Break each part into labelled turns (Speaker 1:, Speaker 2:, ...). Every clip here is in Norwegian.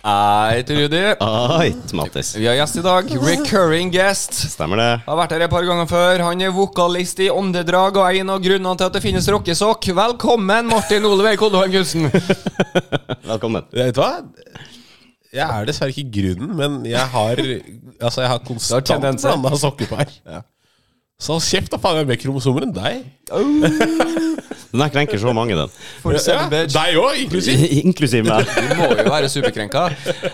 Speaker 1: Hei til Rudi.
Speaker 2: Oi, Mattis.
Speaker 1: Vi har gjest i dag. Recurring guest.
Speaker 2: Stemmer det.
Speaker 1: Har vært her et par ganger før. Han er vokalist i Åndedrag og er en av grunnene til at det finnes rockesokk. Velkommen, Martin Olveig Koldohan Gunsen.
Speaker 2: Velkommen.
Speaker 3: Vet du hva? Jeg er dessverre ikke grunnen, men jeg har Altså jeg har konstant
Speaker 1: tendenser.
Speaker 3: blanda sokkepar. Så hold kjeft, da faen. Jeg er mer kromosomer enn deg.
Speaker 2: Den her krenker så mange, den.
Speaker 1: For
Speaker 3: Ja,
Speaker 1: Sønberg.
Speaker 3: deg òg, inklusiv.
Speaker 2: Inklusiv meg.
Speaker 1: Du må jo være superkrenka.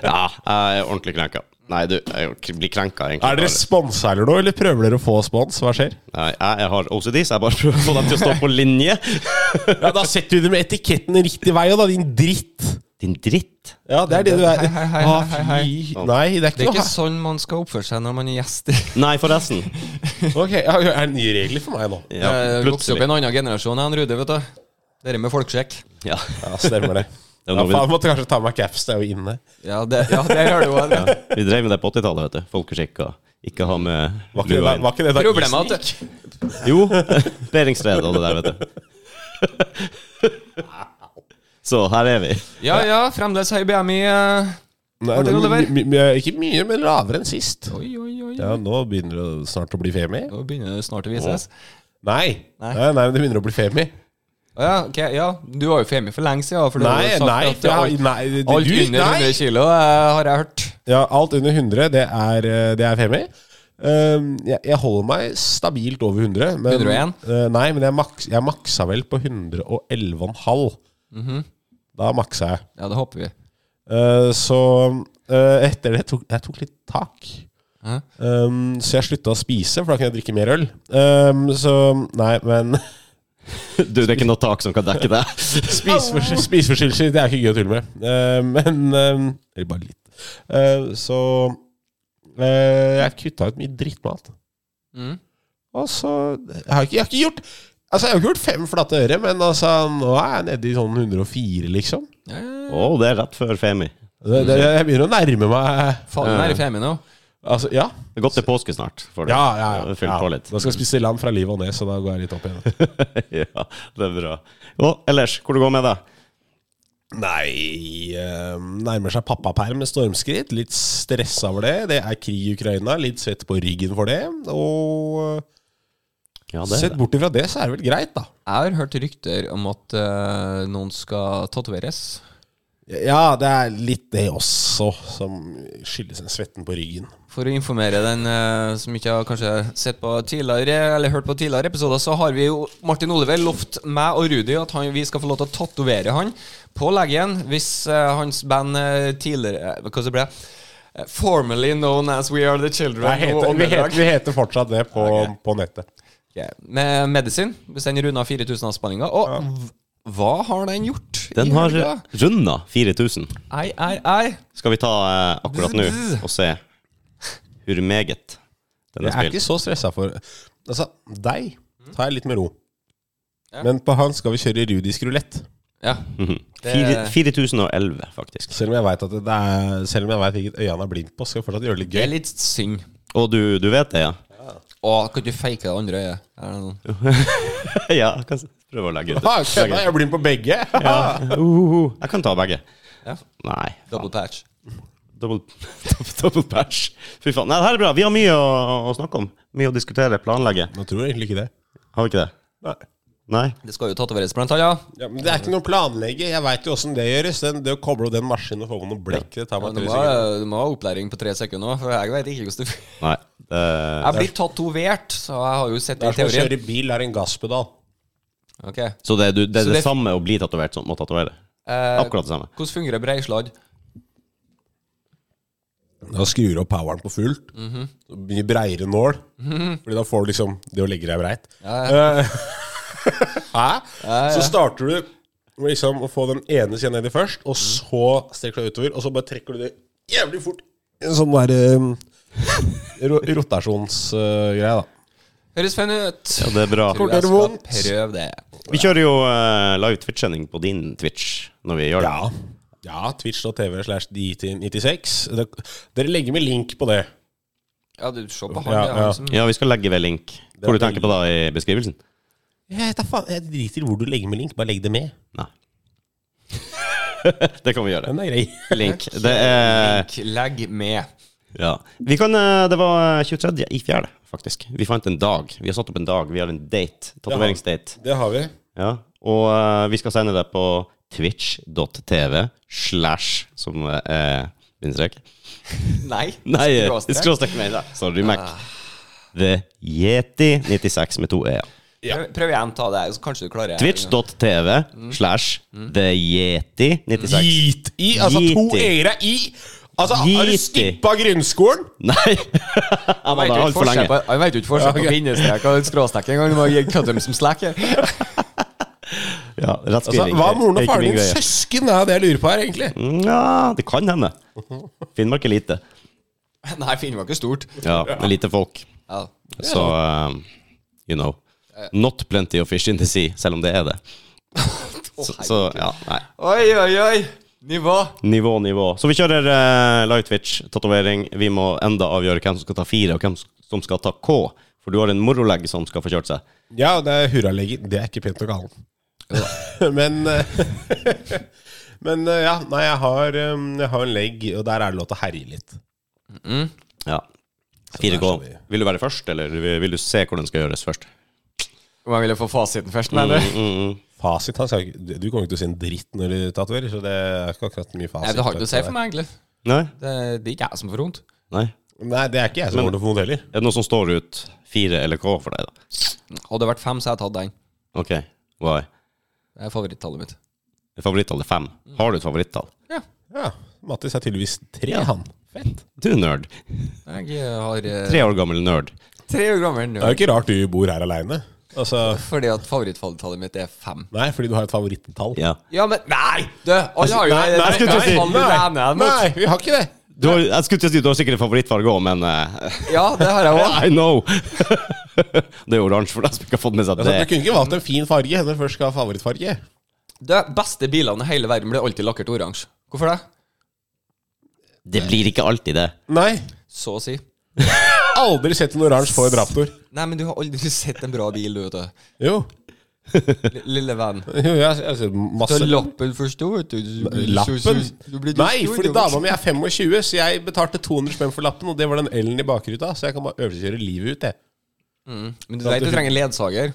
Speaker 2: Ja, jeg er ordentlig krenka. Nei, du, jeg k- blir krenka, egentlig.
Speaker 3: Er dere sponsa eller noe, eller prøver dere å få spons? Hva skjer?
Speaker 2: Nei, jeg, jeg har OCD, så jeg bare prøver å få dem til å stå på linje.
Speaker 3: Ja, Da setter du det med etiketten riktig vei, da, din dritt.
Speaker 2: Din dritt.
Speaker 3: Ja, det er det du er.
Speaker 1: Hei, hei, hei,
Speaker 3: Ah,
Speaker 1: hei, hei,
Speaker 3: fy. Nei, det er
Speaker 1: Det er
Speaker 3: ikke noe
Speaker 1: ikke sånn man skal oppføre seg når man er gjest.
Speaker 2: Nei, forresten.
Speaker 3: Ok, ja, Er det nye regler for meg nå?
Speaker 1: Jeg
Speaker 2: Ja,
Speaker 1: vokste Eh, opp i
Speaker 2: plutselig.
Speaker 1: en annen generasjon enn Rudi, vet du. Dere med folkesjekk.
Speaker 2: Ja.
Speaker 3: Ja, stemmer det.
Speaker 2: Det
Speaker 3: Ja,
Speaker 2: var noe vi-
Speaker 3: faen, måtte kanskje ta meg caps, det er jo inne.
Speaker 1: Ja, det, ja, der har du jo det.
Speaker 2: Vi drev med det på 80-tallet, vet du. Folkeskikk og ikke ha med
Speaker 3: Var ikke det,
Speaker 2: lua
Speaker 3: da-
Speaker 2: inn.
Speaker 3: var ikke det da
Speaker 1: Problemet er
Speaker 3: isen
Speaker 1: at
Speaker 3: gikk?
Speaker 2: Jo, Beringstredet og det der, vet du. Så her er vi.
Speaker 1: Ja, ja, fremdeles høy BMI. eh.
Speaker 3: Nei,
Speaker 1: Martin
Speaker 3: men
Speaker 1: Oliver?
Speaker 3: my- my- Ikke mye, men lavere enn sist.
Speaker 1: Oi, oi, oi.
Speaker 3: Ja, nå begynner det snart å bli femi.
Speaker 1: Nå begynner det snart å vises.
Speaker 3: Nei,
Speaker 1: Nei.
Speaker 3: nei, nei, men det begynner å bli femi.
Speaker 1: Å Ja, ok, ja, du var jo femi for lenge siden. For du har jo
Speaker 3: Nei,
Speaker 1: sagt
Speaker 3: nei,
Speaker 1: at det
Speaker 3: for
Speaker 1: er
Speaker 3: jeg-
Speaker 1: alt,
Speaker 3: nei, det-
Speaker 1: alt
Speaker 3: du-
Speaker 1: under
Speaker 3: nei.
Speaker 1: 100 kilo eh, har jeg hørt.
Speaker 3: Ja, alt under 100, det er, eh, det er femi. Um, jeg, jeg holder meg stabilt over 100. Men,
Speaker 1: 101?
Speaker 3: Eh, nei, men jeg, maks, jeg maksa vel på 111,5.
Speaker 1: Mhm.
Speaker 3: Da maksa jeg.
Speaker 1: Ja, det håper vi.
Speaker 3: Eh, så eh, etter det tok jeg tok litt tak.
Speaker 1: Hæ?
Speaker 3: Um, så jeg slutta å spise, for da kunne jeg drikke mer øl. Um, så nei, men
Speaker 2: Du, det er ikke noe tak som kan dekke deg.
Speaker 3: Spiseforstyrrelser spiseforstyrrelser, det er ikke gøy å tulle med. Eh, men eh, Eller bare litt. Eh, så eh, jeg kutta ut mye drittmat.
Speaker 1: Mm.
Speaker 3: Og så Jeg har ikke, jeg har ikke gjort Altså, jeg har ikke gjort fem flate øre, men altså, nå er jeg nede i sånn 104, liksom.
Speaker 1: Ja, ja,
Speaker 2: Å,
Speaker 1: ja.
Speaker 2: det er rett før Femi.
Speaker 3: Det, det,
Speaker 1: Mm.
Speaker 3: jeg begynner å nærme meg
Speaker 1: Faen, er i femi nå.
Speaker 3: Altså, ja.
Speaker 2: Det er godt det er påske snart. For
Speaker 3: Ja, ja, ja.
Speaker 2: Fyll på litt.
Speaker 3: Da skal jeg spise lam fra livet og ned, så da går jeg litt opp igjen.
Speaker 2: ja, det er bra. Og ellers, hvor det går med deg?
Speaker 3: Nei eh, Nærmer seg pappaperm med stormskritt. Litt stressa over det. Det er krig i Ukraina. Litt svett på ryggen for det. Og eh,
Speaker 2: Ja,
Speaker 3: Sett bort ifra det, så er det vel greit, da.
Speaker 1: Jeg har hørt rykter om at eh, noen skal tatoveres.
Speaker 3: Ja, det er litt det også som skyldes den svetten på ryggen.
Speaker 1: For å informere den eh, som ikke har kanskje sett på tidligere Eller hørt på tidligere episoder, så har vi jo Martin Oliver lovt meg og Rudi at han, vi skal få lov til å tatovere han på leggen hvis eh, hans band eh, tidligere eh, Hva så ble det? Eh, Formerly known as We Are The Children.
Speaker 3: Nei, heter,
Speaker 1: og
Speaker 3: vi, heter,
Speaker 1: Åndedrag.
Speaker 3: vi heter fortsatt det på, på nettet.
Speaker 1: Ok, Med medisin. Hvis den runda 4000 avspenninger. Og v- hva har den gjort? i
Speaker 2: Den har
Speaker 1: helga?
Speaker 2: runda 4000.
Speaker 1: Ei, ei, ei.
Speaker 2: Skal vi ta eh, akkurat nå og se hvor meget den er
Speaker 3: Jeg er
Speaker 2: spilt?
Speaker 3: ikke så stressa for Altså, deg tar jeg litt med ro.
Speaker 1: Ja.
Speaker 3: Men på han skal vi kjøre rudisk rulett.
Speaker 1: Ja.
Speaker 2: Mhm.
Speaker 1: Det-
Speaker 2: Fire- 4011, faktisk.
Speaker 3: Selv om jeg veit at det er Selv om jeg vet hvilket øye han er blind på, skal jeg fortsatt gjøre det litt
Speaker 1: Det er
Speaker 3: gøy.
Speaker 1: litt synd.
Speaker 2: Og du, du vet det, ja?
Speaker 1: Å, kan ikke du feike det andre øyet? Er det noen-
Speaker 2: ja, jeg kan s- prøve å legge ut
Speaker 3: Ah, kødda, jeg er blind på begge!
Speaker 2: Uh, uh, jeg kan ta begge.
Speaker 1: Ja.
Speaker 2: Nei.
Speaker 1: Double patch.
Speaker 2: Double, double patch. Fy faen. Nei, det her er bra. Vi har mye å, å snakke om. Mye å diskutere, planlegge.
Speaker 3: Nå tror jeg egentlig ikke det.
Speaker 2: Har vi ikke det?
Speaker 3: Nei.
Speaker 2: Nei?
Speaker 1: Det skal jo tatoveres blant annet.
Speaker 3: Ja, men det er ikke noe å planlegge. Jeg veit jo åssen det gjøres. Den, det å koble opp den maskinen og få på noe blekk, det tar
Speaker 1: Ja,
Speaker 3: meg
Speaker 1: du,
Speaker 3: tre
Speaker 1: må,
Speaker 3: sekunder.
Speaker 1: ha- du må ha opplæring på tre sekunder nå, for jeg vet ikke hvordan du
Speaker 2: Nei. Det,
Speaker 1: Jeg blir tatovert, så jeg har jo sett det i
Speaker 3: Det er som å
Speaker 1: teorien.
Speaker 3: kjøre bil, det er en gasspedal.
Speaker 1: Ok eh,
Speaker 2: så det er, du,
Speaker 1: Så
Speaker 2: det, er det Eh,
Speaker 1: det-
Speaker 2: samme å bli tatovert som å tatovere? Akkurat det samme.
Speaker 1: Eh, Hvordan fungerer breisladd?
Speaker 3: Da skrur du opp poweren på fullt. Så Mye breiere nål. Fordi da får du liksom det å legge deg breit.
Speaker 1: Ja,
Speaker 3: Eh, Hæ? Så starter du Hvor liksom å få den ene sida nedi først, og så strekker du deg utover, og så bare trekker du det jævlig fort. En sånn der um, ro rotasjonsgreie, da.
Speaker 1: Høres fun ut.
Speaker 2: Ja, det er bra.
Speaker 1: Tror jeg
Speaker 3: Kortere
Speaker 1: skal
Speaker 3: vondt.
Speaker 1: prøve det.
Speaker 2: Vi kjører jo eh, live Twitch-sending på din Twitch når vi gjør det.
Speaker 3: Ja. Ja, twitch.tv slash DT96. Dere- Dere legger med link på det.
Speaker 1: Ja, du se på han.
Speaker 3: Ja,
Speaker 1: Ja,
Speaker 3: ja.
Speaker 1: han som,
Speaker 2: Ja, vi skal legge ved link. Hvor
Speaker 3: er
Speaker 2: du tenker på da i beskrivelsen?
Speaker 3: Jeg, vet da faen, jeg driter i hvor du legger med link, bare legg det med.
Speaker 2: Nei. det kan vi gjøre.
Speaker 3: Den er grei.
Speaker 2: Link. Det er
Speaker 1: Legg med.
Speaker 2: Ja. Vi kan eh, Det var 23. i fjerde, faktisk. Vi fant en dag. Vi har satt opp en dag. Vi har en date. Tatoveringsdate.
Speaker 3: Det har vi.
Speaker 2: Ja. Og eh, vi skal sende det på twitch.tv slash, som eh, er bindestrek.
Speaker 1: Nei.
Speaker 2: Nei, eh,
Speaker 1: skråstrek.
Speaker 2: skråstrek, mener jeg. Sorry, Mac. The Yeti 96 med to e, e-er.
Speaker 3: Ja.
Speaker 1: Prøv, prøv igjen, ta det her, så kanskje du klarer
Speaker 2: Twitch.tv slash The Yeti 96.
Speaker 3: Git i. Altså to
Speaker 2: Git i.
Speaker 3: e-er er i. Altså, har du
Speaker 2: Git i.
Speaker 3: skippa grunnskolen?
Speaker 2: Nei! Han
Speaker 1: Han vet jo
Speaker 2: var der
Speaker 1: ikke
Speaker 2: altfor
Speaker 1: forskjell
Speaker 2: lenge.
Speaker 1: på- han vet jo ikke forskjell på bindestrek og skråstrek engang. Du må gi cut dem som slack.
Speaker 2: Ja,
Speaker 3: Altså,
Speaker 2: rettskriving.
Speaker 3: hva er moren
Speaker 2: er
Speaker 3: og
Speaker 2: ikke
Speaker 3: faren
Speaker 2: min
Speaker 3: din?
Speaker 2: greie.
Speaker 3: Søsken er det jeg lurer på her, egentlig.
Speaker 2: Nja, det kan hende. Finnmark er lite.
Speaker 1: Nei, Finnmark er stort.
Speaker 2: Ja, det er lite folk.
Speaker 1: Ja.
Speaker 2: Så um, you know. Not plenty of fish in the sea, selv om det er det. Så, så ja, nei.
Speaker 1: Oi, oi, oi! Nivå.
Speaker 2: Nivå, nivå. Så vi kjører uh, live Twitch-tatovering. Vi må enda avgjøre hvem som skal ta fire, og hvem som skal ta K. For du har en morolegg som skal få kjørt seg.
Speaker 3: Ja, det er hurralegging. Det er ikke pent å kalle den. men eh, Men eh, ja, nei, jeg har, um, jeg har en legg, og der er det lov til å herje litt.
Speaker 2: Ja. Fire
Speaker 3: der skal
Speaker 2: K.
Speaker 3: vi-
Speaker 2: Vil du være først, eller vil vil du se hvordan den skal gjøres først?
Speaker 1: Man ville få fasiten først, mener du?
Speaker 3: Fasit han skal, ikke- Du kommer ikke til å si en dritt når du tatoverer, så det er ikke akkurat mye fasit.
Speaker 1: Nei, det har ikke noe å si for meg, egentlig.
Speaker 2: Nei?
Speaker 1: Det, det er ikke jeg som får vondt.
Speaker 2: Nei?
Speaker 3: Nei, det er ikke jeg som
Speaker 2: Men-
Speaker 3: kommer til å få vondt heller.
Speaker 2: Er det noe som står ut fire eller K for deg, da?
Speaker 1: Hadde det vært fem, så hadde jeg tatt den.
Speaker 2: OK, why?
Speaker 1: Det er favorittallet mitt.
Speaker 2: Favorittall er fem. Har du et favorittall?
Speaker 1: Ja.
Speaker 3: Ja, Mattis er tydeligvis tre, han. Fett.
Speaker 2: Du er nerd.
Speaker 1: Jeg har eh,
Speaker 2: Tre år gammel nerd.
Speaker 1: tre år gammel
Speaker 3: Det er
Speaker 1: nå.
Speaker 3: jo ikke rart du bor her aleine. Altså,
Speaker 1: Fordi at favorittfalltallet mitt er fem.
Speaker 3: nei, fordi du har et favorittall.
Speaker 2: Ja.
Speaker 1: Ja, men Nei! Du, alle har jo
Speaker 3: Nei, nei,
Speaker 2: jeg skulle til å si-
Speaker 1: Alle regner jeg mot.
Speaker 3: nei, vi har ikke det.
Speaker 2: Du har, jeg skulle til å si du har sikkert en favorittfarge òg, men eh,
Speaker 1: Ja, det har jeg òg.
Speaker 2: I know! det er oransje for deg som ikke har fått med seg
Speaker 3: Altså,
Speaker 2: det.
Speaker 3: du kunne ikke valgt en fin farge når du først skal ha favorittfarge.
Speaker 1: De beste bilene i hele verden blir alltid lakkert oransje. Hvorfor det?
Speaker 2: Det blir ikke alltid det.
Speaker 3: Nei.
Speaker 1: Så å si.
Speaker 3: Aldri sett en oransje få en raptor.
Speaker 1: Nei, men du har aldri sett en bra bil, du, vet du.
Speaker 3: Jo.
Speaker 1: L- Lille venn.
Speaker 3: jo jeg, jeg, har sett
Speaker 1: Ta
Speaker 3: masse
Speaker 1: lappen først, da, vet du. Du blir-
Speaker 3: Altså- Lappen?
Speaker 1: Du blir- du
Speaker 3: Nei,
Speaker 1: stor,
Speaker 3: fordi
Speaker 1: du, vet du.
Speaker 3: dama mi er 25, så jeg betalte 200 spenn for lappen, og det var den L-en i bakruta, så jeg kan bare øvelseskjøre livet ut, jeg.
Speaker 1: Men du vet du trenger ledsager.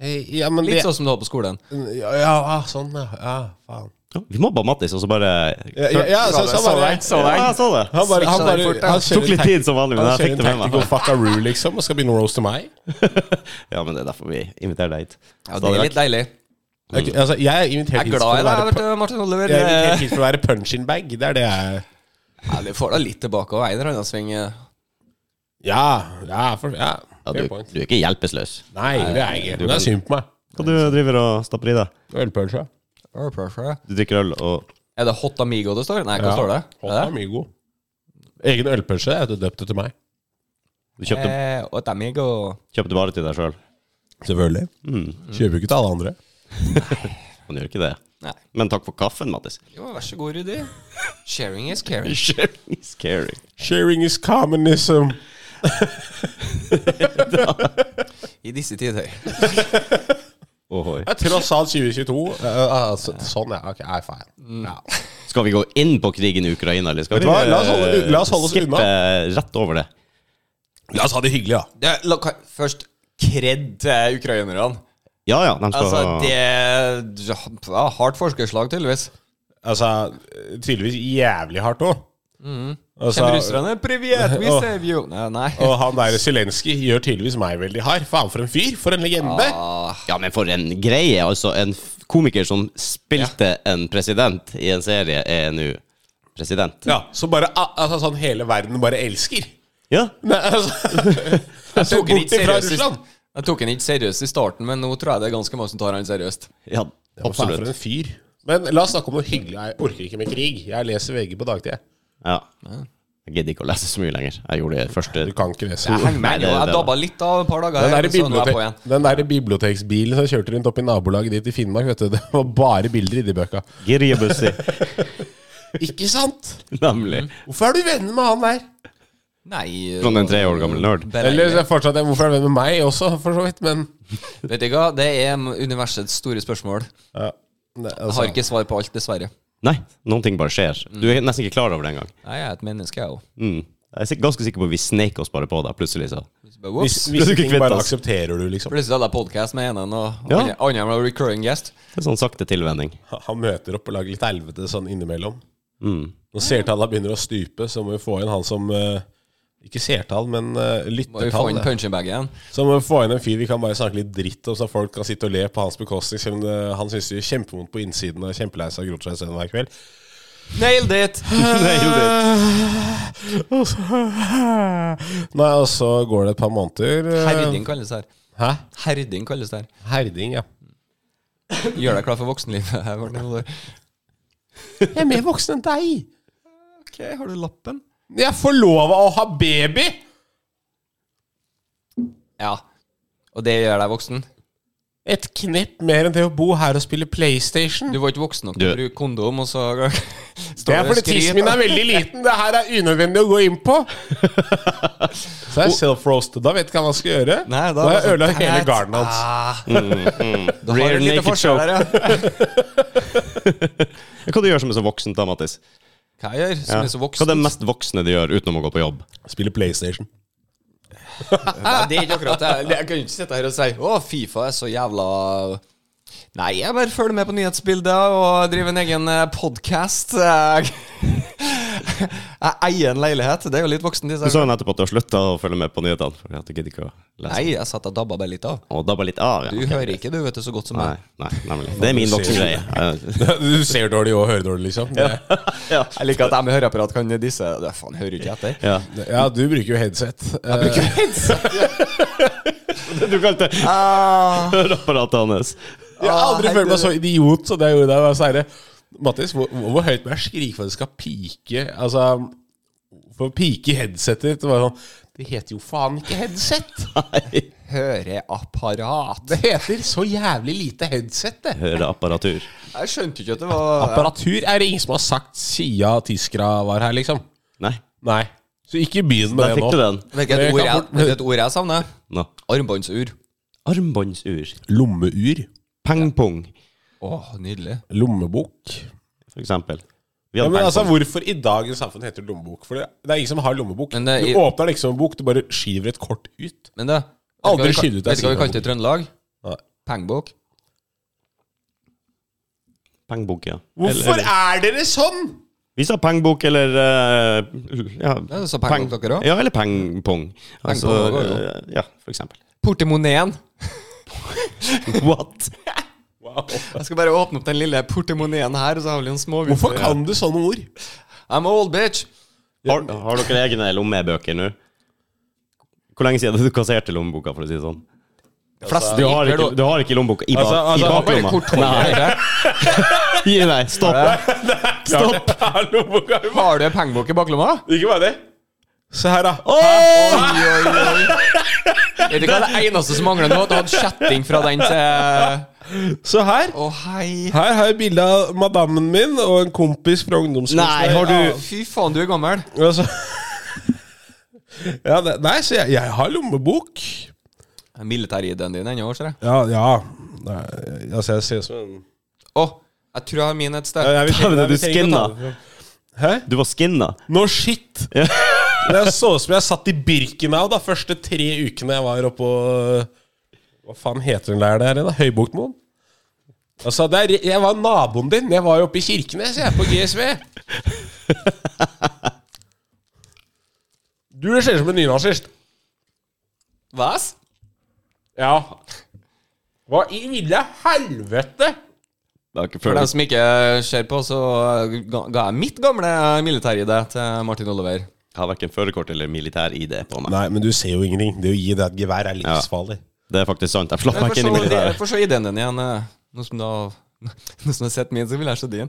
Speaker 3: Hei, Ja, men
Speaker 1: Litt
Speaker 3: det
Speaker 1: sånn som du har på skolen.
Speaker 3: Ja, ja, sånn, ja. ja faen.
Speaker 2: Ja, Vi mobba Mattis, og så bare
Speaker 3: Ja, ja, ja, så, så
Speaker 2: Ja,
Speaker 3: bare,
Speaker 2: jeg så det.
Speaker 3: han bare, han bare
Speaker 1: Switcha deg
Speaker 3: han
Speaker 2: Tok
Speaker 3: kjører
Speaker 2: litt
Speaker 3: en
Speaker 2: tid som vanlig, men
Speaker 3: han
Speaker 2: jeg
Speaker 3: kjører
Speaker 2: fikk
Speaker 3: en
Speaker 2: det med
Speaker 3: tactical
Speaker 2: meg.
Speaker 3: fuckaroo, liksom, og skal begynne å roaste meg.
Speaker 2: Ja, men det er derfor vi inviterer deg hit.
Speaker 1: Ja, det er litt deilig.
Speaker 3: Jeg, altså, jeg er invitert
Speaker 1: Jeg er
Speaker 3: hit for
Speaker 1: glad i
Speaker 3: å
Speaker 1: deg,
Speaker 3: være
Speaker 1: vet du, Martin Oliver.
Speaker 3: Jeg er invitert
Speaker 1: Eh,
Speaker 3: hit for å være punch-in-bag. Det er det jeg
Speaker 1: Ja, du får da litt tilbake og en eller annen sving. eh.
Speaker 3: Ja, ja, for, ja.
Speaker 2: Ja,
Speaker 3: fair
Speaker 2: du,
Speaker 3: point.
Speaker 2: du er ikke hjelpeløs.
Speaker 3: Nei, det er jeg ikke. Men det er synd på meg.
Speaker 2: Hva du driver og stapper i deg?
Speaker 3: Ølpunch, ja.
Speaker 1: Er
Speaker 2: Du drikker øl og
Speaker 1: det Hot Amigo det står? Nei, hva
Speaker 3: Ja.
Speaker 1: står det?
Speaker 3: Hot
Speaker 1: Er det?
Speaker 3: Amigo. Egen ølpunch, det er døpt etter meg.
Speaker 2: Du kjøpte,
Speaker 1: Eh, Hot Amigo
Speaker 2: kjøpte bare til deg sjøl.
Speaker 3: Selvfølgelig. Kjøper jo ikke til alle andre.
Speaker 2: Han gjør ikke det.
Speaker 1: Nei.
Speaker 2: Men takk for kaffen, Mattis.
Speaker 1: Jo, vær så god, Rudi. Sharing is caring.
Speaker 2: Sharing is caring.
Speaker 3: Sharing is communism.
Speaker 1: I disse tider.
Speaker 2: Ohoi.
Speaker 3: Jeg er tross alt 2022. Eh, eh, så- sånn, ja. Ok, er feil. Ja.
Speaker 2: Skal vi gå inn på krigen i Ukraina, eller skal
Speaker 3: Vet
Speaker 2: vi eh,
Speaker 3: du hva? La oss holde- la oss holde oss
Speaker 2: skippe eh,
Speaker 3: unna.
Speaker 2: rett over det?
Speaker 3: La oss ha det hyggelig, da.
Speaker 1: Det, la, ka- først kred til ukrainerne.
Speaker 2: Ja ja, de skal
Speaker 1: Altså,
Speaker 2: ha-
Speaker 1: det ja, Hardt forskerslag, tydeligvis.
Speaker 3: Altså, tydeligvis jævlig hardt òg. Mm.
Speaker 1: Kjenner russerne Privet, we
Speaker 3: Åh.
Speaker 1: save you! Nei. nei.
Speaker 3: og han der Zelenskyj gjør tydeligvis meg veldig hard. Faen, for en fyr! For en legende!
Speaker 1: Ah.
Speaker 2: Ja, men for en greie. Altså, en f- komiker som spilte en president i en serie, er nå president.
Speaker 3: Ja, Så bare ah, altså, sånn hele verden bare elsker.
Speaker 2: Ja.
Speaker 3: Nei, altså Jeg
Speaker 1: tok han
Speaker 3: bort
Speaker 1: ikke
Speaker 3: ifra
Speaker 1: seriøst i-
Speaker 3: Russland.
Speaker 1: Jeg tok han ikke seriøst i starten, men nå tror jeg det er ganske mange som tar han seriøst.
Speaker 2: ja
Speaker 3: Hva faen for en fyr. Men la oss snakke om noe hyggelig. Jeg orker ikke med krig. Jeg leser VG på dagtid. jeg.
Speaker 2: Ja. Jeg gidder ikke å lese så mye lenger. Jeg gjorde det første
Speaker 3: Du kan ikke lese.
Speaker 1: Jeg henger
Speaker 2: Nei,
Speaker 1: meg,
Speaker 2: det-
Speaker 1: jo. jeg
Speaker 2: det-
Speaker 1: dabba litt av et par dager.
Speaker 3: Den
Speaker 1: her,
Speaker 3: der,
Speaker 1: så nå er jeg på
Speaker 3: bibliotek,
Speaker 1: igjen.
Speaker 3: den der biblioteksbilen som kjørte rundt opp i nabolaget ditt i Finnmark, vet du, det var bare bilder i de bøka.
Speaker 2: Girjebussi,
Speaker 3: Ikke sant?
Speaker 2: nemlig.
Speaker 3: Hvorfor er du venner med han der?
Speaker 1: Nei øh,
Speaker 2: Sånn en tre år gammel nerd.
Speaker 3: Eller
Speaker 1: Beregnet.
Speaker 3: så er fortsatt jeg, hvorfor er du venn med meg også, for så vidt, men
Speaker 1: Vet du hva, det er universets store spørsmål.
Speaker 3: ja. Nei,
Speaker 1: Jeg
Speaker 3: altså,
Speaker 1: har ikke svar på alt, dessverre.
Speaker 2: Nei, noen ting bare skjer. Du er nesten ikke klar over det engang.
Speaker 1: Nei, jeg er et menneske, jeg òg.
Speaker 2: Mm. Jeg er sik- ganske sikker på at vi sneik oss bare på deg plutselig. Så.
Speaker 1: Plutselig
Speaker 3: Hvis,
Speaker 2: Ble du
Speaker 3: visse
Speaker 2: ikke
Speaker 3: ting
Speaker 2: kvitt
Speaker 3: bare
Speaker 2: oss?
Speaker 3: aksepterer du, liksom.
Speaker 1: hadde jeg podkast med ene og
Speaker 2: Ja.
Speaker 1: andre- andre med recurring guest.
Speaker 2: Det er sånn sakte tilvenning.
Speaker 3: Han møter opp og lager litt helvete sånn innimellom.
Speaker 2: Mm.
Speaker 3: Når seertallene begynner å stupe, så må vi få inn han som eh, Ikke seertall, men
Speaker 1: Må jo
Speaker 3: eh,
Speaker 1: få
Speaker 3: lyttertall.
Speaker 1: inn
Speaker 3: det.
Speaker 1: punchingbagen.
Speaker 3: Så må vi få inn en fyr vi kan bare snakke litt dritt om, så folk kan sitte og le på hans bekostning. Selv om det, han syns det gjør kjempevondt på innsiden og er kjempelei seg og gråter seg i søvn hver kveld.
Speaker 1: Nailed it!
Speaker 3: Og så- Nei, og så går det et par måneder. eh,
Speaker 1: Herding kalles det her.
Speaker 3: Hæ?
Speaker 1: Herding kalles det her.
Speaker 3: Herding, ja.
Speaker 1: Gjør deg klar for voksenlivet. her, Morten Olor.
Speaker 3: Jeg er mer voksen enn deg.
Speaker 1: Ok, har du lappen?
Speaker 3: Jeg er forlova og har baby!
Speaker 1: Ja. Og det gjør deg voksen?
Speaker 3: Et knepp mer enn det å bo her og spille PlayStation.
Speaker 1: Du var ikke voksen nok til å
Speaker 2: Du-
Speaker 1: bruke kondom, og så
Speaker 3: Det
Speaker 1: står
Speaker 3: er fordi tissen min er veldig liten. Det her er unødvendig å gå inn på. Så er jeg self-roasted. Da vet ikke han hva han skal gjøre.
Speaker 1: Nei,
Speaker 3: da altså, har jeg ødelagt hele garden hans.
Speaker 1: sånn Ah.
Speaker 2: Mm,
Speaker 1: Da har
Speaker 2: Rear
Speaker 1: du litt
Speaker 2: naked
Speaker 1: forskjell der, ja.
Speaker 2: Hva du gjør som er så voksent, da, Mattis?
Speaker 1: Hva jeg gjør som
Speaker 2: Ja.
Speaker 1: er så
Speaker 2: Hva er det
Speaker 1: voksen?
Speaker 2: mest voksne du gjør utenom å gå på jobb?
Speaker 3: Spille PlayStation.
Speaker 1: Nei, det er ikke akkurat det. Jeg kan jo ikke sitte her og si å, Fifa er så jævla Nei, jeg bare følger med på nyhetsbilder og driver en egen podkast. Jeg jeg eier en leilighet. Det er jo litt voksen.
Speaker 2: Du
Speaker 1: disse
Speaker 2: sa jo nettopp at du har slutta å følge med på nyhetene. Fordi at du gidder ikke å lese
Speaker 1: Nei, jeg satt og dabba bare litt av.
Speaker 2: Og dabba litt av,
Speaker 1: Du
Speaker 2: ja.
Speaker 1: hører ikke, du, vet du, så godt som
Speaker 2: Nei,
Speaker 1: meg.
Speaker 2: nei, nemlig. Det er min voksengreie. Jeg-
Speaker 3: Du ser dårlig og hører dårlig, liksom. Det-
Speaker 1: Jeg liker at jeg med høreapparat kan disse Det faen, hører jo ikke etter.
Speaker 2: Ja.
Speaker 3: Ja, du bruker jo headset. Eh,
Speaker 2: Du kalte høreapparatet hans
Speaker 3: Jeg har aldri
Speaker 1: Ah,
Speaker 3: følt meg så idiot som det jeg gjorde da jeg var særlig. Mattis, hvor, hvor høyt må jeg skrike for at det skal pike? Altså, for å pike i headsetet ditt det var sånn Det heter jo faen ikke headset!
Speaker 2: Nei.
Speaker 1: Høreapparat.
Speaker 3: Det heter så jævlig lite headset, det.
Speaker 2: Høreapparatur.
Speaker 1: Jeg skjønte ikke at det var
Speaker 3: Apparatur er det ingen som har sagt siden tyskere var her, liksom.
Speaker 2: Nei.
Speaker 3: Nei. Så ikke begynn med
Speaker 2: Der
Speaker 3: det
Speaker 2: fikk du
Speaker 3: nå.
Speaker 2: den.
Speaker 1: Hvilket
Speaker 3: Det
Speaker 1: ord
Speaker 3: kan
Speaker 1: jeg,
Speaker 3: fort-
Speaker 1: vet du et ord jeg savner?
Speaker 2: Nå.
Speaker 1: Armbåndsur.
Speaker 2: Armbåndsur.
Speaker 3: Lommeur.
Speaker 2: Pengpung,
Speaker 1: Åh, nydelig.
Speaker 3: Lommebok.
Speaker 2: for eksempel. Vi
Speaker 3: Ja,
Speaker 2: hadde
Speaker 3: men altså,
Speaker 2: pengpung.
Speaker 3: Hvorfor i dagens samfunn heter det lommebok? For det, det er ingen som har lommebok.
Speaker 1: Men det er-
Speaker 3: Du åpner liksom en bok, du bare skyver et kort ut.
Speaker 1: Men det
Speaker 3: Aldri
Speaker 1: vet du hva vi
Speaker 3: skyld
Speaker 1: kal-
Speaker 3: ut deg,
Speaker 1: Vet du hva vi kalte det i Trøndelag?
Speaker 3: Nei.
Speaker 1: Pengebok.
Speaker 2: Pengbok, ja. Eller-
Speaker 3: Hvorfor er dere sånn?!
Speaker 2: Vi sa pengbok eller eh,
Speaker 1: Ja,
Speaker 2: ja,
Speaker 1: du sa pengbok
Speaker 2: peng-
Speaker 1: dere også?
Speaker 2: Ja, eller pengpung. Altså,
Speaker 1: Pengpung også, ja.
Speaker 2: eh, ja, for eksempel.
Speaker 1: Portemoneen.
Speaker 2: What?
Speaker 1: Jeg skal bare åpne opp den lille portemoneen her, og så har vi noen små
Speaker 3: Hvorfor kan du sånne ord?
Speaker 1: I'm old, bitch.
Speaker 2: Har, har dere egne lommebøker nå? Hvor lenge siden du kasserte lommeboka, for å si det sånn?
Speaker 1: Flest
Speaker 2: Du har ikke, du har ikke lommeboka i, ba,
Speaker 3: Altså, altså,
Speaker 2: i
Speaker 1: Bare
Speaker 2: baklomma?
Speaker 1: kortholder.
Speaker 2: Nei, nei, stopp. Stopp.
Speaker 3: Lommeboka er jo bare-
Speaker 1: Har du pengebok i baklomma?
Speaker 3: Ikke bare det. Se her, da.
Speaker 1: Oi, oi, oi. Vet du hva det eneste som mangler nå? er At du hadde kjetting fra den til Å,
Speaker 3: Se her.
Speaker 1: hei.
Speaker 3: Her har jeg bilde av madammen min og en kompis fra ungdomsskolen.
Speaker 2: Nei, har du
Speaker 1: Fy faen, du er gammel.
Speaker 3: Altså. Ja, det, nei, så jeg, jeg har lommebok.
Speaker 1: Militærideen din ennå, ser jeg.
Speaker 3: Ja, ja. Nei, altså, jeg ser ut som en
Speaker 1: Å, jeg tror jeg har min et sted.
Speaker 3: Ja, jeg vil-
Speaker 2: Dæven,
Speaker 3: jeg vil
Speaker 2: du
Speaker 3: tenke å ta
Speaker 2: skinna.
Speaker 3: det. Hæ?
Speaker 2: Du var skinna.
Speaker 3: No shit! Jeg så ut som jeg satt i Birkenau da første tre ukene jeg var oppå Hva faen heter den der der igjen? da? Høybuktmoen? Altså, det er- jeg var naboen din. Jeg var jo oppe i Kirkenes, jeg, på GSV. Du ser ut som en nynazist.
Speaker 1: Hva?
Speaker 3: Ja. Hva i ville helvete?
Speaker 2: Det har ikke
Speaker 1: For
Speaker 2: følt
Speaker 1: dem som ikke ser på, så ga ga jeg mitt gamle militæride til Martin Oliver.
Speaker 2: Jeg har verken førerkort eller militær-ID på meg.
Speaker 3: Nei, men du ser jo ingenting. Det å gi deg et gevær er livsfarlig.
Speaker 2: Det er faktisk sant. Jeg slapp meg
Speaker 1: Få
Speaker 2: ikke inn i
Speaker 1: se-
Speaker 2: militæret.
Speaker 1: Få se ideen din igjen, eh, nå som du har Hvis du har sett min, så vil jeg se din.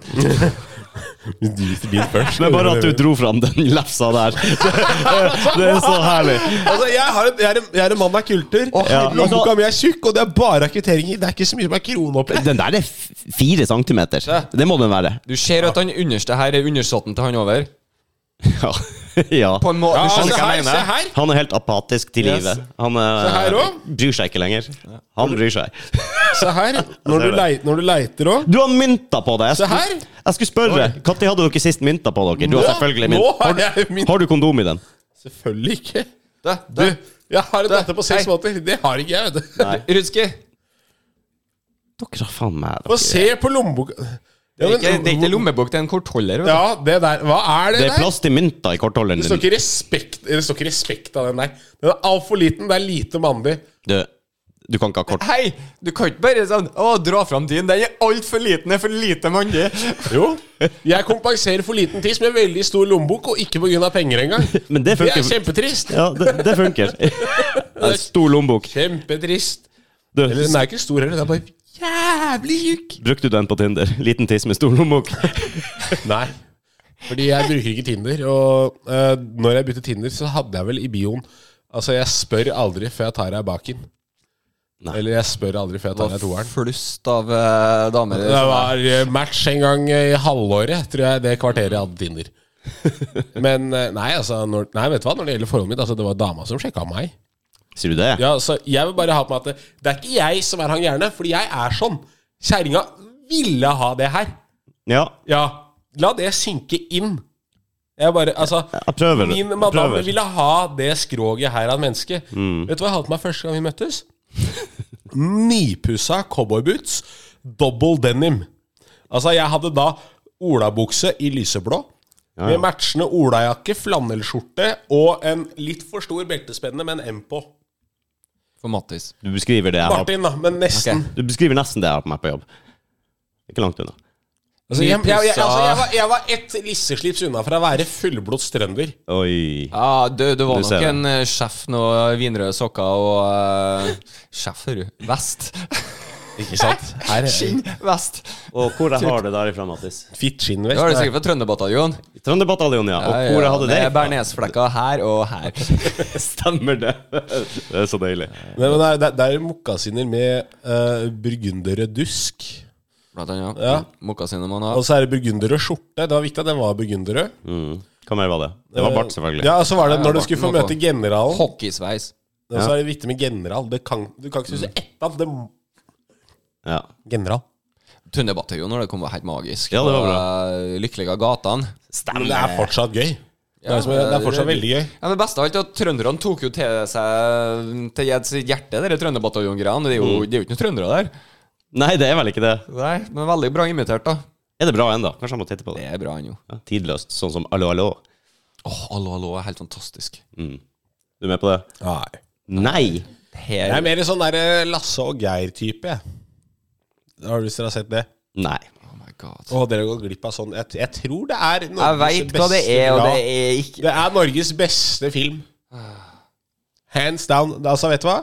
Speaker 3: Vi driter din først.
Speaker 2: Det er bare at du dro fram den lefsa der. Det, det er så herlig.
Speaker 3: Altså, jeg, har en, jeg, er en, jeg er en mann av kulter.
Speaker 2: Ja.
Speaker 3: Lommeboka mi er tjukk, og det er bare kvitteringer. Det er ikke så mye som er kroneopplegg.
Speaker 2: Den der er f- fire centimeter. Det må den være.
Speaker 1: Du ser at han underste her er undersåtten til han over.
Speaker 2: Ja. ja.
Speaker 1: På en måte,
Speaker 3: Ja,
Speaker 1: du skjønner
Speaker 3: se
Speaker 1: hva
Speaker 3: her,
Speaker 1: jeg
Speaker 3: se
Speaker 1: mener.
Speaker 3: her!
Speaker 2: Han er helt apatisk til
Speaker 3: Yes.
Speaker 2: livet. Han er,
Speaker 3: Se her også.
Speaker 2: bryr seg ikke lenger. Han bryr seg.
Speaker 3: Se her. Når du, lei- når du leiter òg.
Speaker 2: Du har mynta på deg! Jeg
Speaker 3: Se
Speaker 2: skulle,
Speaker 3: her.
Speaker 2: jeg skulle spørre, Når hadde dere sist mynta på dere? Du har
Speaker 3: Nå-
Speaker 2: selvfølgelig
Speaker 3: nå
Speaker 2: mynt.
Speaker 3: har
Speaker 2: Har,
Speaker 3: jeg mynt.
Speaker 2: du- har du kondom i den?
Speaker 3: Selvfølgelig ikke.
Speaker 1: Da,
Speaker 3: Du,
Speaker 1: da.
Speaker 3: jeg har en datter på seks
Speaker 1: Hei.
Speaker 3: måneder. Det har ikke jeg, vet du.
Speaker 1: Rudski.
Speaker 2: Dere har faen meg
Speaker 3: Få
Speaker 2: dere.
Speaker 3: se på lommeboka
Speaker 1: Det
Speaker 3: ja,
Speaker 1: er ikke, det er
Speaker 3: men,
Speaker 1: ikke lommebok, det er en kortholder. vet du.
Speaker 3: ja, det der. Hva er det,
Speaker 2: Det er
Speaker 3: der?
Speaker 2: plass til mynter i kortholderen
Speaker 3: Det står
Speaker 2: din.
Speaker 3: ikke respekt Det står ikke respekt av den der. Den er altfor liten. Det er lite mandig.
Speaker 2: Du, du kan ikke ha kort.
Speaker 1: Hei! Du kan ikke bare sånn Å, dra fram din. Den er altfor liten. Det er for lite mandig.
Speaker 3: Jo. Jeg kompenserer for liten tiss med veldig stor lommebok, og ikke pga. penger engang.
Speaker 2: Men det
Speaker 3: Det er
Speaker 2: funker.
Speaker 3: kjempetrist.
Speaker 2: Ja, det, det funker. Det er Stor lommebok.
Speaker 3: Kjempetrist.
Speaker 2: Du,
Speaker 3: Eller den er ikke stor heller. Den er bare jævlig tjukk.
Speaker 2: brukte du den på Tinder? Liten tiss med stor lommebok.
Speaker 3: Nei. Fordi jeg bruker ikke Tinder. Og eh, når jeg bytter Tinder, så hadde jeg vel i bioen Altså, jeg spør aldri før jeg tar deg baken.
Speaker 2: Nei.
Speaker 3: Eller jeg spør aldri før jeg tar deg toeren.
Speaker 1: flust av eh, damer.
Speaker 3: Det var eh, match en gang i halvåret, tror jeg, det kvarteret jeg hadde Tinder. Men eh, nei, altså når, Nei, vet du hva, når det gjelder forholdet mitt, altså, det var dama som sjekka meg.
Speaker 2: Sier du det?
Speaker 3: Ja, så jeg vil bare ha på meg at det, det er ikke jeg som er han gærne, fordi jeg er sånn. Kjerringa ville ha det her.
Speaker 2: Ja.
Speaker 3: Ja, la det synke inn. Jeg bare, altså
Speaker 2: Jeg prøver.
Speaker 3: Min
Speaker 2: Jeg
Speaker 3: madame
Speaker 2: prøver.
Speaker 3: ville ha det skroget her av en menneske. Vet du hva jeg hadde på meg første gang vi møttes? Nypussa cowboyboots, double denim. Altså, jeg hadde da olabukse i lyseblå. Med matchende olajakke, flanellskjorte og en litt for stor beltespenne med en M på.
Speaker 1: For Mattis.
Speaker 2: Du beskriver det jeg har
Speaker 3: Martin, da, men nesten.
Speaker 2: Du beskriver nesten det jeg har på meg på jobb. Ikke langt unna.
Speaker 3: Altså, jeg, jeg, jeg,
Speaker 1: Nypussa.
Speaker 3: altså, jeg, var, jeg var ett lisseslips unna fra å være fullblods trønder.
Speaker 2: Oi.
Speaker 1: Ja, du, du var
Speaker 2: Du ser
Speaker 1: nok
Speaker 2: det.
Speaker 1: en eh, sjef nå. Vinrøde sokker og eh, Sjef, hører du. Vest.
Speaker 3: Ikke sant? Her,
Speaker 1: Skinn. Vest.
Speaker 2: Og hvor jeg har det derifra, Mattis?
Speaker 1: Det har
Speaker 3: Fitt
Speaker 1: du
Speaker 3: skinnvest.
Speaker 1: sikkert fra Trønderbataljonen.
Speaker 2: Trønderbataljonen, ja. Og
Speaker 1: Ja,
Speaker 2: hvor
Speaker 1: ja,
Speaker 2: jeg hadde
Speaker 1: det
Speaker 2: det?
Speaker 1: er Bernesflekka her og her.
Speaker 2: Stemmer det. Det er så deilig.
Speaker 3: Nei, men det er- det er- det er mokkasiner med uh, burgunderrød-dusk.
Speaker 1: Blant annet.
Speaker 3: Ja.
Speaker 1: Mokkasinnemann
Speaker 3: Og
Speaker 1: har
Speaker 3: så er det burgunderrød-skjorte. Det var viktig at den var burgunderrød.
Speaker 2: Hva mer var det? Det var bart, selvfølgelig.
Speaker 3: Ja, og så var det når du
Speaker 1: Barten
Speaker 3: skulle få
Speaker 1: må
Speaker 3: møte
Speaker 1: få.
Speaker 3: generalen.
Speaker 1: hockeysveis.
Speaker 3: Og så er det viktig med general. Det kan, du kan ikke synes ett av det må-
Speaker 2: Ja.
Speaker 3: General.
Speaker 1: Trønderbataljonen når det kom, var helt magisk.
Speaker 2: Ja, det var
Speaker 1: Og,
Speaker 2: bra.
Speaker 1: eh, Lykkelige gatene.
Speaker 3: Men det er fortsatt gøy. Det
Speaker 1: Ja,
Speaker 3: er, som, det er fortsatt
Speaker 1: det-
Speaker 3: veldig gøy.
Speaker 1: Ja, men best av alt er at trønderne tok jo til seg til Jeds hjerte, dere trønderbataljon-greiene. Det, er jo- det er jo ikke noen trøndere der.
Speaker 2: Mm. Nei, det er vel ikke det.
Speaker 1: Nei, men veldig bra imitert, da.
Speaker 2: Er det bra ennå? Kanskje jeg må titte på det.
Speaker 1: Det er bra ennå.
Speaker 2: Ja, tidløst, sånn som Allo, allo.
Speaker 1: Åh, allo, allo er helt fantastisk.
Speaker 2: Du er med på det?
Speaker 3: Nei.
Speaker 2: Nei!
Speaker 3: Jeg er
Speaker 1: Her
Speaker 3: mer en sånn der Lasse og Geir-type. jeg. Har du lyst til å ha sett det?
Speaker 2: Nei.
Speaker 1: Oh my god.
Speaker 3: Å, dere har gått glipp av sånn. Jeg, jeg tror det er
Speaker 1: Jeg veit hva det er, og
Speaker 3: bra-
Speaker 1: det er ikke
Speaker 3: Det er Norges beste film. Hands down. Altså, vet du hva?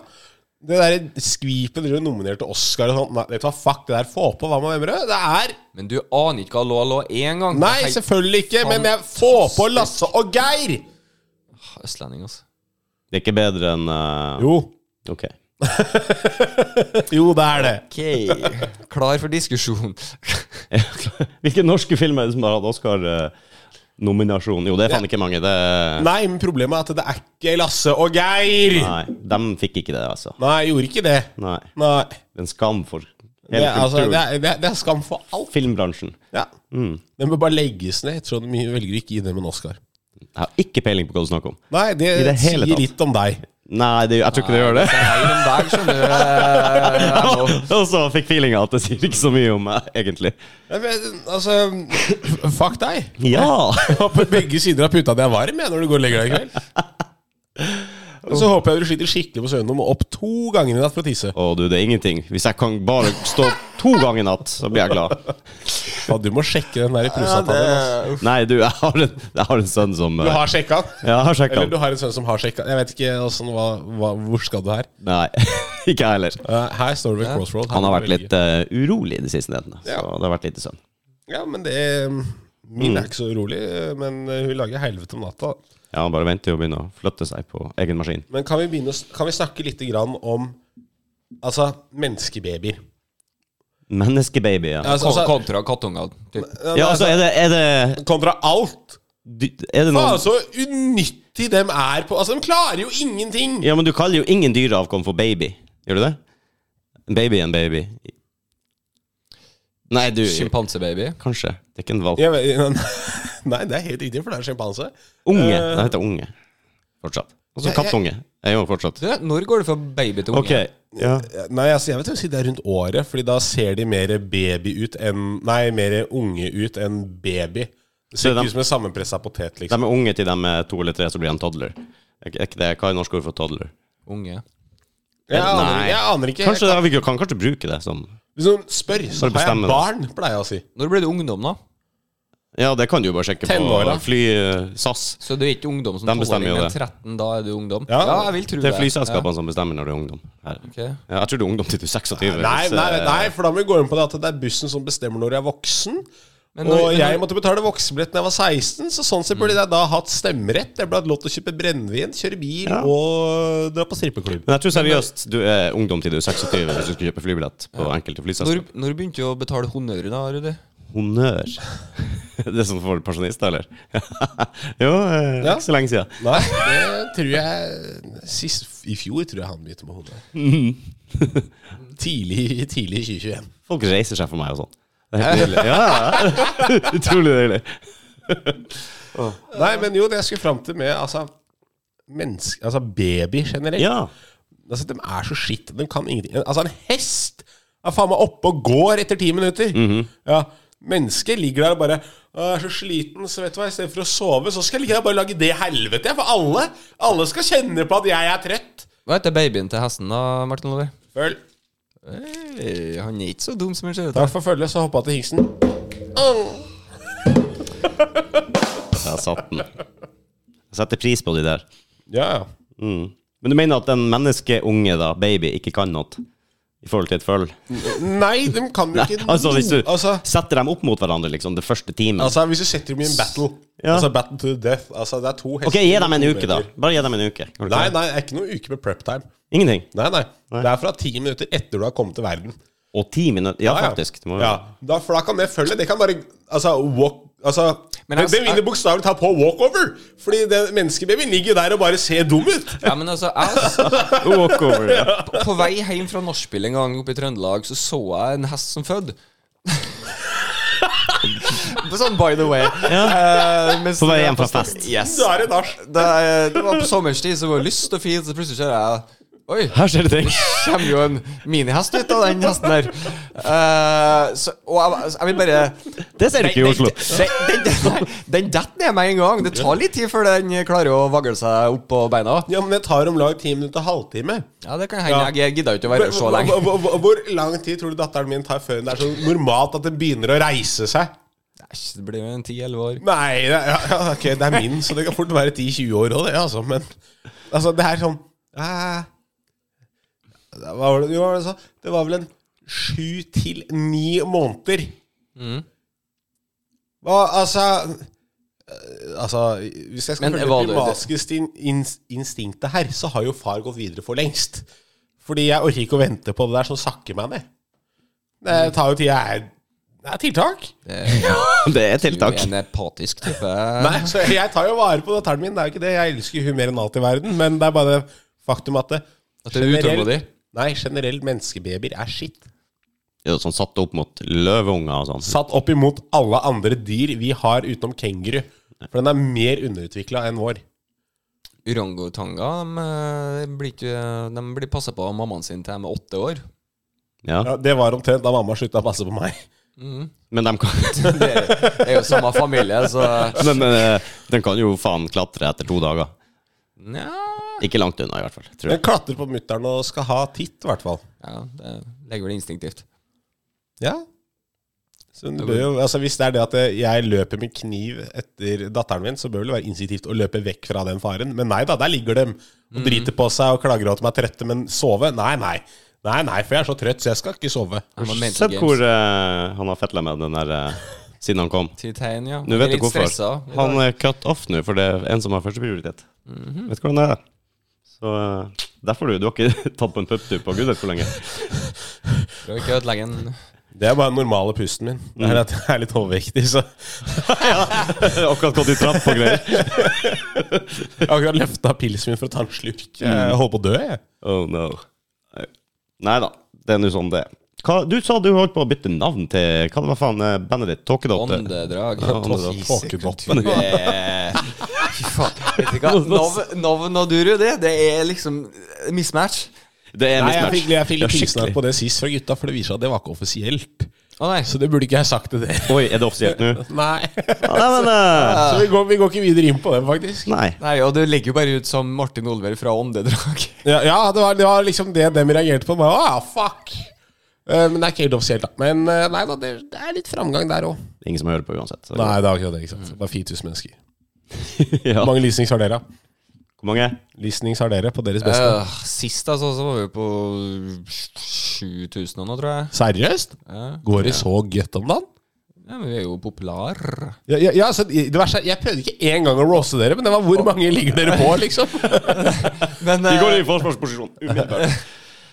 Speaker 3: Det derre skvipet dere nominerte til Oscar og sånt Nei, vet du hva, fuck det der. Få på Hva med Vemmerød. Det er
Speaker 1: Men du aner ikke hva allo, allo er engang.
Speaker 3: Nei,
Speaker 1: Det er helt
Speaker 3: selvfølgelig ikke, men jeg få på Lasse og Geir!
Speaker 1: Østlending, altså.
Speaker 2: Det er ikke bedre enn eh,
Speaker 3: Jo.
Speaker 2: Ok.
Speaker 3: Jo, det er det.
Speaker 1: Ok. Klar for diskusjon.
Speaker 2: Hvilke norske filmer er det som har hatt Oscar-nominasjon? Jo, det er faen ikke mange. Det er...
Speaker 3: Nei, men problemet er at det er ikke Lasse og Geir! Nei,
Speaker 2: Nei, dem fikk ikke det, altså.
Speaker 3: jeg gjorde ikke det.
Speaker 2: Nei.
Speaker 3: Nei.
Speaker 2: Det er en skam for
Speaker 3: Det,
Speaker 2: hele
Speaker 3: er- altså,
Speaker 2: kulturen.
Speaker 3: det, er, det, er, det er skam for alt.
Speaker 2: Filmbransjen.
Speaker 3: Ja.
Speaker 2: Mm.
Speaker 3: Den bør bare legges ned. Jeg tror de velger å ikke gi dem en Oscar.
Speaker 2: Jeg har ikke peiling på hva du snakker om.
Speaker 3: Nei, det,
Speaker 2: I det hele
Speaker 3: sier
Speaker 2: tatt.
Speaker 3: litt om deg.
Speaker 2: Nei, det, jeg tror ikke det gjør det.
Speaker 1: Det er en dag, skjønner du. eh, allo.
Speaker 2: Og så fikk feelinga at det sier ikke så mye om meg, egentlig.
Speaker 3: Ja, men, altså, fuck deg.
Speaker 2: Ja!
Speaker 3: Og På begge sider av puta di er varm jeg, når du går og legger deg i kveld. Og så håper jeg du sliter skikkelig på søvnen og må opp to ganger i natt for å tisse.
Speaker 2: Å, du, det er ingenting. Hvis jeg kan bare stå to ganger i natt, så blir jeg glad.
Speaker 3: Faen, du må sjekke den der i prostataen din. ass.
Speaker 1: det,
Speaker 2: Nei, du, jeg har en, jeg har en sønn som
Speaker 3: Du
Speaker 2: eh,
Speaker 3: har sjekka den?
Speaker 2: Ja, jeg har sjekka
Speaker 3: Eller du
Speaker 2: den.
Speaker 3: har en sønn som har sjekka den. Jeg vet ikke hvordan, hva, hva, hvor skal du her.
Speaker 2: Nei, ikke jeg heller.
Speaker 3: Eh, Her står det ved Crossroad. Her
Speaker 2: Han har
Speaker 3: må
Speaker 2: vært
Speaker 3: du velge.
Speaker 2: litt eh, urolig de siste nettene. Så
Speaker 3: Ja.
Speaker 2: det har vært lite sønn.
Speaker 3: Ja, men det Min
Speaker 2: Mm.
Speaker 3: er ikke så urolig, men hun lager helvete om natta.
Speaker 2: Ja, han bare venter jo å begynne å flytte seg på egen maskin.
Speaker 3: Men kan vi, begynne, å s- kan vi snakke litt grann om Altså, menneskebabyer.
Speaker 2: Menneskebaby, ja.
Speaker 3: Altså, altså,
Speaker 1: kontra kattunger. Typ.
Speaker 2: Ja, altså, er det, er det,
Speaker 3: kontra alt!
Speaker 2: dy- er det
Speaker 3: Faen,
Speaker 2: noen
Speaker 3: så unyttig dem er på Altså, de klarer jo ingenting!
Speaker 2: Ja, men du kaller jo ingen dyreavkom for baby. Gjør du det? En baby er en baby. Nei, du
Speaker 1: Sjimpansebaby.
Speaker 2: Kanskje. Det er ikke en valp.
Speaker 3: Jeg vet- nei, det er helt riktig, for det er en sjimpanse.
Speaker 2: Unge. Det heter unge. Fortsatt. Og så
Speaker 3: Jeg- jeg-
Speaker 2: kattunge. Er jo fortsatt.
Speaker 1: Du, Når går det fra baby til unge?
Speaker 2: Ok. Ja.
Speaker 3: Nei, altså, jeg vil jo si det er rundt året, Fordi da ser de mer baby ut enn Nei, mer unge ut enn baby. Det ser
Speaker 2: Så de-
Speaker 3: ikke ut som en sammenpressa potet,
Speaker 2: De
Speaker 3: liksom.
Speaker 2: er unge til de er to eller tre, så blir de toddler. Er ikke- er ikke det- Hva er norsk ord for toddler?
Speaker 1: Unge.
Speaker 3: Jeg aner,
Speaker 2: Nei.
Speaker 3: jeg aner ikke.
Speaker 2: Kanskje det- Vi kan kanskje bruke det som
Speaker 3: Hvis noen spør,
Speaker 2: Bare
Speaker 3: så har jeg
Speaker 2: bestemme det.
Speaker 3: barn, pleier jeg å si.
Speaker 1: Når blir du ungdom, da?
Speaker 2: Ja, det kan du jo bare sjekke
Speaker 3: Tenåra.
Speaker 2: på fly eh, SAS.
Speaker 1: Så du er ikke ungdom som
Speaker 2: De
Speaker 1: tolvåring,
Speaker 2: bestemmer jo
Speaker 1: men
Speaker 2: det.
Speaker 1: 13, da er du ungdom?
Speaker 3: Ja.
Speaker 1: jeg vil tro
Speaker 2: Det er flyselskapene som bestemmer når du er ungdom. Her.
Speaker 1: Ok.
Speaker 2: Ja, jeg tror du er ungdom til du er 26.
Speaker 3: Nei,
Speaker 2: hvis,
Speaker 3: nei,
Speaker 2: eh,
Speaker 3: nei, for da må vi gå inn på det at det er bussen som bestemmer når jeg er voksen.
Speaker 1: Men når-
Speaker 3: og jeg
Speaker 1: når- Mm.
Speaker 3: måtte betale voksenbillett da jeg var 16, så sånn sett burde jeg da hatt stemmerett. Jeg ble hatt lov til å kjøpe brennevin, kjøre bil
Speaker 2: Ja.
Speaker 3: og dra på strippeklubb.
Speaker 2: Men jeg tror seriøst du er ungdom til du er 26 hvis du skal kjøpe flybillett på enkelte
Speaker 1: Når,
Speaker 2: flyselskap.
Speaker 1: når begynte du å betale honnør, da, Rudi?
Speaker 2: Honnør. Det er sånn for pensjonister, eller? jo, eh,
Speaker 3: Ja.
Speaker 2: ikke så lenge siden.
Speaker 3: Nei, det tror jeg sist, I fjor tror jeg han begynte med hodet. tidlig, tidlig i 2021.
Speaker 2: Folk reiser seg for meg og sånn. Det er helt nydelig. Ja, ja. Utrolig deilig.
Speaker 3: Nei, men jo, det jeg skulle fram til med altså, menneske, altså baby generelt
Speaker 2: Ja.
Speaker 3: Altså, de er så skitt. De kan ingenting. Altså, en hest er faen meg oppe og går etter ti minutter.
Speaker 2: Mhm.
Speaker 3: Ja Mennesker ligger der og bare «Å, 'Jeg er så sliten, så vet du hva, istedenfor å sove, så skal jeg ligge der og bare lage det helvete', jeg, for alle Alle skal kjenne på at jeg er trøtt.
Speaker 1: Hva heter babyen til hesten, da, Martin Lover?
Speaker 3: Følg.
Speaker 1: Hey, han er ikke så dum som han ser ut.
Speaker 3: Takk for følget, så hoppa til hingsten.
Speaker 2: Der satt den. Jeg setter pris på de der.
Speaker 3: Ja, ja.
Speaker 2: Mm. Men du mener at en menneskeunge, da, baby, ikke kan noe i forhold til et føll?
Speaker 3: Nei, de kan jo ikke
Speaker 2: Altså, hvis du
Speaker 3: altså,
Speaker 2: setter dem opp mot hverandre, liksom, det første timen
Speaker 3: altså, hvis du setter dem i en battle
Speaker 2: Ja.
Speaker 3: Altså battle to the death Altså, det er to hester
Speaker 2: Ok, gi dem en
Speaker 3: to
Speaker 2: uke, da.
Speaker 3: babyer.
Speaker 2: Bare gi dem en uke. Har du
Speaker 3: Nei,
Speaker 2: klart?
Speaker 3: nei, det er ikke noen uke med prep time.
Speaker 2: Ingenting.
Speaker 3: Nei, nei, Det er fra ti minutter etter du har kommet til verden.
Speaker 2: Og ti minutter. Ja, faktisk. Det må jo-
Speaker 3: Ja, da, For da kan det følge. Det kan bare Altså, walk Altså,
Speaker 1: Men jeg-
Speaker 3: Den vinner bokstavelig talt på walkover! Fordi den menneskebabyen ligger der og bare ser dum ut.
Speaker 1: Ja, men altså, jeg,
Speaker 2: Walkover, ja.
Speaker 1: på vei hjem fra nachspiel en gang oppe i Trøndelag, så så jeg en hest som fødde. sånn by the way. Eh, mens-
Speaker 2: På vei hjem fra fest.
Speaker 1: Yes.
Speaker 3: Du er en nach.
Speaker 1: Det, det var på sommerstid, så det var lyst og fint, så plutselig ser jeg Oi,
Speaker 2: Her skjer det ting.
Speaker 1: kommer jo en minihest ut av den hesten der. Eh, så, og jeg, jeg vil bare
Speaker 2: Det ser du ikke i Oslo.
Speaker 1: Den, den, den, den detter ned med en gang. Det tar litt tid før den klarer å vagle seg opp på beina.
Speaker 3: Ja, men det tar om lag ti minutter, halvtime.
Speaker 1: Ja, det kan hende.
Speaker 3: Ja.
Speaker 1: Jeg gidder jo ikke å være så
Speaker 3: Hvor-
Speaker 1: lenge.
Speaker 3: hvor- hvor- Hvor lang tid tror du datteren min tar før det er så normalt at den begynner å reise seg?
Speaker 1: Æsj, det blir jo en 10-11 år.
Speaker 3: Nei, det, ja, ja, ok, det er min, så det kan fort være 10-20 år òg, det, altså. Men altså, det er sånn eh, Hva var det du var det du sa? Det var vel en sju til ni måneder.
Speaker 1: Mm.
Speaker 3: Hva, altså eh, Altså, hvis jeg skal
Speaker 1: Men
Speaker 3: følge
Speaker 1: var
Speaker 3: det
Speaker 1: det-
Speaker 3: primaskiske instinktet her, så har jo far gått videre for lengst. Fordi jeg orker ikke å vente på det der som sakker meg ned. Det tar jo tid. Jeg er, det er tiltak.
Speaker 2: Det er
Speaker 1: Du er
Speaker 2: tiltak.
Speaker 1: en apatisk type.
Speaker 3: Nei, så jeg tar jo vare på datteren min. Det er jo ikke det. Jeg elsker hun mer enn alt i verden, men det er bare det faktum at det
Speaker 1: At du er utålmodig?
Speaker 3: Nei, generelt menneskebabyer er skitt.
Speaker 2: Ja, sånn satt opp mot løveunger og sånn.
Speaker 3: Satt opp imot alle andre dyr vi har utenom kenguru. For den er mer underutvikla enn vår.
Speaker 1: Orangutanger de, eh, blir ikke- de blir passa på av mammaen sin til de er åtte år.
Speaker 2: Ja.
Speaker 3: Ja, det var omtrent da mamma slutta å passe på meg.
Speaker 2: Men de kan,
Speaker 1: Det er jo samme familie, så
Speaker 2: men, eh, de kan jo faen klatre etter to dager.
Speaker 1: Nja
Speaker 2: Ikke langt unna, i hvert fall. Tror jeg.
Speaker 3: Den klatrer på mutter'n og skal ha titt, i hvert fall.
Speaker 1: ja, Det legger vel instinktivt.
Speaker 3: Ja. Så hun bør jo, altså Hvis det er det at jeg løper med kniv etter datteren min, så bør det være initiativt å løpe vekk fra den faren. Men nei da, der ligger de og driter på seg og klager over at de er trøtte, men sove? Nei, nei. Nei, nei, for jeg er så trøtt, så jeg skal ikke sove.
Speaker 1: Jeg må mental
Speaker 2: Sett
Speaker 1: games.
Speaker 2: hvor eh, han har fetla med den der eh, siden han kom.
Speaker 1: Til tegn, ja.
Speaker 2: Nå
Speaker 1: Jeg er
Speaker 2: vet du
Speaker 1: litt
Speaker 2: hvorfor.
Speaker 1: stressa i dag.
Speaker 2: Han er cut off nå, for det er en som har førsteprioritet. Vet du hvordan det er? Så eh, derfor du, du har ikke tatt på en puptup på gudene for lenge.
Speaker 1: Prøv ikke å ødelegge en
Speaker 3: Det er bare den normale pusten min. Det er at jeg er litt overvektig, så
Speaker 2: Akkurat gått i trapp og greier.
Speaker 3: jeg har akkurat løfta pilsen min for å ta en slurk. Jeg holder på å dø, jeg.
Speaker 2: Oh no. Nei da, det er nå sånn det er. Hva- Du sa du holdt på å bytte navn til Hva det var faen eh, bandet ditt? Tåkedotter?
Speaker 1: åndedrag.
Speaker 2: Ja, åndedrag.
Speaker 3: Tåkedotten.
Speaker 1: Eh, Fy faen. Vet du hva? Nav- Navn og Duru, det, det er liksom mismatch.
Speaker 2: Det er
Speaker 3: Nei, jeg fikk,
Speaker 2: mismatch.
Speaker 3: jeg fikk litt
Speaker 2: Ja,
Speaker 3: tilsnakk
Speaker 2: skikkelig.
Speaker 3: på det sist fra gutta, for det viser seg at det var ikke offisielt.
Speaker 1: Å nei.
Speaker 3: Så det burde ikke jeg sagt til dere.
Speaker 2: Oi, er det offisielt nå?
Speaker 3: Nei.
Speaker 2: Ja, Nei, men eh,
Speaker 3: Så vi går, vi går ikke videre inn på det, faktisk.
Speaker 2: Nei.
Speaker 1: Nei, og du legger jo bare ut som Martin Olver fra Åndedrag.
Speaker 3: Ja, ja det, var, det var liksom det dem reagerte på. Bare, ah, fuck Eh, Men det er ikke helt offisielt, da. Men eh, nei da, det, det er litt framgang der òg.
Speaker 2: Ingen som hører på uansett. så-
Speaker 3: Nei, det er akkurat det. ikke sant Bare 4000 mennesker.
Speaker 2: ja.
Speaker 3: Hvor mange listnings har dere? da?
Speaker 2: Hvor mange?
Speaker 3: Listnings har dere på deres beste?
Speaker 1: Eh, sist altså, så var vi på 7000 og noe, tror jeg.
Speaker 3: Seriøst?
Speaker 1: Ja.
Speaker 3: Går det så godt om dagen?
Speaker 1: ja, men vi er jo populære.
Speaker 3: Ja, ja, ja, så det verste er, Jeg prøvde ikke engang å roaste dere, men det var hvor mange ligger dere på, liksom?
Speaker 1: Men,
Speaker 2: Vi
Speaker 1: eh,
Speaker 2: går i forsvarsposisjon umiddelbart.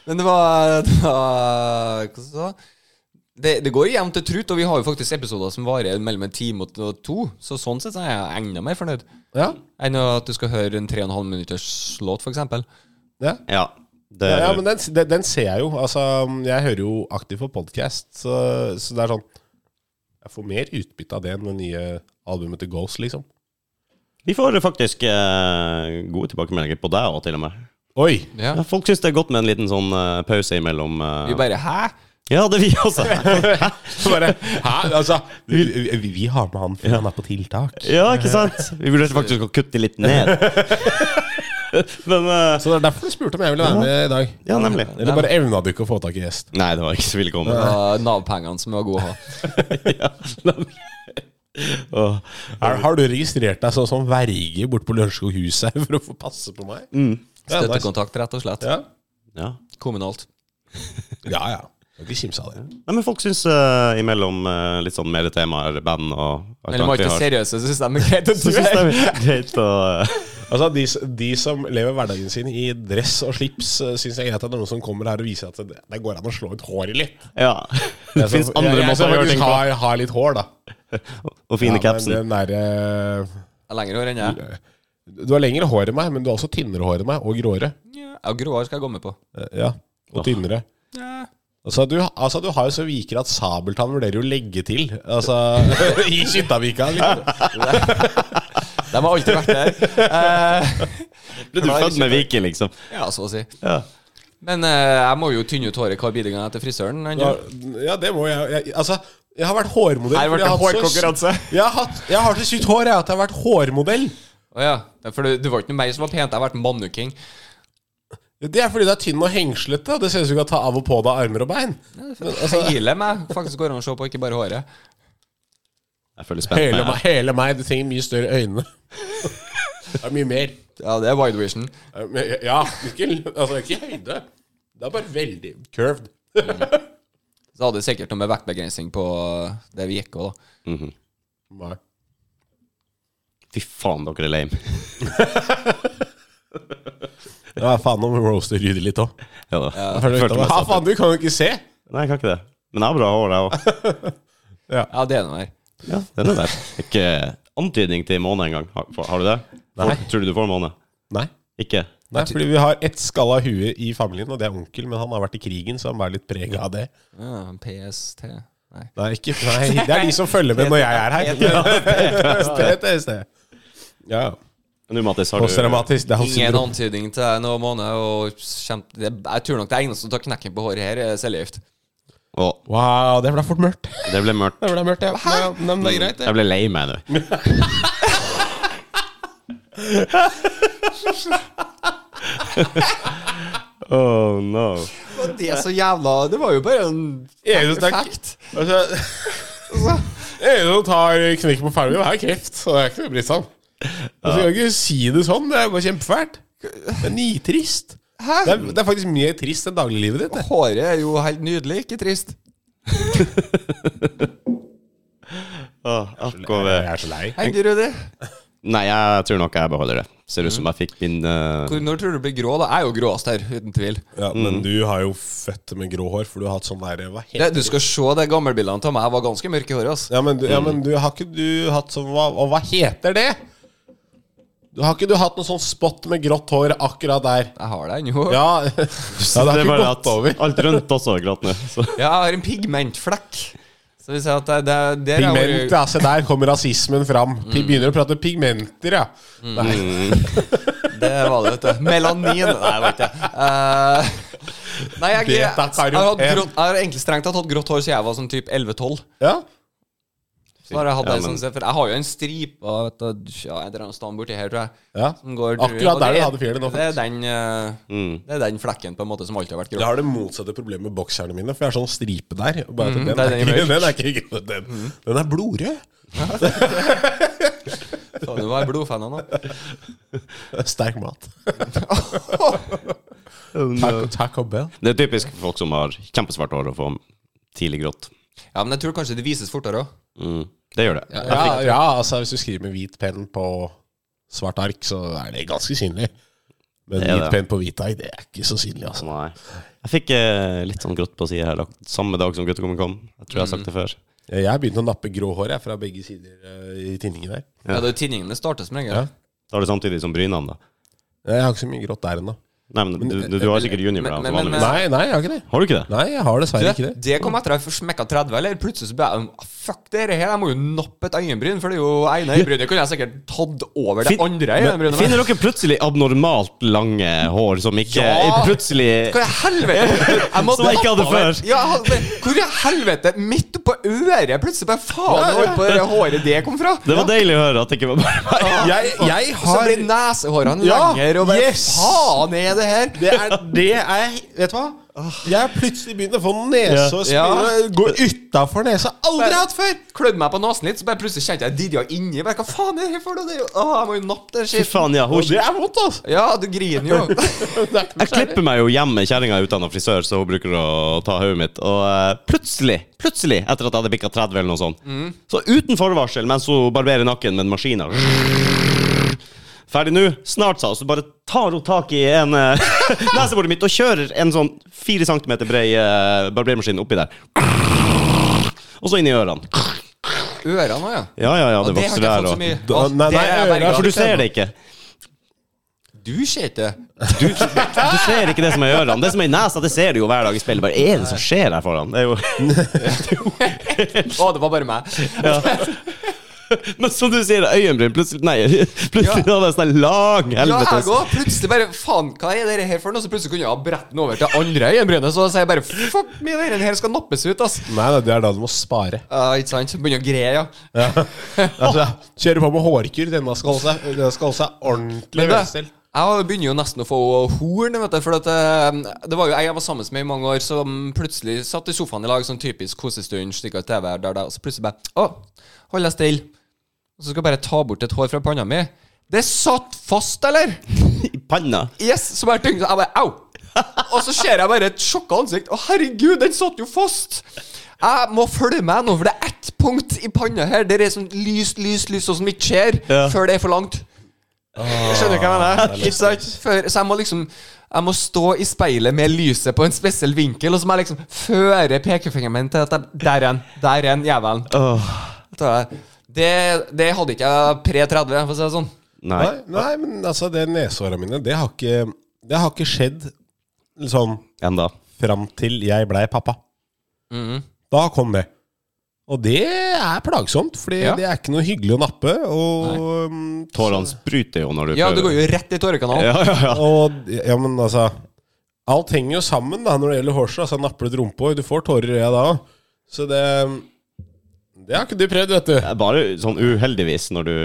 Speaker 1: men det var, det var Hva sa du? Det, det går jevnt til trutt, og vi har jo faktisk episoder som varer mellom en time og og to. Så sånn sett så er jeg enda mer fornøyd
Speaker 3: Ja,
Speaker 1: enn at du skal høre en 3,5 minutters låt, for eksempel
Speaker 3: ja.
Speaker 2: Ja. Det,
Speaker 3: Ja, ja, men den, den, den ser jeg jo. Altså, jeg hører jo aktivt på podkast, så, så det er sånn Jeg får mer utbytte av det enn det nye albumet til Ghost, liksom.
Speaker 2: Vi får faktisk eh, gode tilbakemeldinger på deg òg, til og med.
Speaker 3: Oi!
Speaker 1: Ja.
Speaker 2: Ja, folk syns det er godt med en liten sånn eh, pause imellom. eh.
Speaker 1: Vi bare Hæ?
Speaker 2: Ja, det er vi også.
Speaker 3: Så bare Hæ? Altså, vi, vi, vi har med han før han er på tiltak.
Speaker 2: Ja, ikke sant? Vi vurderte faktisk å kutte litt ned. Men eh,
Speaker 3: Så det er derfor du spurte om jeg ville være med i dag.
Speaker 2: Ja, nemlig.
Speaker 3: Eller bare evna du ikke å få tak i gjest?
Speaker 2: Nei, det var ikke så ville komme.
Speaker 1: Det var Nav-pengene som var gode å ha.
Speaker 2: Ja, nemlig. Åh.
Speaker 3: Er, har du registrert deg sånn som verge borte på Lørenskog huset for å få passe på meg? Ja, nice.
Speaker 1: Støttekontakt, rett og slett.
Speaker 3: Ja,
Speaker 2: Ja.
Speaker 1: Kommunalt.
Speaker 3: ja. ja. Kan ikke kimse av det.
Speaker 2: Nei, men folk syns eh, imellom eh, litt sånn mer temaer, band og
Speaker 1: Eller må ikke seriøse systemet greit at du
Speaker 2: Så syns
Speaker 1: er
Speaker 2: jeg det er greit å eh,
Speaker 3: Altså, de, s- de som lever hverdagen sin i dress og slips, eh, syns jeg er greit at det er noen som kommer her og viser at det, det går an å slå ut håret litt. Altså,
Speaker 2: Ja.
Speaker 3: sånn-
Speaker 2: Det fins andre måter å gjøre ting
Speaker 3: på.
Speaker 2: på.
Speaker 3: Har, har litt hår, da.
Speaker 2: Og fine
Speaker 3: Ja, men
Speaker 2: capsen.
Speaker 3: den derre-
Speaker 1: Lenger hår enn jeg.
Speaker 3: du har lengre hår enn meg, men du har også tynnere hår enn meg, og gråere.
Speaker 1: Ja, og grå hår skal jeg gå med på.
Speaker 3: Eh, Ja, og tynnere. Altså du, altså, du har jo så viker at Sabeltann vurderer jo å legge til. Altså, I Kittavika. Liksom.
Speaker 1: De har alltid vært der. Eh,
Speaker 2: Ble du
Speaker 1: Klar,
Speaker 2: født med
Speaker 1: kjempe-
Speaker 2: vike, liksom?
Speaker 1: ja, så å si.
Speaker 2: Ja.
Speaker 1: Men eh, jeg må jo tynne ut håret hver bidige gang etter frisøren.
Speaker 3: Ja,
Speaker 1: Andrew.
Speaker 3: ja, det må jeg, jeg Altså, jeg har vært hårmodell.
Speaker 1: Her ble
Speaker 3: fordi jeg
Speaker 1: det
Speaker 3: har hatt så-
Speaker 1: hårkonkurranse.
Speaker 3: Jeg har, hatt, jeg har så sykt hår jeg, at jeg har vært hårmodell.
Speaker 1: Å ja. For det, det var ikke noe mer som var pent. Jeg har vært mannuking.
Speaker 3: Det er fordi det er tynn og hengslete, og det ser ut som du kan ta av og på deg armer og bein.
Speaker 1: Hele meg faktisk går an å se på, ikke bare håret.
Speaker 2: Jeg føler spent
Speaker 3: Hele meg,
Speaker 2: meg.
Speaker 3: hele meg, du trenger mye større øyne. Det er mye mer.
Speaker 1: Ja, det er wide vision.
Speaker 3: Det er mye- Ja, ikke, altså, ikke høyde. Det er bare veldig curved.
Speaker 1: Så hadde det sikkert noe med vektbegrensning på det vi gikk òg, da.
Speaker 3: Nei.
Speaker 2: Fy faen, dere er lame.
Speaker 3: Ja, faen om roaster Rudi litt òg.
Speaker 2: Ja da. Jeg følte meg
Speaker 3: Ja,
Speaker 2: satt
Speaker 3: faen,
Speaker 2: ut.
Speaker 3: du kan jo ikke se!
Speaker 2: Nei, jeg kan ikke det. Men jeg har bra hår, jeg òg.
Speaker 1: Ja, det er noe der.
Speaker 2: Ja, den er der. Ikke antydning til måne engang. Har, har du det? Nei. Tror du du får måne?
Speaker 3: Nei.
Speaker 2: Ikke?
Speaker 3: Nei, fordi vi har ett skalla hue i familien, og det er onkel, men han har vært i krigen, så han bærer litt preg av det.
Speaker 1: Ja, PST Nei.
Speaker 3: Nei, ikke, nei, det er de som følger med når jeg er her. Det er PST. Ja.
Speaker 2: Nå, Mattis, har du
Speaker 3: Posttraumatisk. Det er hans
Speaker 1: Ingen
Speaker 3: syndrom.
Speaker 1: antydning til noe måned. Og kjem, det, jeg tror nok det eneste som tar knekken på håret her, er cellegift.
Speaker 2: Å,
Speaker 3: Wow, det ble fort mørkt.
Speaker 2: det ble mørkt.
Speaker 3: Det ble mørkt, ja. Hæ? Men det er greit, det.
Speaker 2: Jeg ble lei meg nå. oh no.
Speaker 1: Det er så jævla Det var jo bare en
Speaker 3: Eneste-
Speaker 1: fact.
Speaker 3: Altså, Altså, Eno tar knikk på faren min, og er kreft. Og det er ikke noe å bry seg om. Og så kan Altså, jeg ikke si det sånn. Det er bare kjempefælt. Det er nitrist.
Speaker 1: Hæ?
Speaker 3: Det er, det er faktisk mye trist enn dagliglivet ditt. det.
Speaker 1: Håret er jo helt nydelig, ikke trist.
Speaker 2: Åh, AKV.
Speaker 3: Jeg er så lei.
Speaker 1: Hei, du, Rudi.
Speaker 2: Nei, jeg tror nok jeg beholder det. Ser ut som jeg fikk min eh,
Speaker 1: Hvor- Når tror du du blir grå? da? Jeg er jo gråest her, uten tvil.
Speaker 3: Ja, Men du har jo født med grå hår, for du har hatt sånn der hva heter
Speaker 1: Det, du skal se de gammelbildene av meg. Jeg var ganske mørk i håret. ass.
Speaker 3: Ja, men, du, ja, men du har ikke du hatt sånn hva, Og hva heter det? Du har ikke du hatt noen sånn spot med grått hår akkurat der?
Speaker 1: Jeg har det ennå. Ja.
Speaker 3: Ja, ja det
Speaker 2: det
Speaker 3: har
Speaker 2: er
Speaker 3: ikke
Speaker 2: bare
Speaker 3: gått over.
Speaker 2: at alt rundt også er glatt nå. Så.
Speaker 1: jeg har en pigmentflekk. Så vi sier at det, det, der er
Speaker 3: Pigment, ja. Se der kommer rasismen fram. De begynner å prate pigmenter, ja. Nei.
Speaker 1: Det var det, vet du. Melanin. Nei, jeg vet ikke. Eh, nei, jeg, jeg, jeg, har
Speaker 3: Beta-karoten.
Speaker 1: hatt grått, jeg har egentlig strengt tatt hatt grått hår siden jeg var sånn typ 11-12.
Speaker 3: ja.
Speaker 1: Så har jeg hatt
Speaker 2: Ja,
Speaker 1: det
Speaker 2: men-
Speaker 1: sånn sett, For jeg har jo en stripe av et ja, et eller annet sted borti her, tror jeg.
Speaker 3: Ja.
Speaker 1: Som går,
Speaker 3: Akkurat
Speaker 1: og
Speaker 3: der
Speaker 1: det
Speaker 3: du
Speaker 1: er-
Speaker 3: hadde fjellet nå,
Speaker 1: Det er den, eh, det er den flekken på en måte som alltid har vært grå.
Speaker 3: Jeg har det motsatte problemet med bokserne mine, for jeg har sånn stripe der. og Bare, at den,
Speaker 1: det er
Speaker 3: Mm. er
Speaker 1: den i
Speaker 3: ikke,
Speaker 1: mørk.
Speaker 3: den er ikke grå, den, den er blodrød.
Speaker 1: Faen, Du var blodfan av nå.
Speaker 3: Sterk mat. Taco, Taco Bell.
Speaker 2: Det er typisk for folk som har kjempesvart hår og får tidlig grått.
Speaker 1: Ja, men jeg tror kanskje det vises fortere òg.
Speaker 2: Mm. Det gjør det.
Speaker 3: Ja, ja, altså hvis du skriver med hvit penn på svart ark, så er det ganske synlig. Men
Speaker 2: Det er
Speaker 3: hvit
Speaker 2: det.
Speaker 3: penn på hvit ark, det er ikke så synlig, altså.
Speaker 2: Nei. Jeg fikk eh, litt sånn grått på sida her da. samme dag som guttekommen kom. Jeg tror jeg har sagt det før.
Speaker 3: Jeg har begynt å nappe grå hår jeg, fra begge sider eh, i tinningen der.
Speaker 1: Ja. det er jo tinningene starter som regel.
Speaker 3: Ja.
Speaker 2: Da er det samtidig som brynene, da.
Speaker 3: Jeg har ikke så mye grått der ennå.
Speaker 2: Nei, men du, du, du har sikkert juniorblære
Speaker 1: men-
Speaker 2: som
Speaker 1: men- men-
Speaker 2: vanligvis.
Speaker 3: Nei, nei, jeg har ikke det.
Speaker 2: Har du ikke det?
Speaker 3: Nei, jeg har dessverre ikke
Speaker 1: Det,
Speaker 3: det.
Speaker 1: det kom etter at jeg smekka 30, eller plutselig så ble jeg "Ah, Fuck det her, jeg må jo nappe et øyenbryn, for det er jo ene øyenbrynet kunne jeg sikkert tatt over det
Speaker 2: Fin-
Speaker 1: andre
Speaker 2: Men,
Speaker 1: øyenbrynet.
Speaker 2: finner dere plutselig abnormalt lange hår som ikke
Speaker 1: Ja!
Speaker 2: plutselig
Speaker 1: Hvor i helvete jeg måtte
Speaker 2: Som jeg ikke hadde
Speaker 1: nappe over-
Speaker 2: før.
Speaker 1: Ja, jeg hadde- hvor i helvete? Midt oppå øret? Plutselig bare faen hvor på det håret det kom fra.
Speaker 2: Det var deilig å høre at det ikke var bare meg.
Speaker 3: Jeg, jeg
Speaker 1: Så
Speaker 3: har
Speaker 1: blir nesehårene
Speaker 3: Ja,
Speaker 1: lengre, og bare
Speaker 3: yes!
Speaker 1: faen er det her?
Speaker 3: det er, det er Vet du hva? Jeg har plutselig begynt å få nese og
Speaker 1: Ja.
Speaker 3: spille Gå utafor nesa. Aldri hatt før!
Speaker 1: Klødde meg på nesen litt, så bare plutselig kjente jeg dirja inni. Bare, Hva faen er det her for noe? Det er jo- Åh, jeg må jo nappe det
Speaker 2: Fy
Speaker 1: skit.
Speaker 2: faen, ja.
Speaker 3: Og
Speaker 2: Hun,
Speaker 3: det er vondt, altså.
Speaker 1: Ja, du griner jo.
Speaker 3: Det er ikke
Speaker 2: jeg klipper meg jo hjemme. Kjerringa er utdanna frisør, så hun bruker å ta hodet mitt. Og eh, plutselig, plutselig, etter at jeg hadde bikka 30 eller noe sånt,
Speaker 1: Mm.
Speaker 2: så uten forvarsel, mens hun barberer nakken med en maskin Ferdig nå? Snart, sa hun. Så bare tar hun tak i en eh, neseboret mitt og kjører en sånn fire centimeter brei eh, barbermaskin oppi der. Og så inn i ørene.
Speaker 1: Ørene òg, ja.
Speaker 2: Ja, ja, ja, det
Speaker 1: Og det har
Speaker 2: vokser
Speaker 1: ikke jeg
Speaker 2: der.
Speaker 1: fått så
Speaker 2: Og... eh,
Speaker 1: mye
Speaker 3: Da-
Speaker 1: Åh,
Speaker 3: nei,
Speaker 1: det
Speaker 3: nei,
Speaker 1: er jeg bare
Speaker 3: ørene,
Speaker 2: Ja,
Speaker 1: glad
Speaker 2: for du ser
Speaker 1: for.
Speaker 2: det ikke.
Speaker 1: Du ser ikke det.
Speaker 2: Du, du ser ikke det som er i ørene. Det som er i nesa, det ser du jo hver dag i spillet. Bare er det som skjer her foran? Det er jo...
Speaker 1: Å, det var bare meg.
Speaker 2: Men som du sier, øyenbryn plutselig Nei,
Speaker 1: Ja.
Speaker 2: plutselig hadde jeg sånn lang
Speaker 1: Ja, jeg
Speaker 3: altså.
Speaker 2: helvetes
Speaker 1: òg. Plutselig bare Faen, hva er det her for noe? Så plutselig kunne jeg ha brett den over til andre øyenbrynet. Så sier jeg bare Fuck me, den her skal nappes ut, ass.
Speaker 3: Nei, nei, det er da du må spare.
Speaker 1: Ja, ikke sant? Begynner å greie, ja.
Speaker 3: Altså, kjører på med hårkur. Denne skal holde seg, denne skal holde seg ordentlig
Speaker 1: Men du,
Speaker 3: velstelt.
Speaker 1: Jeg begynner jo nesten å få horn, vet du. For at, eh, det var jo ei jeg var sammen med i mange år, som plutselig satt i sofaen i lag, sånn typisk kosestund, stikka TV her, der, der, og så plutselig bare Å, hold deg stille. Og så skal jeg bare ta bort et hår fra panna mi. Det satt fast, eller?
Speaker 2: i panna.
Speaker 1: Yes, som er tyngd. Jeg bare au! Og så ser jeg bare et sjokka ansikt. Å, herregud, den satt jo fast! Jeg må følge med nå, for det er ett punkt i panna her der det er sånn lyst, lyst, lyst, sånn som ikke skjer
Speaker 2: Ja.
Speaker 1: før det er for langt. Skjønner du hva jeg mener? Ikke sant? Før, så jeg må liksom Jeg må stå i speilet med lyset på en spesiell vinkel, og så må jeg liksom føre pekefingeren min til at jeg, Der er den. Der er den jævelen. Da- Det, det hadde ikke jeg pre 30, for å si det sånn.
Speaker 2: Nei.
Speaker 3: Nei, nei, men altså, det nesehåra mine, det har ikke, det har ikke skjedd sånn
Speaker 2: Enda.
Speaker 3: fram til jeg blei pappa.
Speaker 2: Mm-hmm.
Speaker 3: Da kom det. Og det er plagsomt, Fordi
Speaker 1: Ja.
Speaker 3: det er ikke noe hyggelig å nappe. Og, um,
Speaker 2: Tårene spruter jo når du
Speaker 1: Ja, det går jo rett i tårekanalen.
Speaker 2: Ja, ja, ja.
Speaker 3: og ja, men altså Alt henger jo sammen da når det gjelder hårstrå. Altså, napper du et rumpehår, du får tårer i øya da òg. Så det Det har ikke du prøvd, vet du.
Speaker 2: Det er Bare sånn uheldigvis når du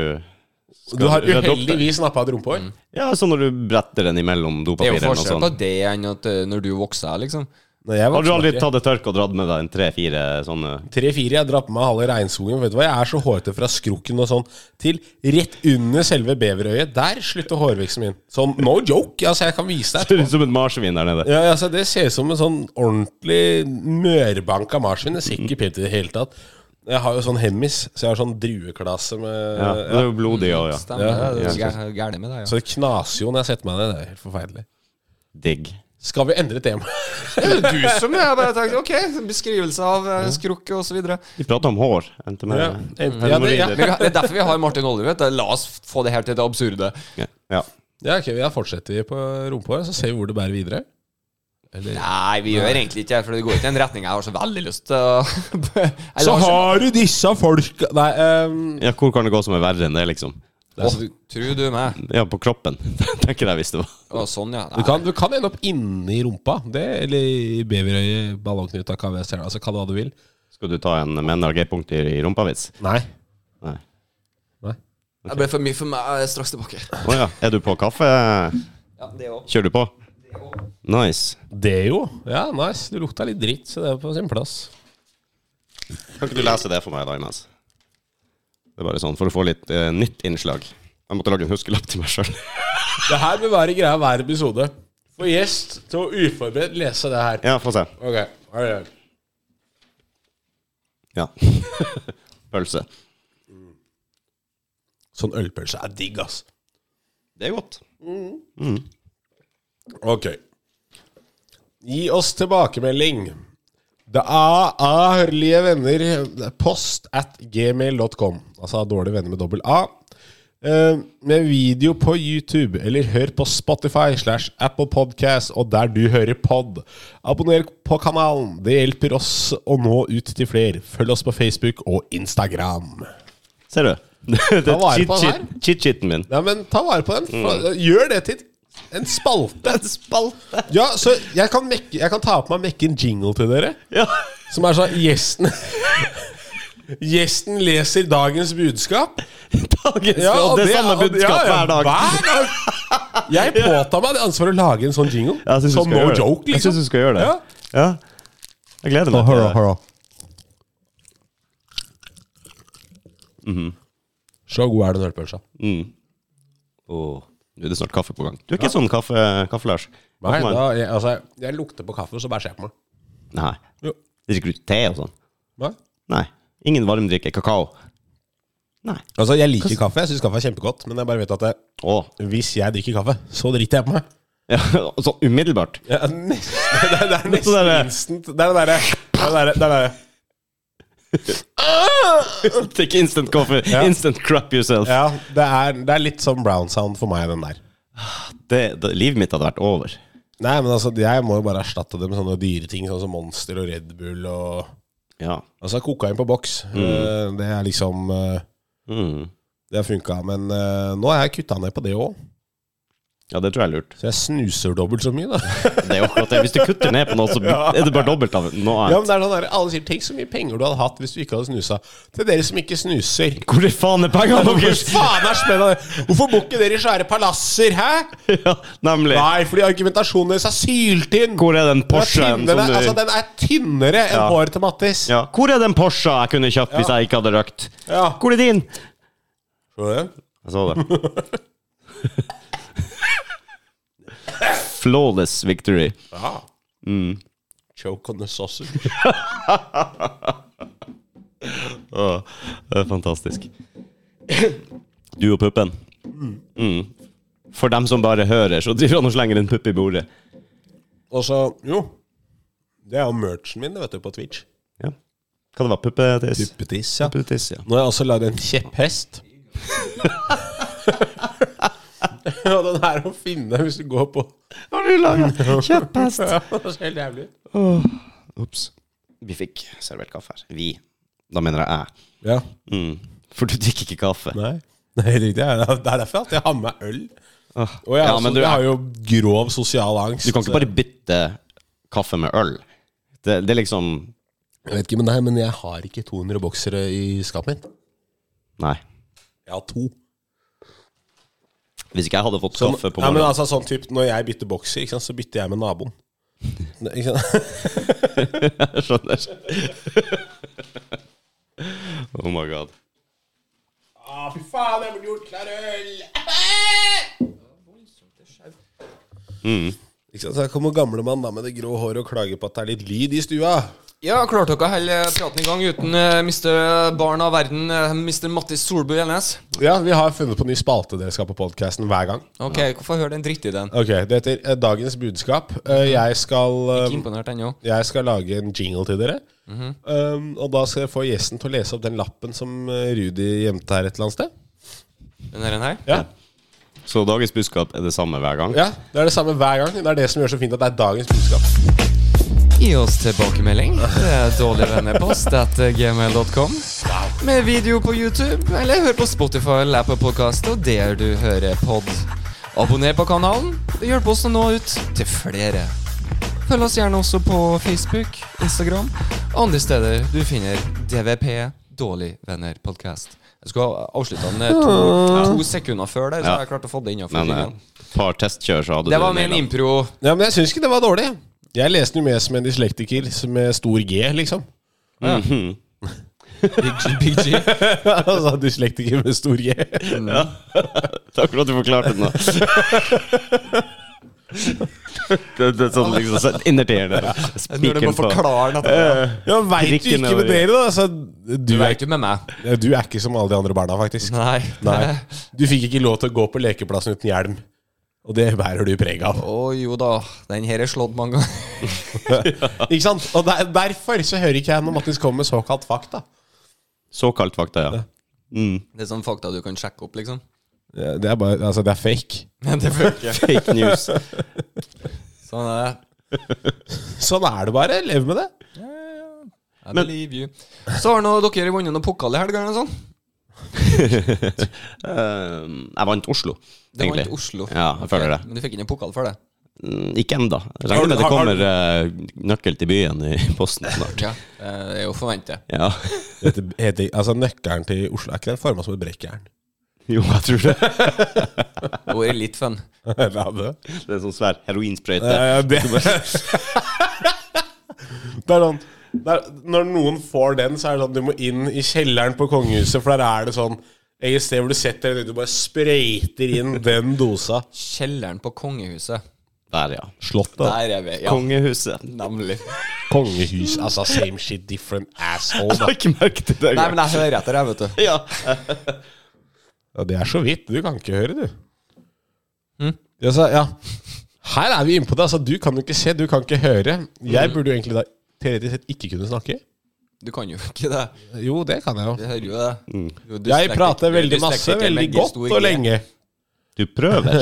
Speaker 3: Du har
Speaker 2: rydde opp det.
Speaker 3: uheldigvis nappa et rumpehår.
Speaker 2: Mm. Ja, sånn når du bretter den imellom
Speaker 1: Det er
Speaker 2: dopapiret
Speaker 1: jo
Speaker 2: eller noe
Speaker 1: forskjell på
Speaker 2: sånt.
Speaker 1: det enn at eh, når du vokser, liksom.
Speaker 3: Når jeg
Speaker 2: Har du aldri
Speaker 3: vokste-
Speaker 2: tatt et tørk og dratt med deg en tre-fire sånne
Speaker 3: Tre-fire, jeg drar på meg halve regnskogen. Vet du hva, Jeg er så hårete fra skrukken og sånn til rett under selve beverøyet. Der slutter hårveksten min. Sånn no joke. Altså, jeg kan vise deg.
Speaker 2: Ser ut som et marsvin der nede.
Speaker 3: Ja, altså, det ser ut som en sånn ordentlig mørbanka marsvin. Det ser ikke pent ut i det hele tatt. Jeg har jo sånn hemmis, så jeg har sånn drueklasse med
Speaker 2: Ja, det er jo blodig og ja.
Speaker 1: Stemmer det. Det er gæ- gærent med deg, ja.
Speaker 3: Så det knaser jo når jeg setter meg ned. Det er helt forferdelig.
Speaker 2: Digg.
Speaker 3: Skal vi endre tema?
Speaker 1: Du som jeg bare tenkte Ok, beskrivelse av eh, skrukk og så videre.
Speaker 2: Vi prater om hår. Endte med
Speaker 3: Ja, endte- ja, det- ja.
Speaker 2: hemoroider.
Speaker 1: Men Det er derfor vi har Martin Olje, vet du. La oss få det her til det absurde.
Speaker 2: Ja. ja.
Speaker 3: Ja, ok, Da fortsetter vi på rumpehåret, så ser vi hvor det bærer videre.
Speaker 1: Nei, vi gjør egentlig ikke det, for det går ikke i en retning jeg har så veldig lyst til å Jeg
Speaker 3: Så
Speaker 1: lar seg-
Speaker 3: har du disse folk Nei, ehm,
Speaker 2: ja, hvor kan det gå som er verre enn det, liksom?
Speaker 3: det er så-
Speaker 1: Åh, Tror du meg?
Speaker 2: Ja, på kroppen, tenker jeg hvis det var
Speaker 1: Å, sånn, ja.
Speaker 3: Du
Speaker 1: Nei.
Speaker 3: kan, du kan ende opp inni rumpa, det, eller i beverøyet, ballongknuta, hva jeg ser. Altså, kall det hva du vil.
Speaker 2: Skal du ta en menn har g-punkt i i rumpa-vits?
Speaker 3: Nei.
Speaker 2: Nei.
Speaker 3: Nei.
Speaker 1: Det ble for mye for meg. Jeg er straks tilbake.
Speaker 2: Å ja. Er du på kaffe?
Speaker 1: Ja, det også.
Speaker 2: Kjører du på? Nice.
Speaker 3: Det jo. Ja, nice. Du lukta litt dritt, så det er på sin plass.
Speaker 2: Kan ikke du lese det for meg, da, imens? Det er bare sånn for å få litt eh, nytt innslag. Jeg måtte lage en huskelapp til meg sjøl.
Speaker 3: Det her vil være greia hver episode. Få gjest til å uforberedt lese det her.
Speaker 2: ja, få se.
Speaker 3: Ok, her er det.
Speaker 2: Ja. Pølse.
Speaker 3: Sånn ølpølse er digg, ass.
Speaker 2: Det er godt.
Speaker 3: Ok. Gi oss tilbakemelding. Det er ærlige venner. det er Post at gmail.com. Altså dårlige venner med dobbel A. Eh, Med video på YouTube, eller hør på Spotify slash Apple Podcast, og der du hører pod. Abonner på kanalen. Det hjelper oss å nå ut til flere. Følg oss på Facebook og Instagram.
Speaker 2: Ser du? Det
Speaker 3: Ta vare på den her.
Speaker 2: cheat-cheat- cheat-cheaten min.
Speaker 3: Ja, men ta vare på den.
Speaker 2: Mm.
Speaker 3: Fa- Gjør det til en spalte.
Speaker 2: Spalte!
Speaker 3: Ja, så jeg kan, mekke, jeg kan ta på meg mekke en jingle til dere.
Speaker 2: Ja.
Speaker 3: Som er sånn Gjesten Gjesten leser dagens budskap.
Speaker 2: Dagens ja,
Speaker 3: og
Speaker 2: Det er samme
Speaker 3: og det-
Speaker 2: budskap
Speaker 3: ja, ja,
Speaker 2: hver dag.
Speaker 3: Hver dag. Jeg påtar meg det ansvaret å lage en sånn jingle.
Speaker 2: Jeg syns du
Speaker 3: som
Speaker 2: skal
Speaker 3: no
Speaker 2: gjøre det.
Speaker 3: joke,
Speaker 2: Jeg synes du
Speaker 3: liksom.
Speaker 2: skal gjøre det.
Speaker 3: Ja.
Speaker 2: Ja. Jeg gleder meg til det. Mm-hmm.
Speaker 3: Så god er den ølpølsa.
Speaker 2: Åh, Nå er det snart kaffe på gang. Du er ikke sånn kaffe, kaffe Lars?
Speaker 3: Nei,
Speaker 2: Kaffemann.
Speaker 3: da, jeg, altså, jeg, jeg lukter på kaffe, og så bæsjer jeg på meg.
Speaker 2: Nei.
Speaker 3: Jo.
Speaker 2: Drikker du te og sånn?
Speaker 3: Nei.
Speaker 2: Nei. Ingen varmdrikke. Kakao. Nei.
Speaker 3: Altså, jeg liker kaffe, jeg syns kaffe er kjempegodt, men jeg bare vet at jeg,
Speaker 2: Åh.
Speaker 3: hvis jeg drikker kaffe, så driter jeg på meg.
Speaker 2: Ja, sånn umiddelbart.
Speaker 3: Ja, nesten, det, er, det er
Speaker 2: Det
Speaker 3: nesten
Speaker 2: der-
Speaker 3: instant. Det er det derre Det er det derre- det er det derre-
Speaker 2: Take instant coffee. Instant crap yourself.
Speaker 3: Ja, det er, det er litt sånn brown sound for meg, den der.
Speaker 2: Det, det, livet mitt hadde vært over.
Speaker 3: Nei, men altså, jeg må jo bare erstatte det med sånne dyre ting, sånn som Monster og Red Bull og
Speaker 2: Ja.
Speaker 3: Altså kokain på boks. Eh, Det er liksom eh,
Speaker 2: Mm.
Speaker 3: Det har funka. Men eh, nå har jeg kutta ned på det òg.
Speaker 2: Ja, det tror jeg er lurt.
Speaker 3: Så jeg snuser dobbelt så mye, da.
Speaker 2: Det er jo akkurat det. Hvis du kutter ned på noe, så er det bare dobbelt av noe annet.
Speaker 3: ja, men det er sånn der, Alle sier 'tenk så mye penger du hadde hatt hvis du ikke hadde snusa'. Til dere som ikke snuser.
Speaker 2: Hvor i faen er pengene
Speaker 3: Hvor
Speaker 2: deres?
Speaker 3: faen er spennende? Hvorfor bor ikke dere i svære palasser, hæ?
Speaker 2: Ja, nemlig.
Speaker 3: Nei, fordi argumentasjonen deres er syltynn.
Speaker 2: Hvor er den
Speaker 3: den,
Speaker 2: Porschen
Speaker 3: er
Speaker 2: som
Speaker 3: tynnere,
Speaker 2: du
Speaker 3: altså, den er tynnere enn
Speaker 2: Ja.
Speaker 3: håret til Mattis.
Speaker 2: ja. Hvor er den Porscha jeg kunne kjøpt hvis jeg ikke hadde røkt?
Speaker 3: Ja.
Speaker 2: Hvor er din?
Speaker 3: Skjønner du det?
Speaker 2: Jeg så det. Flawless victory.
Speaker 3: Ja. Choke on the sausage.
Speaker 2: Åh, det er fantastisk. Du og puppen. Mm. For dem som bare hører, så driver han og slenger en pupp i bordet.
Speaker 3: Og så, jo Det er jo merchen min, det vet du, på Twitch.
Speaker 2: Ja. Hva det var puppetiss?
Speaker 3: Puppetiss, ja.
Speaker 2: Puppetiss, ja.
Speaker 3: Nå har jeg også lagd en kjepphest. Og den er å finne hvis du går på
Speaker 2: Har du laga kjepphest?
Speaker 3: Ja, Det ser helt jævlig ut.
Speaker 2: Ops. Vi fikk servert kaffe her. Vi. Da mener jeg jeg.
Speaker 3: Ja.
Speaker 2: Mm. For du drikker ikke kaffe.
Speaker 3: Nei. Nei, riktig. Det er det er derfor at jeg har med meg øl.
Speaker 2: Åh.
Speaker 3: Og jeg,
Speaker 2: Ja,
Speaker 3: altså,
Speaker 2: men du-
Speaker 3: jeg har jo grov sosial angst.
Speaker 2: Du kan ikke bare bytte kaffe med øl. Det, det er liksom
Speaker 3: Jeg vet ikke med deg, men jeg har ikke 200 boksere i skapet mitt.
Speaker 2: Nei.
Speaker 3: Jeg har to.
Speaker 2: Hvis ikke jeg hadde fått
Speaker 3: Sånn,
Speaker 2: kaffe på
Speaker 3: nei, men
Speaker 2: morgenen
Speaker 3: altså, sånn typ, når jeg bytter bokser, ikke sant, så bytter jeg med naboen. Ne- Ikke sant?
Speaker 2: Jeg skjønner. oh my god.
Speaker 3: ah, fy faen, jeg burde gjort klar øl! Mm. Ikke sant? Så her kommer gamlemann da med det grå håret og klager på at det er litt lyd i stua.
Speaker 1: Ja, klarte dere å holde praten i gang uten uh, Mr. Barn av verden, eh, Mr. Mattis Solbu Elnes?
Speaker 3: Ja, vi har funnet på ny spalte dere skal på podkasten hver gang.
Speaker 1: Ok, hvorfor hører den drittideen?
Speaker 3: Ok, Det heter eh, Dagens budskap. Eh, Jeg skal
Speaker 1: Ikke
Speaker 3: eh,
Speaker 1: imponert ennå.
Speaker 3: Jeg skal lage en jingle til dere. um, og da skal jeg få gjesten til å lese opp den lappen som eh, Rudi gjemte her et eller annet sted.
Speaker 1: Den her, den her?
Speaker 3: Ja.
Speaker 2: Så dagens budskap er det samme hver gang?
Speaker 3: ja, Det er det samme hver gang. Det er det som gjør så fint at det er dagens budskap.
Speaker 1: Gi oss tilbakemelding. Det er dårligvennepost at eh, gmail.com. Med video på YouTube, eller hør på Spotify eller på podkast og der du hører pod. Abonner på kanalen. Det hjelper oss å nå ut til flere. Følg oss gjerne også på Facebook, Instagram og andre steder du finner DVP Dårlig venner podcast. Jeg skulle ha avslutta den eh, to, to sekunder før der, så
Speaker 2: Ja.
Speaker 1: har jeg klart å få det
Speaker 2: Men eh,
Speaker 1: innafor.
Speaker 2: et par testkjør, så hadde
Speaker 1: Det
Speaker 2: du
Speaker 1: var min
Speaker 2: naila.
Speaker 1: impro.
Speaker 3: Ja, Men jeg syns ikke det var dårlig. Jeg leste den jo med som en dyslektiker som med stor G, liksom.
Speaker 1: Big G. Big G.
Speaker 3: altså dyslektiker med stor G.
Speaker 2: Takk for at du forklarte den. da. det, det er sånn liksom så innertier.
Speaker 1: Når du må
Speaker 2: Spikeren på.
Speaker 1: forklare den etterpå.
Speaker 3: Ja, Veit du
Speaker 2: Prikken
Speaker 3: ikke med
Speaker 2: over i.
Speaker 3: dere, da? Altså, du,
Speaker 1: Du
Speaker 3: er
Speaker 1: er
Speaker 3: ikke,
Speaker 1: ikke med meg.
Speaker 3: ja, du er ikke som alle de andre barna, faktisk.
Speaker 1: Nei.
Speaker 3: Nei. Du fikk ikke lov til å gå på lekeplassen uten hjelm. Og det bærer du preg av.
Speaker 1: Å jo da, den her er slått mange ganger.
Speaker 3: Ikke sant? Og der, derfor så hører ikke jeg når Mattis kommer med såkalt fakta.
Speaker 2: Såkalt fakta, ja. Mm.
Speaker 1: Det er sånn fakta du kan sjekke opp, liksom.
Speaker 3: Det er bare, altså det er fake.
Speaker 1: Men det funker.
Speaker 2: Fake news.
Speaker 1: Sånn er det.
Speaker 3: Sånn er det bare. Lev med det.
Speaker 1: I believe you. Så har nå dere vunnet noen pokal i helga eller noe sånt?
Speaker 2: Ehm, jeg vant Oslo,
Speaker 1: Det var
Speaker 2: egentlig.
Speaker 1: ikke Oslo.
Speaker 2: Ja, jeg føler det.
Speaker 1: Men du fikk ikke noen pokal for det?
Speaker 2: Mm, Ikke ennå.
Speaker 3: Har du-
Speaker 2: Regner med det
Speaker 3: har- har
Speaker 2: kommer eh, nøkkel til byen i posten snart.
Speaker 1: Ja, eh, det er jo forventet.
Speaker 2: Ja.
Speaker 3: Dette heter, altså Nøkkelen til Oslo er ikke den forma som et brekkjern.
Speaker 2: Jo, jeg tror det.
Speaker 1: Det var litt fun.
Speaker 3: La det.
Speaker 2: Det er en sånn svær heroinsprøyte.
Speaker 3: Eh, det. det er sånn det er, Når noen får den, så er det sånn du må inn i kjelleren på kongehuset, for der er det sånn et sted hvor du setter deg ned, du bare sprøyter inn den dosa.
Speaker 1: Kjelleren på kongehuset.
Speaker 2: Der, ja.
Speaker 3: Slottet.
Speaker 1: Der er vi. Ja,
Speaker 2: Kongehuset.
Speaker 1: nemlig.
Speaker 3: Kongehus. Altså same shit, different asshole.
Speaker 2: Jeg har ikke merket det
Speaker 1: Nei,
Speaker 2: engang.
Speaker 1: men jeg hører etter, jeg, vet du.
Speaker 2: Ja.
Speaker 3: Ja, det er så vidt. Du kan ikke høre, du. Jeg sa, ja. Her er vi inne på det. Altså, du kan jo ikke se, du kan ikke høre. Jeg burde jo egentlig da teoretisk sett ikke kunne snakke.
Speaker 1: Du kan jo ikke det.
Speaker 3: Jo, det kan jeg jo.
Speaker 1: Du hører jo det. Du er
Speaker 3: Jeg
Speaker 1: dyslektiker-
Speaker 3: prater veldig
Speaker 1: dyslektiker
Speaker 3: masse,
Speaker 1: med
Speaker 3: veldig
Speaker 1: G,
Speaker 3: godt
Speaker 1: stor G.
Speaker 3: og lenge.
Speaker 2: Du prøver.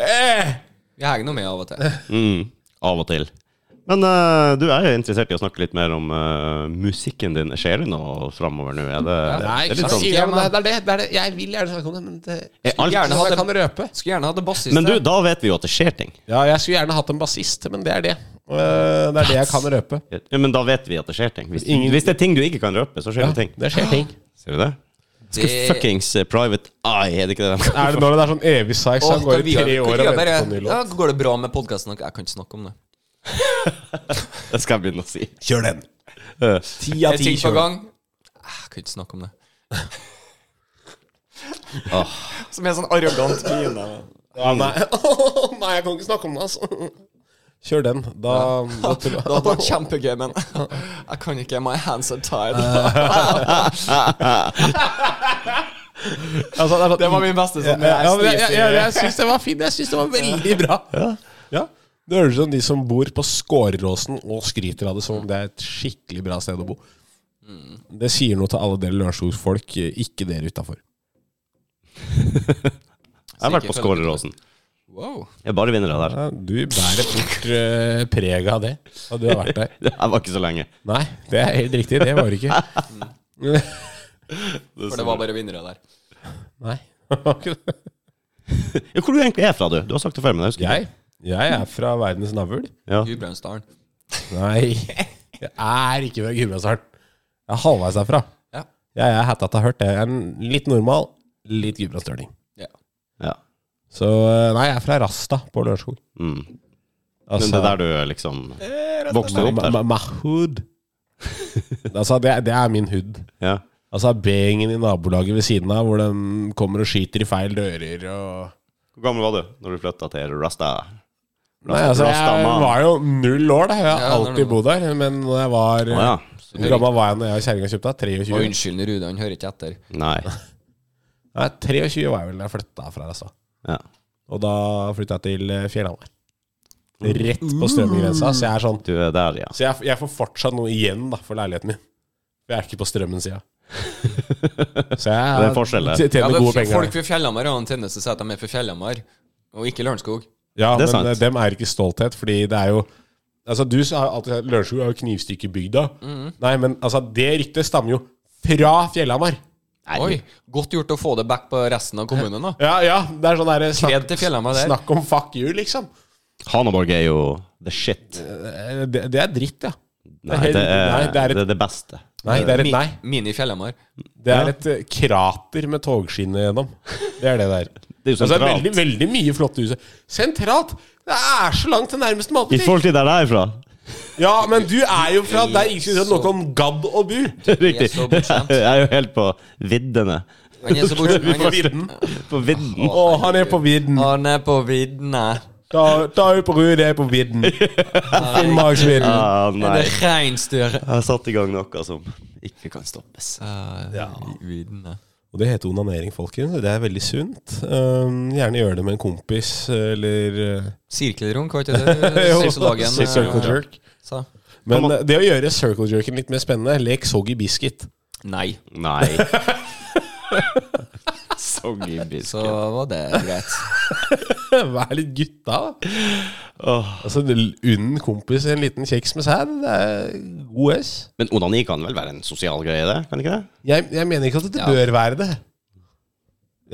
Speaker 1: Jeg henger noe med av og til.
Speaker 2: Mm. Av og til. Men eh, du er jo interessert i å snakke litt mer om eh, musikken din. Skjer det noe framover nå? Er det,
Speaker 3: Nei,
Speaker 2: det
Speaker 3: ikke
Speaker 2: er litt
Speaker 3: sant?
Speaker 2: sånn
Speaker 3: Ja, men det er det, det er det. Jeg vil gjerne snakke om det, men det
Speaker 2: er alt,
Speaker 1: Gjerne ha
Speaker 3: jeg
Speaker 1: det-
Speaker 3: kan røpe.
Speaker 1: Skulle gjerne hatt en bassist.
Speaker 2: Men du,
Speaker 1: der.
Speaker 2: da vet vi jo at det skjer ting.
Speaker 3: Ja, jeg skulle gjerne hatt en bassist, men det er det. Eh, Det er det jeg kan røpe.
Speaker 2: Ja, men da vet vi at det skjer ting. Hvis,
Speaker 3: Ingen-
Speaker 2: hvis det er ting du ikke kan røpe, så skjer
Speaker 3: Ja,
Speaker 2: det ting.
Speaker 3: det skjer ting.
Speaker 2: Ser du det?
Speaker 1: Det-
Speaker 2: Fuckings eh, Private Eye, er det ikke det de
Speaker 3: Er det når det er sånn evig size, så
Speaker 1: Åh,
Speaker 3: han går i
Speaker 1: vi har-
Speaker 3: tre år og
Speaker 1: vi har
Speaker 3: venter
Speaker 1: bare-
Speaker 3: på en ny
Speaker 1: Ja,
Speaker 3: låt?
Speaker 1: går det bra med podkasten? Jeg kan ikke snakke om det.
Speaker 2: Det skal jeg begynne å si.
Speaker 3: Kjør den.
Speaker 2: Eh,
Speaker 3: Ti
Speaker 1: Jeg
Speaker 3: av
Speaker 1: er
Speaker 3: ti
Speaker 1: ting på
Speaker 3: kjører.
Speaker 1: gang. Ah, Jeg kan ikke snakke om det. Som er sånn arrogant mine.
Speaker 3: Ja, nei. nei, jeg kan ikke snakke om det, altså. Kjør den. Da, da tror
Speaker 1: Det
Speaker 3: jeg.
Speaker 1: hadde vært kjempegøy, men jeg kan ikke. My hands are tied.
Speaker 3: Altså, er sånn-
Speaker 1: Det var min beste
Speaker 3: ja,
Speaker 1: sånn.
Speaker 3: ja, ja, men jeg, jeg, jeg,
Speaker 1: sneaky-
Speaker 3: jeg syns det var fint. Jeg syns det var veldig bra. Ja. Det høres ut som de som bor på Skåreråsen og skryter av det som om det er et skikkelig bra sted å bo. Det sier noe til alle dere Lørenskog-folk, ikke dere utafor.
Speaker 2: Jeg har vært på Skåleråsen.
Speaker 1: Wow.
Speaker 2: Jeg er bare vinnere der.
Speaker 3: Ja, du bærer fort eh, preg av det, og du har vært der.
Speaker 2: Jeg var ikke så lenge.
Speaker 3: Nei, det er helt riktig. Det var du ikke.
Speaker 1: For det var bare vinnere der.
Speaker 3: Nei. det var ikke det.
Speaker 2: Ja, hvor du egentlig er fra, du? Du har sagt det før, men jeg husker ikke.
Speaker 3: Jeg, jeg er fra verdens navl.
Speaker 2: Ja.
Speaker 1: Gudbrandsdalen.
Speaker 3: Nei, jeg er ikke fra Gudbrandsdalen. Jeg er halvveis derfra.
Speaker 1: Ja.
Speaker 3: Jeg er hatta til hørt. Jeg er en litt normal, litt gudbrandsdøling.
Speaker 1: Ja.
Speaker 2: Ja.
Speaker 3: Så eh, nei, jeg er fra Rasta på Lørenskog.
Speaker 2: Mm. Men
Speaker 3: Altså,
Speaker 2: det er der du liksom vokste opp
Speaker 3: ma-
Speaker 2: der?
Speaker 3: ma- ma- hood. altså, det, det er min hood.
Speaker 2: Ja.
Speaker 3: Altså B-gjengen i nabolaget ved siden av, hvor de kommer og skyter i feil dører og
Speaker 2: Hvor gammel var du når du flytta til Rasta?
Speaker 3: Nei, altså, jeg
Speaker 2: Rastaman.
Speaker 3: var jo null år, da. Jeg
Speaker 1: Ja,
Speaker 3: har
Speaker 1: når du-
Speaker 3: alltid bodd der. Men når jeg var
Speaker 2: Å ja.
Speaker 3: Hvor gammel var jeg når jeg og kjerringa kjøpte?
Speaker 1: Og
Speaker 3: 23?
Speaker 1: unnskyld, Rude, han hører ikke etter.
Speaker 2: Nei.
Speaker 3: Nei, 23 var jeg vel da jeg flytta fra Rasta.
Speaker 2: Ja.
Speaker 3: Og da flytta jeg til eh, Fjellhamar. Rett på strømmegrensa. Så jeg er sånn
Speaker 2: Du er der, ja.
Speaker 3: Så jeg, jeg får fortsatt noe igjen da, for leiligheten min. For Jeg er ikke på strømmen-sida. Så jeg
Speaker 2: Det er forskjell, det.
Speaker 3: t-
Speaker 1: Ja,
Speaker 3: tjener
Speaker 1: men
Speaker 3: gode
Speaker 1: f-
Speaker 3: penger.
Speaker 1: folk fra Fjellhamar har en tendens til å si at de er fra Fjellhamar, og ikke Lørenskog.
Speaker 3: Ja,
Speaker 2: Det er
Speaker 3: men
Speaker 2: sant.
Speaker 3: eh, dem er ikke stolthet, fordi det er jo Altså, du sa alltid at Lørenskog er jo knivstykkebygda.
Speaker 1: Mm.
Speaker 3: Nei, men altså, det ryktet stammer jo fra Fjellhamar.
Speaker 1: Oi, Godt gjort å få det back på resten av kommunen, da.
Speaker 3: Ja, ja, det er sånn derre
Speaker 1: Kred til Fjellhamar der.
Speaker 3: snakk om fuck you, liksom.
Speaker 2: Hanaborg er jo the shit.
Speaker 3: Eh, Det, det er dritt, ja.
Speaker 2: Nei, det er,
Speaker 3: nei, det er et,
Speaker 2: det, er det beste.
Speaker 3: nei, det er et,
Speaker 1: Mi-
Speaker 3: nei.
Speaker 1: Mini-Fjellhamar.
Speaker 3: Det
Speaker 2: Ja.
Speaker 3: er et eh, krater med togskinner gjennom. Det er det der.
Speaker 2: Det er jo
Speaker 3: Altså,
Speaker 2: sentralt.
Speaker 3: veldig, veldig mye flotte hus. Sentralt! Det er så langt til nærmeste
Speaker 2: I
Speaker 3: matbutikk!
Speaker 2: forhold til der jeg er fra.
Speaker 3: Ja, men du er jo fra der ingen skulle noe om gadd og bur.
Speaker 2: Riktig.
Speaker 1: så bortskjemt.
Speaker 2: Jeg er jo helt på viddene.
Speaker 1: Han er så bort-
Speaker 2: Vi
Speaker 1: han
Speaker 2: får-
Speaker 1: er-
Speaker 2: På vidden.
Speaker 3: Å, han er på vidden.
Speaker 1: Han er på viddene.
Speaker 3: Ta ta ut på Ruud, jeg er på vidden. Finnmarksvidden.
Speaker 2: Ah,
Speaker 1: Det er
Speaker 2: nei.
Speaker 1: reinsdyr.
Speaker 2: Jeg har satt i gang noe som ikke kan stoppes.
Speaker 1: Ja. Viddene.
Speaker 3: Og det heter onanering, folkens. Det er veldig sunt. Um, gjerne gjør det med en kompis eller uh,
Speaker 1: Sirkelrunk, var ikke det du-
Speaker 3: jo,
Speaker 1: sirkologen eh,
Speaker 3: circle jerk.
Speaker 1: sa?
Speaker 3: Men uh, det å gjøre circle jerken litt mer spennende, lek soggy biscuit.
Speaker 1: Nei.
Speaker 2: Nei. Soggybisk.
Speaker 1: Så var det greit.
Speaker 3: Vær litt gutta, da. Altså, Unn kompis en liten kjeks med sæd, det er god S.
Speaker 2: Men onani kan vel være en sosial greie, det? Kan ikke det?
Speaker 3: Jeg, jeg mener ikke at det
Speaker 1: Ja.
Speaker 3: bør være det.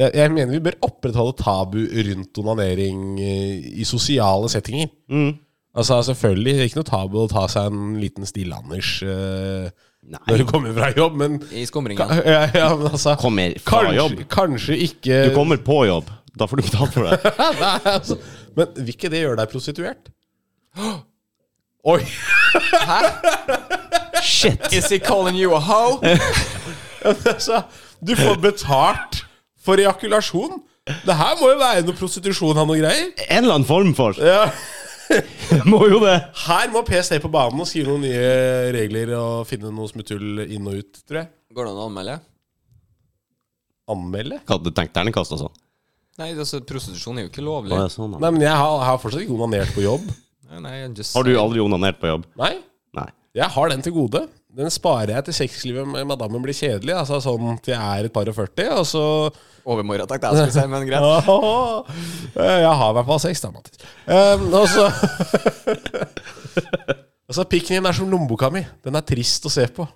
Speaker 3: Jeg, jeg mener vi bør opprettholde tabu rundt onanering eh, i sosiale settinger.
Speaker 2: Mm.
Speaker 3: Altså Selvfølgelig det er ikke noe tabu å ta seg en liten Stille-Anders eh,
Speaker 2: Nei.
Speaker 3: når du kommer fra jobb, men
Speaker 1: I
Speaker 3: ja,
Speaker 1: skumringen.
Speaker 3: ja, ja, men altså
Speaker 2: Kommer fra jobb.
Speaker 3: kanskje, kanskje ikke
Speaker 2: Du kommer på jobb. Da får du betalt for det.
Speaker 3: Nei, altså, Men vil ikke det gjøre deg prostituert? Oi!
Speaker 2: Shit!
Speaker 1: Is he calling you a hoe?
Speaker 3: Altså, du får betalt for ejakulasjon. Det her må jo være noe prostitusjon av noe greier.
Speaker 2: En eller annen form for.
Speaker 3: Ja.
Speaker 2: Må jo det.
Speaker 3: Her må PST på banen og skrive noen nye regler og finne noe smutthull inn og ut, tror jeg.
Speaker 1: Går det an å anmelde?
Speaker 3: Anmelde?
Speaker 2: Hva hadde du tenkt terningkast og sånn?
Speaker 1: Nei, altså, prostitusjon er jo ikke lovlig.
Speaker 2: Å, ja, sånn, ja.
Speaker 3: Nei, men jeg har, jeg har fortsatt ikke onanert på jobb.
Speaker 1: Nei, nei, jeg just,
Speaker 2: Har du aldri onanert på jobb?
Speaker 3: Nei,
Speaker 2: Nei.
Speaker 3: jeg har den til gode. Den sparer jeg til sexlivet med madammen blir kjedelig. Altså sånn til jeg er et par og 40, og så
Speaker 1: Overmorgen, takk, det jeg skulle si, men greit.
Speaker 3: Åh, Jeg har i hvert fall sex, da, Mattis. Um, og så Altså, pikken din er som lommeboka mi. Den er trist å se på.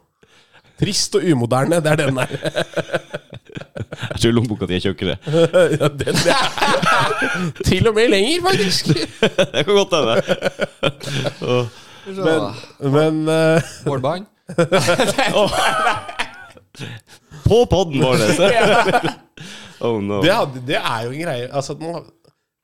Speaker 3: Trist og umoderne, det er den der.
Speaker 2: Jeg tror lommeboka di er tjukkere.
Speaker 3: ja, den, det er- Til og med lenger, faktisk.
Speaker 2: Det kan godt hende.
Speaker 1: Men,
Speaker 3: Men eh,
Speaker 1: Hårbånd?
Speaker 2: På podden vår! Oh no.
Speaker 3: det, hadde, det er jo en greie. Altså, at man,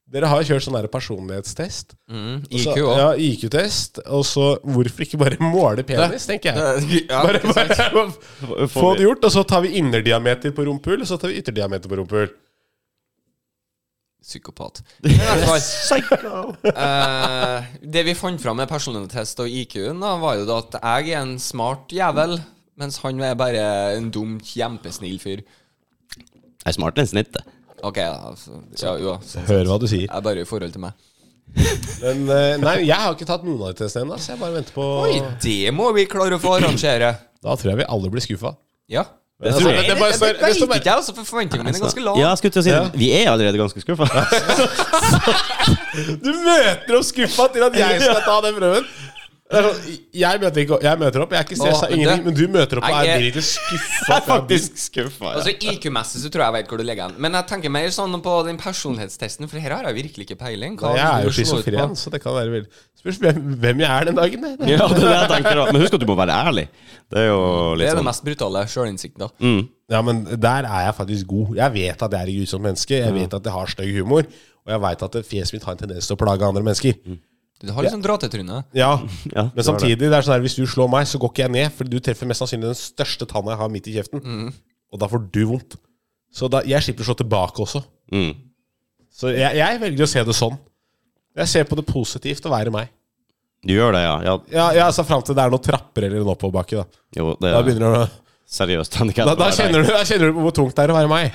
Speaker 3: dere har jo kjørt sånn der personlighetstest.
Speaker 1: Mm,
Speaker 3: Så-
Speaker 1: IQ òg.
Speaker 3: Altså, Ja, IQ-test. Og så hvorfor ikke bare måle penis, tenker jeg. Bare,
Speaker 1: Ja.
Speaker 3: bare
Speaker 2: Får vi-
Speaker 3: få det gjort, og så tar vi innerdiameter på rumpehull, og så tar vi ytterdiameter på rumpehull.
Speaker 1: Psykopat. Men i hvert fall,
Speaker 2: Psycho.
Speaker 1: Eh, det vi fant fram med personlighetstest og IQ-en, da, var jo da at jeg er en smart jævel, mens han er bare en dum, kjempesnill fyr.
Speaker 2: Jeg er smartere enn snittet.
Speaker 1: Ok, da. Altså, ja, jo, altså,
Speaker 3: Hør hva du sier.
Speaker 1: jeg er bare i forhold til meg.
Speaker 3: Men eh, nei, jeg har ikke tatt noen av de testene ennå, så jeg bare venter på
Speaker 1: Oi, det må vi klare å få arrangere.
Speaker 3: Da tror jeg vi alle blir skuffa.
Speaker 1: Ja.
Speaker 2: Det
Speaker 3: Altså,
Speaker 2: tror
Speaker 1: Det,
Speaker 2: jeg.
Speaker 1: det,
Speaker 3: det bare står- det står
Speaker 1: vet
Speaker 3: bare-
Speaker 1: ikke jeg, altså, for forventningene er ganske
Speaker 2: Ja,
Speaker 1: lave.
Speaker 2: jeg skulle til å si
Speaker 3: Ja.
Speaker 2: Vi er allerede ganske skuffa.
Speaker 3: Du møter opp skuffa til at jeg skal ta den prøven. Det er sånn, Jeg møter, ikke, jeg møter opp, jeg er ikke stressa,
Speaker 1: Nå, men
Speaker 3: ingenting,
Speaker 1: det-
Speaker 3: men du møter opp og
Speaker 1: Nei,
Speaker 3: er
Speaker 1: jeg-
Speaker 3: direkte
Speaker 2: Jeg
Speaker 3: skuffa.
Speaker 2: er faktisk skuffa.
Speaker 1: Altså IQ-messig så tror jeg jeg vet hvor du legger den. Men jeg tenker mer sånn på den personlighetstesten, for her har jeg virkelig ikke peiling. Hva
Speaker 3: Jeg er jo
Speaker 1: vil du slå ut på?
Speaker 3: schizofren, altså. så det kan være veldig Spørs hvem, hvem jeg er den dagen. Det.
Speaker 2: Ja, det er det jeg tenker da. Men husk at du må være ærlig. Det er jo
Speaker 1: Det
Speaker 2: litt
Speaker 1: er det
Speaker 2: sånn
Speaker 1: mest brutale sjølinnsikten, da.
Speaker 3: Ja, men der er jeg faktisk god. Jeg vet at jeg er et grusomt menneske. Jeg vet at jeg har stygg humor. Og jeg veit at fjeset mitt har en tendens til å plage andre mennesker.
Speaker 1: Du har litt sånn dra-til-tryne.
Speaker 3: Ja,
Speaker 2: Ja,
Speaker 3: Men
Speaker 2: det var
Speaker 3: samtidig, det er sånn her, hvis du slår meg, så går ikke jeg ned. For du treffer mest sannsynlig den største tanna jeg har midt i kjeften.
Speaker 2: Mm.
Speaker 3: Og da får du vondt. Så da, jeg slipper å slå tilbake også.
Speaker 2: Mm.
Speaker 3: Så jeg, jeg velger å se det sånn. Jeg ser på det positivt å være meg.
Speaker 2: Du gjør det, ja. ja.
Speaker 3: Ja, ja altså Fram til det er noen trapper eller en oppoverbakke. Da.
Speaker 2: Jo, det
Speaker 3: Da,
Speaker 2: er
Speaker 3: begynner du, å-
Speaker 2: seriøst handikap.
Speaker 3: da, da, kjenner du, da kjenner du på hvor tungt det er å være meg.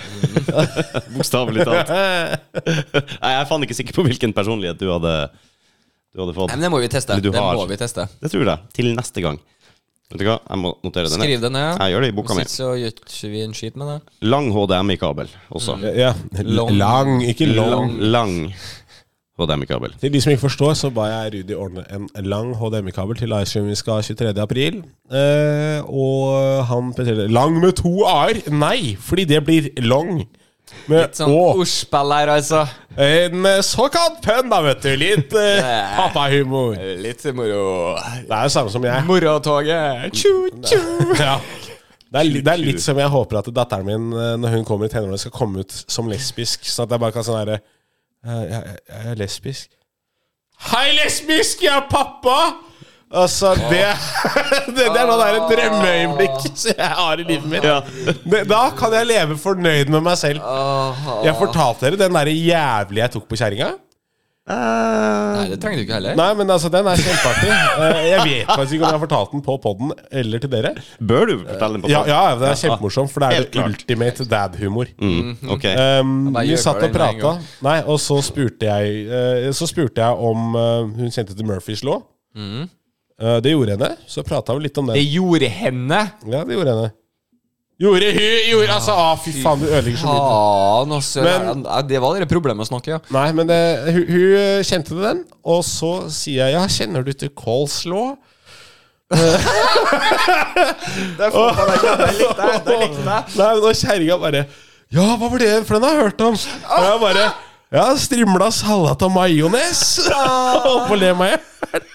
Speaker 2: Bokstavelig talt. Nei, jeg er faen ikke sikker på hvilken personlighet du hadde, du hadde fått.
Speaker 1: Nei, men det må vi teste.
Speaker 2: Eller du
Speaker 1: Det
Speaker 2: har.
Speaker 1: må vi teste.
Speaker 2: Det tror jeg. Til neste gang. Vet du hva, jeg må notere det ned.
Speaker 1: Skriv det ned.
Speaker 2: Jeg gjør det i boka mi.
Speaker 1: Hvis ikke så gjør ikke vi en skit med det.
Speaker 2: Lang HDMI-kabel også.
Speaker 3: Ja. Lang. ikke
Speaker 2: Lang,
Speaker 3: long.
Speaker 2: lang HDMI-kabel.
Speaker 3: Til de som ikke forstår, så ba jeg Rudi ordne en lang HDMI-kabel til livestream vi skal ha 23. april. Eh, og han presenterte Lang med to a-er? Nei, fordi det blir long. Med
Speaker 1: Sånn
Speaker 3: å.
Speaker 1: ordspill her, altså.
Speaker 3: En eh, såkalt pønn, da, vet du. Litt eh, pappahumor. Det
Speaker 1: Litt moro.
Speaker 3: er jo samme som jeg.
Speaker 1: Moratoget. Tju-tju.
Speaker 3: Ja. Det er, li- det er litt som jeg håper at datteren min, eh, når hun kommer i tenårene, skal komme ut som lesbisk. Sånn at jeg bare kan sånn herre jeg, jeg er lesbisk. Hei, lesbisk! Jeg er pappa! Altså, det Det, det er noe der et drømmeøyeblikk som jeg har i livet mitt.
Speaker 2: Ja.
Speaker 3: Det, da kan jeg leve fornøyd med meg selv. Jeg fortalte dere den derre jævlige jeg tok på kjerringa.
Speaker 2: Eh,
Speaker 1: Nei, det trenger du ikke heller.
Speaker 3: Nei, men altså, den er kjempeartig. Eh, Jeg vet faktisk ikke om jeg har fortalt den på poden eller til dere.
Speaker 2: Bør du fortelle den på
Speaker 3: Ja, ja, det er kjempemorsomt, for det er
Speaker 2: Helt
Speaker 3: det
Speaker 2: klart.
Speaker 3: ultimate dad-humor.
Speaker 2: Mm, ok.
Speaker 3: Um,
Speaker 1: bare
Speaker 3: vi
Speaker 1: gjør
Speaker 3: satt
Speaker 1: bare
Speaker 3: og
Speaker 1: det med en
Speaker 3: prata, nei, og så spurte jeg eh, Så spurte jeg om eh, hun kjente til Murphys lov. Eh, det gjorde henne. Så prata vi litt om
Speaker 1: Det
Speaker 3: den.
Speaker 1: gjorde henne.
Speaker 3: Ja, det gjorde henne. Gjorde hun gjorde, Altså, ah, fy faen, du ødelegger så mye.
Speaker 1: Faen, altså.
Speaker 3: Men-
Speaker 1: Ja, Det var det problemet med å snakke, ja.
Speaker 3: Nei, men det, hun, hun eh, kjente til den, og så sier jeg ja, kjenner du til Coles law? Nei, men Og kjerringa bare Ja, hva var det? For den har jeg hørt om. Og jeg bare Ja, strimla salat og majones. Holdt på å le meg i hjel.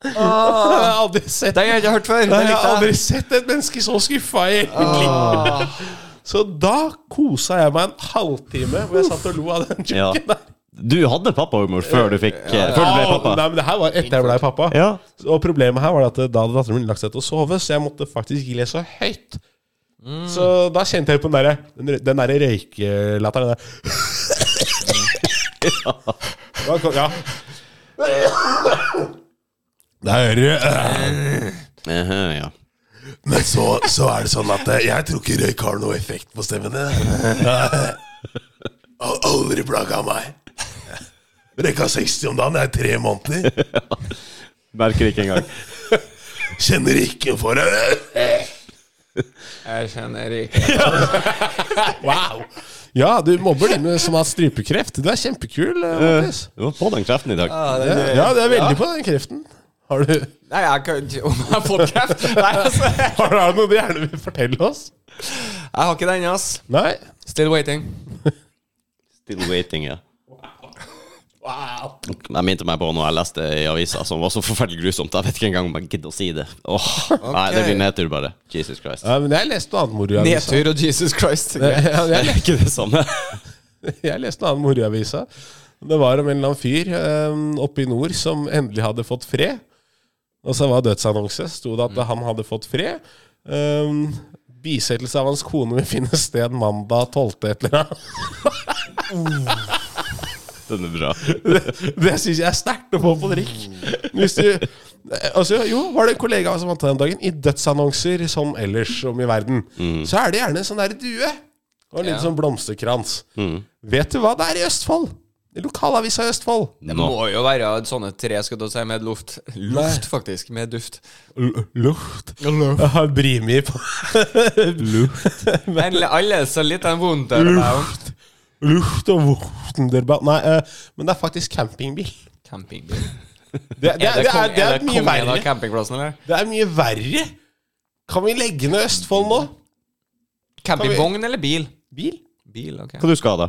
Speaker 3: Jeg har aldri sett
Speaker 1: Den har jeg ikke hørt før.
Speaker 3: Nei,
Speaker 1: Den
Speaker 3: jeg har
Speaker 1: likte
Speaker 3: aldri
Speaker 1: jeg.
Speaker 3: sett et menneske så skuffa i hele mitt liv. Så da kosa jeg meg en halvtime hvor jeg satt og lo av den
Speaker 2: Ja.
Speaker 3: joken der.
Speaker 2: Du hadde pappahumor før du fikk eh, Før du ble
Speaker 3: Ah,
Speaker 2: pappa?
Speaker 3: Nei, men det her var etter jeg ble pappa.
Speaker 2: Ja.
Speaker 3: Og problemet her var at eh, da hadde datteren min lagt seg til å sove, så jeg måtte faktisk ikke le så høyt. Så da kjente jeg på den derre Den, røy- den derre røykelatteren der. Da kom, ja. Da hører du.
Speaker 2: Eh, ja.
Speaker 3: Men så, så er det sånn at eh, jeg tror ikke røyk har noe effekt på stemmen. din. Har aldri plaga meg. Røyka 60 om dagen, det er tre måneder.
Speaker 2: Merker ikke engang.
Speaker 3: Kjenner ikke for det.
Speaker 1: Jeg kjenner ikke
Speaker 3: Wow. Ja, du mobber dem som har strupekreft. Du er kjempekul, eh, Mattis.
Speaker 2: Du var på den kreften i dag.
Speaker 3: Ja, du er veldig på den kreften. Har du,
Speaker 1: Nei, jeg kan ikke Om jeg har fått kreft? Nei, altså. Jeg
Speaker 3: har du noe du gjerne vil fortelle oss?
Speaker 1: har ikke den, ass.
Speaker 3: Nei?
Speaker 1: Still waiting.
Speaker 2: Still waiting, ja.
Speaker 3: Wow.
Speaker 2: Jeg minte meg på noe jeg leste i avisa som var så forferdelig grusomt. Jeg vet ikke engang om jeg gidder å si det. Åh, Nei, det blir nedtur, bare. Jesus Christ.
Speaker 3: Ja, men jeg leste noe annet moro i avisa.
Speaker 1: Nedtur og Jesus Christ.
Speaker 3: Ja, jeg
Speaker 2: Det er ikke det samme.
Speaker 3: Jeg leste en annen moroavisa. Det var om en eller annen fyr eh, oppe i nord som endelig hadde fått fred. Og så var dødsannonse. Sto det at han hadde fått fred. Um, bisettelse av hans kone vil finne sted mandag 12. et eller annet.
Speaker 2: Den er bra.
Speaker 3: Det syns jeg er sterkt å få på drikk. Hvis du altså, Jo, var det en kollega som vant den dagen. I dødsannonser som ellers om i verden, så er det gjerne en sånn der due. Og en
Speaker 1: Mm. Ja.
Speaker 3: liten
Speaker 1: Mm.
Speaker 3: sånn blomsterkrans. Vet du hva det er i Østfold? I lokalavisa i Østfold.
Speaker 1: Det
Speaker 2: Nå.
Speaker 1: må jo være et sånne tre, skal du si, med luft. Luft, faktisk. Med duft.
Speaker 3: L- Luft. Jeg har brimi på Luft.
Speaker 1: Endelig, alle så litt den vondt der. og der.
Speaker 3: Luft og vuftenderbad Nei, eh, men det er faktisk campingbil.
Speaker 1: Campingbil.
Speaker 3: Det, det,
Speaker 1: Er
Speaker 3: det,
Speaker 1: det,
Speaker 3: er,
Speaker 1: kong,
Speaker 3: det
Speaker 1: er
Speaker 3: er
Speaker 1: det
Speaker 3: mye
Speaker 1: kongen av
Speaker 3: verre.
Speaker 1: campingplassen, eller?
Speaker 3: Det er mye verre. Kan vi legge ned Østfold nå?
Speaker 1: Campingvogn eller bil?
Speaker 3: Bil?
Speaker 1: Bil, ok.
Speaker 2: Hva du skal ha, da?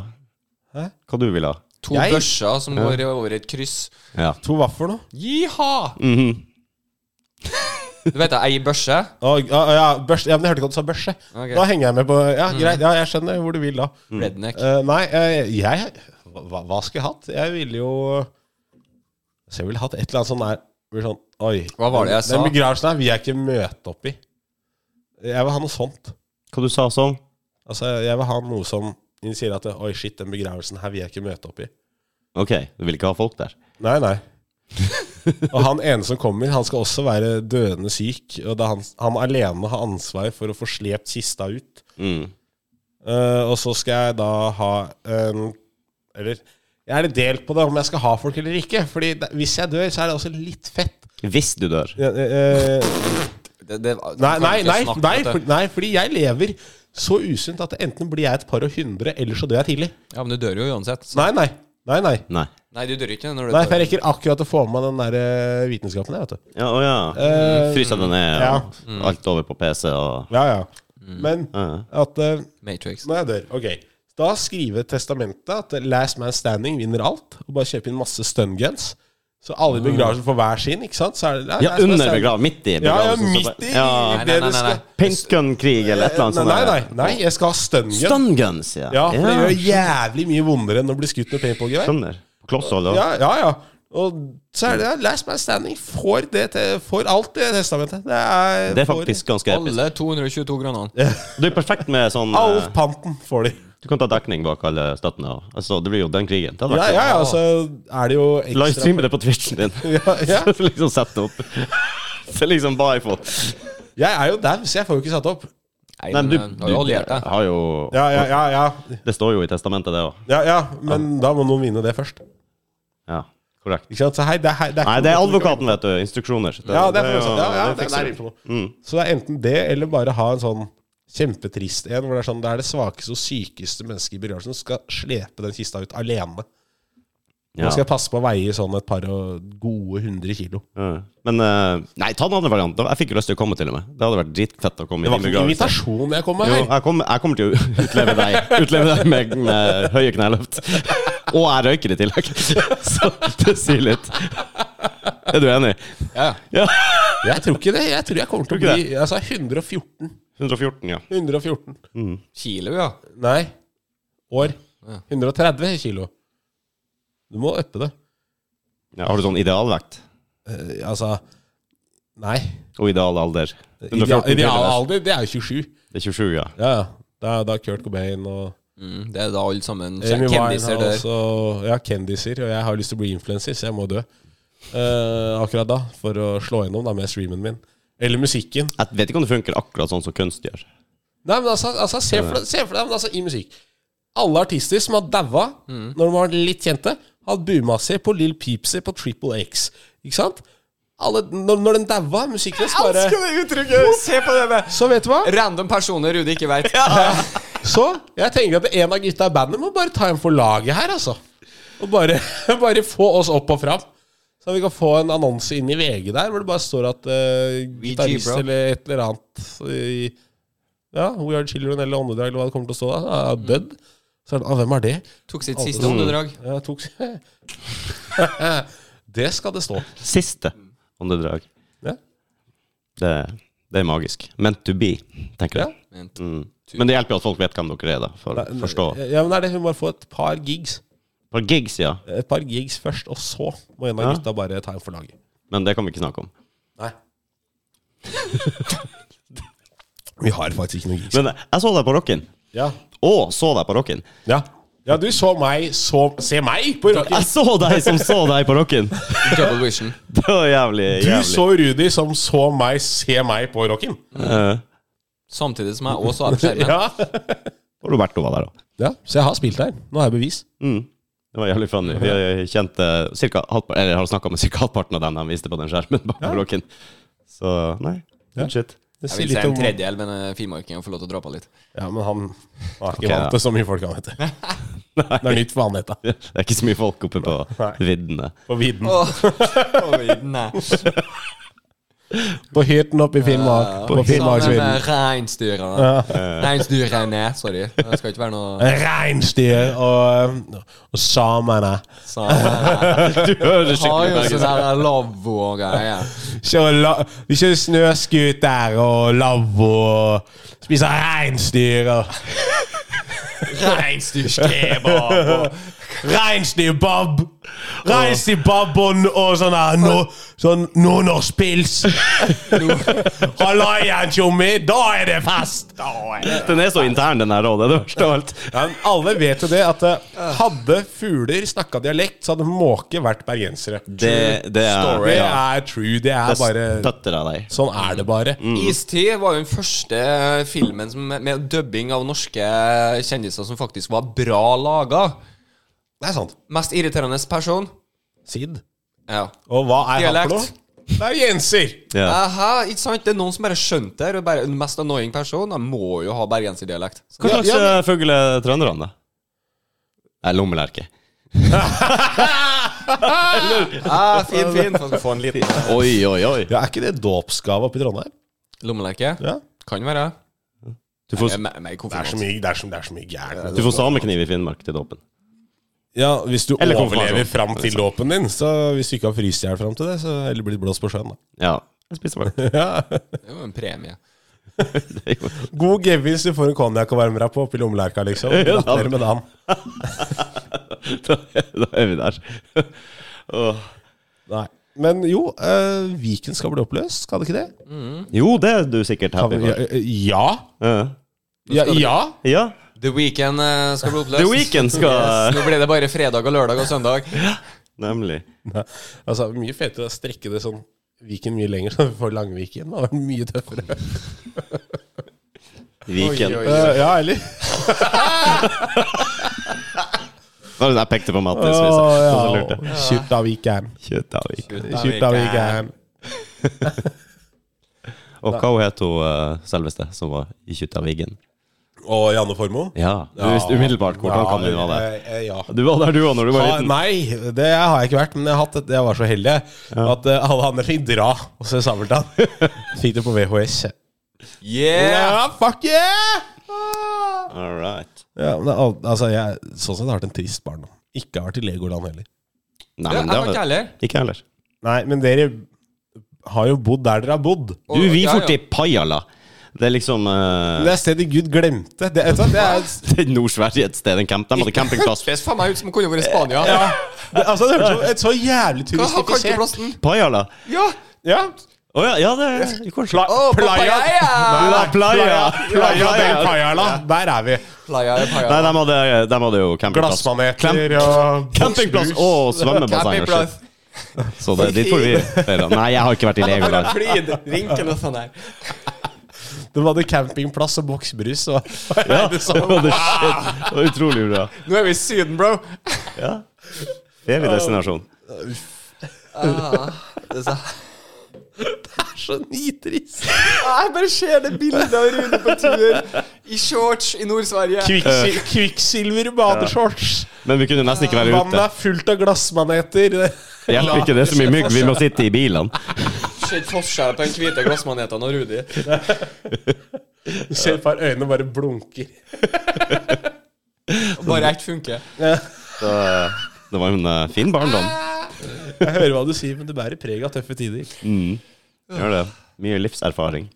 Speaker 3: Hæ?
Speaker 2: Hva du vil ha?
Speaker 1: To
Speaker 3: Jeg-
Speaker 1: børser som går over et kryss.
Speaker 2: Ja.
Speaker 3: To vafler nå?
Speaker 1: Jiha!
Speaker 2: Mhm.
Speaker 1: Du vet jeg eier børse.
Speaker 3: Å, ja, ja, børs, ja, men jeg hørte ikke at du sa børse.
Speaker 1: Ok. Mm.
Speaker 3: Da henger jeg med på Ja, greit. Ja, jeg skjønner hvor du vil da.
Speaker 1: Redneck.
Speaker 3: Eh, nei, eh, jeg hva, hva skulle jeg hatt? Jeg ville jo Så jeg ville hatt et eller annet sånn der hvor sånn, Oi.
Speaker 1: Hva var det jeg sa?
Speaker 3: Den begravelsen her vil jeg ikke møte opp i. Jeg vil ha noe sånt.
Speaker 2: Hva du sa sånn?
Speaker 3: Altså, jeg vil ha noe som initierer at Oi, shit, den begravelsen her vil jeg ikke møte opp i.
Speaker 2: Ok, du vil ikke ha folk der?
Speaker 3: Nei, nei. og han ene som kommer, han skal også være dødende syk. Og da han, han alene har ansvar for å få slept kista ut.
Speaker 2: Mm.
Speaker 3: Eh, og så skal jeg da ha en Eller jeg er litt delt på det om jeg skal ha folk eller ikke. Fordi det, hvis jeg dør, så er det også litt fett.
Speaker 2: Hvis du dør.
Speaker 3: Eh, eh, eh,
Speaker 1: Det, det,
Speaker 3: nei, nei, nei,
Speaker 1: Snakke,
Speaker 3: nei,
Speaker 1: vet du.
Speaker 3: for, nei, fordi jeg lever så usunt at enten blir jeg et par og hundre, eller så dør jeg tidlig.
Speaker 1: Ja, men du dør jo uansett. Så.
Speaker 3: Nei, nei. Nei, nei.
Speaker 2: Nei.
Speaker 1: Nei, du dør ikke når du
Speaker 3: nei for jeg rekker akkurat å få med meg den der eh, vitenskapen, jeg, vet du.
Speaker 2: Ja, å ja.
Speaker 3: Eh,
Speaker 2: Frysa den ned,
Speaker 3: ja.
Speaker 2: og alt over på PC og
Speaker 3: Ja, ja. Men
Speaker 2: Mm. Ja.
Speaker 3: at eh,
Speaker 1: Matrix.
Speaker 3: Når jeg dør, ok. Da skriver testamentet at Last Man Standing vinner alt, og bare kjøper inn masse stun guns. Så alle i begravelsen får hver sin, ikke sant? Så er det, det
Speaker 2: Mm. Ja,
Speaker 3: er Last Man
Speaker 2: under
Speaker 3: Standing.
Speaker 2: begrav, midt i
Speaker 3: Ja, ja,
Speaker 2: begravelsen, så
Speaker 3: midt
Speaker 2: bare-
Speaker 3: i
Speaker 2: Ja.
Speaker 1: Nei, nei,
Speaker 3: det du
Speaker 1: nei, nei.
Speaker 3: skal
Speaker 2: Paintgun-krig eller et eller annet
Speaker 3: Nei,
Speaker 2: sånt.
Speaker 3: nei, nei,
Speaker 2: der.
Speaker 3: nei, jeg skal ha stun gun.
Speaker 2: Stun guns, ja.
Speaker 3: Ja, for det
Speaker 2: Ja,
Speaker 3: gjør jævlig mye vondere enn å bli skutt med paintballgevær.
Speaker 2: Skjønner. Klosshold og
Speaker 3: Ja, ja, ja. Og så er det ja, Last Man Standing får, det til, får alt det testamentet. Det er,
Speaker 2: Det er
Speaker 3: får-
Speaker 2: faktisk ganske episk.
Speaker 1: Alle 222 kronene.
Speaker 2: Det er perfekt med sånn
Speaker 3: All
Speaker 2: eh,
Speaker 3: panten får de.
Speaker 2: Du kan ta dekning bak alle støttene. og- Altså, det blir jo den krigen. Det hadde
Speaker 3: Ja,
Speaker 2: vært
Speaker 3: ja, ja, så er det jo
Speaker 2: kul.
Speaker 3: ekstra
Speaker 2: Livestreame det på Twitchen din.
Speaker 3: ja, ja.
Speaker 2: Så liksom sett det opp. Så liksom bare få
Speaker 3: Jeg er jo dau, så jeg får jo ikke satt opp.
Speaker 1: Nei,
Speaker 2: Nei, men
Speaker 1: men
Speaker 2: du,
Speaker 1: eh, du har jo alliert deg.
Speaker 2: har jo
Speaker 3: Ja, ja, ja, ja.
Speaker 2: Det står jo i testamentet, det òg.
Speaker 3: Ja, ja, men da må noen vinne det først.
Speaker 2: Ja, korrekt.
Speaker 3: Ikke sant? Så hei, det, er- hei, det er
Speaker 2: Nei, det er advokaten, vet du. Instruksjoner. Det-
Speaker 3: Ja, det er
Speaker 2: jo-
Speaker 3: for noe sånt. Ja, ja,
Speaker 2: det
Speaker 3: det er
Speaker 2: fikser
Speaker 3: der
Speaker 2: du.
Speaker 3: inne på noe.
Speaker 2: Mm.
Speaker 3: Så det er enten det, eller bare ha en sånn kjempetrist en, hvor det er sånn, det er det svakeste og sykeste mennesket i begravelsen som skal slepe den kista ut alene.
Speaker 2: Ja.
Speaker 3: Man skal passe på å veie sånn et par og gode hundre kilo.
Speaker 2: Ja. Men eh, Nei, ta den andre varianten. Jeg fikk jo lyst til å komme, til og med. Det hadde vært dritfett å komme
Speaker 3: Det
Speaker 2: i
Speaker 3: var
Speaker 2: din
Speaker 3: ikke en
Speaker 2: begravelse.
Speaker 3: invitasjon jeg kom med
Speaker 2: Jo,
Speaker 3: her.
Speaker 2: jeg, kommer- jeg kommer til å utleve deg Utleve deg med, med høye kneløft. Og jeg røyker i tillegg. Så det sier litt. Er du enig?
Speaker 1: Ja.
Speaker 2: Ja.
Speaker 3: Jeg tror ikke det. Jeg tror jeg kommer til å
Speaker 2: Tror ikke
Speaker 3: bli altså, Jeg sa 114.
Speaker 2: 114, ja. Mm.
Speaker 3: 114.
Speaker 1: Kilo, ja.
Speaker 3: Nei. År. 130 kilo. Du må øppe det.
Speaker 2: ja. Har du sånn idealvekt?
Speaker 3: Eh, altså Nei.
Speaker 2: Og ideal alder?
Speaker 3: Ideal,
Speaker 2: 114
Speaker 3: ideal
Speaker 2: tydeligvis.
Speaker 3: alder, det er jo 27.
Speaker 2: Det er 27, ja.
Speaker 3: Ja, ja. Da, da Kurt Cobain og
Speaker 1: Mm, det er da alle sammen
Speaker 3: Amy
Speaker 1: kjendiser dør.
Speaker 3: Winehouse og ja, kendiser. Og jeg har lyst til å bli influenser, så jeg må dø. Eh, akkurat da, for å slå gjennom da med streamen min. Eller musikken.
Speaker 2: Jeg vet ikke om det funker akkurat sånn som kunst gjør.
Speaker 3: Nei, men altså, altså se, for deg, se for deg men altså, i musikk. Alle artister som har daua når de var litt kjente, hadde booma seg på Lill Peepsy på Triple X. Ikke sant? Alle, når, når den daua, musikken deres bare
Speaker 1: det uttrykket! Se på det med
Speaker 3: Så vet du hva?
Speaker 1: Random personer Rudi ikke veit.
Speaker 3: Så jeg tenker at en av gutta i bandet må bare ta en for laget her, altså. Og bare, bare få oss opp og fram. Så vi kan få en annonse inn i VG der hvor det bare står at uh,
Speaker 1: VG,
Speaker 3: gitarist
Speaker 1: bro.
Speaker 3: eller et eller annet i, Ja, We Are Children eller Åndedrag eller hva det kommer til å stå der, er
Speaker 2: Mm.
Speaker 3: dødd. Så er det, ah, hvem er det?
Speaker 1: Tok sitt siste
Speaker 3: sånn.
Speaker 1: åndedrag.
Speaker 3: Jeg tok Det skal det stå.
Speaker 2: Siste åndedrag.
Speaker 3: Ja.
Speaker 2: Det, det er magisk. Meant to be, tenker jeg.
Speaker 1: Vent.
Speaker 2: Mm. Men det hjelper jo at folk vet hvem dere er, da. For å forstå.
Speaker 3: Ja, men det er det, Hun må få et par gigs.
Speaker 2: På gigs, ja.
Speaker 3: Et par gigs først, og så må en av
Speaker 2: Ja.
Speaker 3: gutta bare ta en for laget.
Speaker 2: Men det kan vi ikke snakke om.
Speaker 3: Nei. Vi har faktisk ikke noe gigs.
Speaker 2: Men jeg så deg på Rocken.
Speaker 3: Ja.
Speaker 2: Å, så deg på Rocken.
Speaker 3: ja. Ja, du så meg så Se meg på rocken!
Speaker 2: Jeg så deg som så deg på Rocken!
Speaker 1: Double vision.
Speaker 2: Det var jævlig,
Speaker 3: Du
Speaker 2: jævlig.
Speaker 3: så Rudi som så meg se meg på rocken.
Speaker 2: Eh,
Speaker 1: Samtidig som jeg også er på skjermen.
Speaker 3: Ja.
Speaker 2: og Roberto var der òg.
Speaker 3: ja. Så jeg har spilt der. Nå har jeg bevis.
Speaker 2: Mm. Det var jævlig funny. Vi har kjent eh, cirka halvpar- eller jeg har snakka med ca. halvparten av dem de viste på den skjermen bak på Rocken. Så nei, good shit.
Speaker 3: Det
Speaker 1: Jeg
Speaker 3: sier
Speaker 1: vil si
Speaker 3: litt
Speaker 1: en
Speaker 3: om
Speaker 1: tredjedel, men eh, finnmarkingen får lov til å dra på litt.
Speaker 3: Ja, men han, han er ikke
Speaker 2: Ok, da.
Speaker 3: vant til så mye folk, han, vet du. Det er nytt for han, dette.
Speaker 2: Det er ikke så mye folk oppe på
Speaker 3: Nei.
Speaker 2: viddene.
Speaker 3: På vidden.
Speaker 1: Åh, nei.
Speaker 3: På hyrten oppe i Finnmark.
Speaker 1: Ja, Sånn
Speaker 3: på
Speaker 1: Sammen
Speaker 3: Finnmarksvidden.
Speaker 1: med eh, reinsdyrene. Reinsdyrene, sorry. Det skal ikke være noe
Speaker 3: Reinsdyr og, og samene.
Speaker 1: samer.
Speaker 2: Du
Speaker 1: sånn, eh, Har
Speaker 2: hører
Speaker 1: jo
Speaker 2: skikkelig
Speaker 1: sånn
Speaker 2: bergensk
Speaker 1: der lavvo og greier.
Speaker 3: Kjører, la, vi kjører snøscooter og lavvo og spiser reinsdyr og
Speaker 1: Reinsdyrkebab og
Speaker 3: Reinsdyrbob! Reinsdyrbobbon og sånn her no, Sånn nordnorsk pils. Hallaien, tjommi! Da er det fest! Da er det
Speaker 2: Den er så intern, den her rådet. Det verste av alt.
Speaker 3: Ja, men alle vet jo det at eh, hadde fugler snakka dialekt, så hadde måker vært bergensere.
Speaker 2: Det, det er
Speaker 3: Det
Speaker 2: ja,
Speaker 3: er true. Det er bare
Speaker 2: det Støtter av deg.
Speaker 3: Sånn er det bare.
Speaker 1: Istid var jo den første eh, filmen som, med dubbing av norske eh, kjendiser som faktisk var bra laga.
Speaker 3: Det er sant.
Speaker 1: Mest irriterende person?
Speaker 3: Sid.
Speaker 1: Ja.
Speaker 3: Og hva er han for
Speaker 1: Dialekt.
Speaker 3: noe? Det er jo jenser!
Speaker 2: Ja.
Speaker 1: Aha, ikke sant? Det er noen som bare skjønte det. og Bare, den mest annoying personen han må jo ha bergenserdialekt.
Speaker 2: Hva
Speaker 3: Ja,
Speaker 2: slags
Speaker 3: ja,
Speaker 2: eh, fugl er trønderne, da? Nei, lommelerke.
Speaker 1: Ah, fin, fin. Få- Få en liten
Speaker 2: Oi, oi, oi.
Speaker 3: Ja, Er ikke det dåpsgave oppe i Trondheim?
Speaker 1: lommelerke.
Speaker 3: Ja.
Speaker 1: Kan være.
Speaker 2: Du får,
Speaker 1: Jeg er mer
Speaker 3: Det er så
Speaker 1: konfirmant.
Speaker 3: mye, det er så, det er så mye gærent.
Speaker 2: du får samekniv i Finnmark til dåpen.
Speaker 3: Ja, hvis du
Speaker 2: Eller
Speaker 3: overlever
Speaker 2: konfirmasjon.
Speaker 3: fram til dåpen din, så hvis du ikke har fryst i hjel fram til det, så eller blitt blåst på sjøen, da.
Speaker 2: Ja. Jeg spiser bare.
Speaker 1: Det er jo en premie.
Speaker 2: Det er jo-
Speaker 3: God gevinst du får en konjakk å varme deg på oppi lommelerka, liksom. Gratulerer med dagen.
Speaker 2: Da da er vi der. Åh.
Speaker 3: Nei. Men jo, eh, Viken skal bli oppløst, skal det ikke det?
Speaker 2: Jo, det er du sikkert
Speaker 3: Kan
Speaker 2: happy
Speaker 3: vi, ja,
Speaker 2: for.
Speaker 3: ja.
Speaker 2: Ja.
Speaker 3: ja, ja.
Speaker 2: Ja.
Speaker 1: The Weekend eh, skal bli oppløst.
Speaker 2: The Weekend skal-
Speaker 1: Yes, Nå blir det bare fredag og lørdag og søndag.
Speaker 2: Nemlig.
Speaker 3: Nei. Altså, mye fetere å strekke det sånn Viken mye lenger, så vi får Langviken. Det hadde vært mye tøffere.
Speaker 2: Viken.
Speaker 1: Oi, oi,
Speaker 3: Eh, ja, eller?
Speaker 2: Var det der jeg pekte på Mattis? hvis
Speaker 3: Åh,
Speaker 2: jeg- hvis jeg
Speaker 3: ja.
Speaker 2: lurte.
Speaker 3: Skjøtt av Viken.
Speaker 2: Shit, ja, Viken.
Speaker 3: Skjøtt av Viken.
Speaker 2: Og hva hun het hun eh, selveste som var i Kjuttavigen?
Speaker 3: Og Janne Formoe?
Speaker 2: Ja, du visste umiddelbart hvordan kan hun være der.
Speaker 3: eh, eh, Ja.
Speaker 2: Du var der du òg når du var
Speaker 3: Ha,
Speaker 2: liten.
Speaker 3: nei, det har jeg ikke vært, men jeg, har hatt et, jeg var så heldig at eh, alle andre fikk dra og se Sabeltann. fikk det på VHS.
Speaker 1: Yeah!
Speaker 3: fuck yeah!
Speaker 2: All right.
Speaker 3: Ja, men det, al- altså, jeg, sånn sett har jeg vært en trist barn. Ikke har vært i Legoland heller.
Speaker 2: Nei,
Speaker 1: Det er
Speaker 2: men det
Speaker 1: ikke
Speaker 2: var
Speaker 1: heller.
Speaker 2: Ikke jeg heller.
Speaker 3: Nei, men dere har jo bodd der dere har bodd.
Speaker 2: Du,
Speaker 1: Og-
Speaker 2: vi
Speaker 1: ja,
Speaker 2: for
Speaker 1: ja.
Speaker 2: til Pajala. Det er liksom eh,
Speaker 3: Det er stedet Gud glemte. Det, vet du hva, det er,
Speaker 2: Det er Nord-Sverige et sted. En camp. De hadde campingplass.
Speaker 1: Det ser faen meg ut som det kunne vært i Spania. Ja.
Speaker 3: det, altså, det høres ut som et så jævlig
Speaker 1: Hva har
Speaker 3: turistifisert
Speaker 1: kanteplassen?
Speaker 2: Pajala.
Speaker 1: Ja!
Speaker 3: ja.
Speaker 2: Å ja, ja, det er Hvor
Speaker 1: Å, på
Speaker 3: Playa.
Speaker 1: Playa!
Speaker 2: La Playa.
Speaker 3: Playa del
Speaker 2: Playa.
Speaker 3: Pajala. Der er vi.
Speaker 1: Playa er Playa.
Speaker 2: Nei, de hadde, de hadde jo campingplass.
Speaker 3: Glassmaneter og
Speaker 2: Campingplass og svømmebasseng og shit.
Speaker 1: Campingplass.
Speaker 2: Så det, dit får vi feire. Nei, jeg har ikke vært i Legoland.
Speaker 1: Flid, vinkel og sånn her.
Speaker 3: De hadde campingplass og boksbrus. Og
Speaker 2: Ja, det var utrolig bra.
Speaker 1: Nå er vi i Syden, bro.
Speaker 2: Ja. Det er vi destinasjon.
Speaker 1: Det sa-
Speaker 3: så nitrist.
Speaker 1: Ah, Jeg bare ser det bildet av Rune på tur i shorts i Nord-Sverige.
Speaker 3: Kvikksil Kvikksilver Eh. i badeshorts.
Speaker 2: Men vi kunne nesten ikke være
Speaker 3: Vannet
Speaker 2: ute.
Speaker 3: er fullt av glassmaneter.
Speaker 2: Det Hjelper ikke det så mye mygg. Vi må sitte i bilene.
Speaker 1: Ser ikke forskjell på den hvite glassmaneten og Rudi.
Speaker 3: Du ser et par øyne bare blunker.
Speaker 1: Bare ett funker.
Speaker 2: Så, Det var en eh, fin barndom.
Speaker 3: Jeg hører hva du sier, men det bærer preg av tøffe tider.
Speaker 2: Gjør det. Mye livserfaring.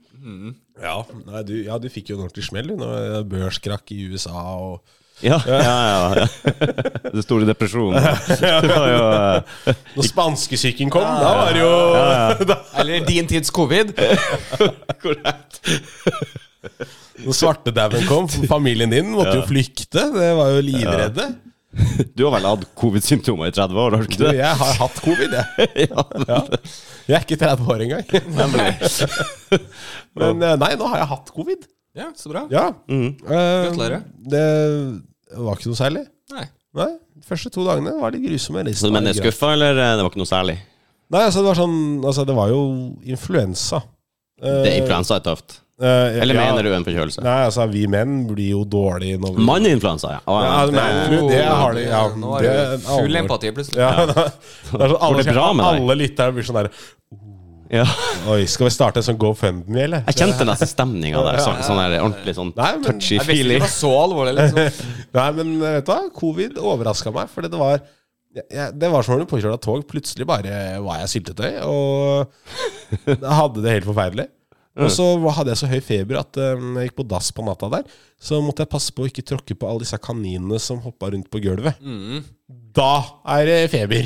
Speaker 3: Ja, nei, du, ja, du fikk jo en ordentlig smell du, når det er børskrakk i USA og
Speaker 2: Ja, ja, ja. ja. Den store depresjonen. Det var jo eh,
Speaker 3: Når spanskesyken kom, da var det jo
Speaker 1: Eller din tids covid.
Speaker 2: korrekt.
Speaker 3: Når svartedauden kom, familien din måtte jo flykte. Det var jo livredde.
Speaker 2: Du har vel hatt covid-symptomer i 30 år, har du
Speaker 3: Du,
Speaker 2: ikke det?
Speaker 3: jeg har hatt covid, jeg.
Speaker 2: Ja.
Speaker 3: Jeg er ikke 30 år engang. Men eh, nei, nå har jeg hatt covid.
Speaker 1: Ja, så bra.
Speaker 3: Ja.
Speaker 2: Mm.
Speaker 3: Eh,
Speaker 1: Gratulerer.
Speaker 3: Det var ikke noe særlig.
Speaker 1: Nei.
Speaker 3: Nei, De første to dagene var litt grusomme.
Speaker 2: Så
Speaker 3: resten
Speaker 2: du mener
Speaker 3: var greit.
Speaker 2: skuffa, eller eh, det var ikke noe særlig?
Speaker 3: Nei, altså det var sånn Altså, det var jo influensa.
Speaker 2: Det er influensa er tøft.
Speaker 3: Eh,
Speaker 2: Eller
Speaker 3: ja.
Speaker 2: mener du en forkjølelse?
Speaker 3: Nei, altså, vi menn blir jo dårlige når vi
Speaker 2: Manninfluensa, ja. Å,
Speaker 3: Ja,
Speaker 2: ja.
Speaker 3: men du, det har de ja,
Speaker 1: Nå har
Speaker 3: det
Speaker 1: du
Speaker 3: er
Speaker 1: full
Speaker 3: alvor.
Speaker 1: empati, plutselig.
Speaker 3: Ja, det er sånn
Speaker 2: Går
Speaker 3: alle,
Speaker 2: det bra med deg?
Speaker 3: alle lyttere blir sånn der
Speaker 2: ja.
Speaker 3: Oi, skal vi starte en sånn GoFundMe, eller?
Speaker 2: Jeg kjente nesten stemninga der. Sånn, sånn der ordentlig sånn
Speaker 3: Nei, men-
Speaker 2: touchy
Speaker 1: Jeg visste ikke det
Speaker 2: feeling.
Speaker 1: var så alvorlig. Liksom.
Speaker 3: Nei, men eh, vet du hva? Covid overraska meg, fordi det var jeg, jeg- det var som om du påkjørt av tog. Plutselig bare var jeg syltetøy, og jeg hadde det helt forferdelig. Og så var- hadde jeg så høy feber at eh, når jeg gikk på dass på natta der, så måtte jeg passe på å ikke tråkke på alle disse kaninene som hoppa rundt på gulvet.
Speaker 1: Mm.
Speaker 3: Da er det feber!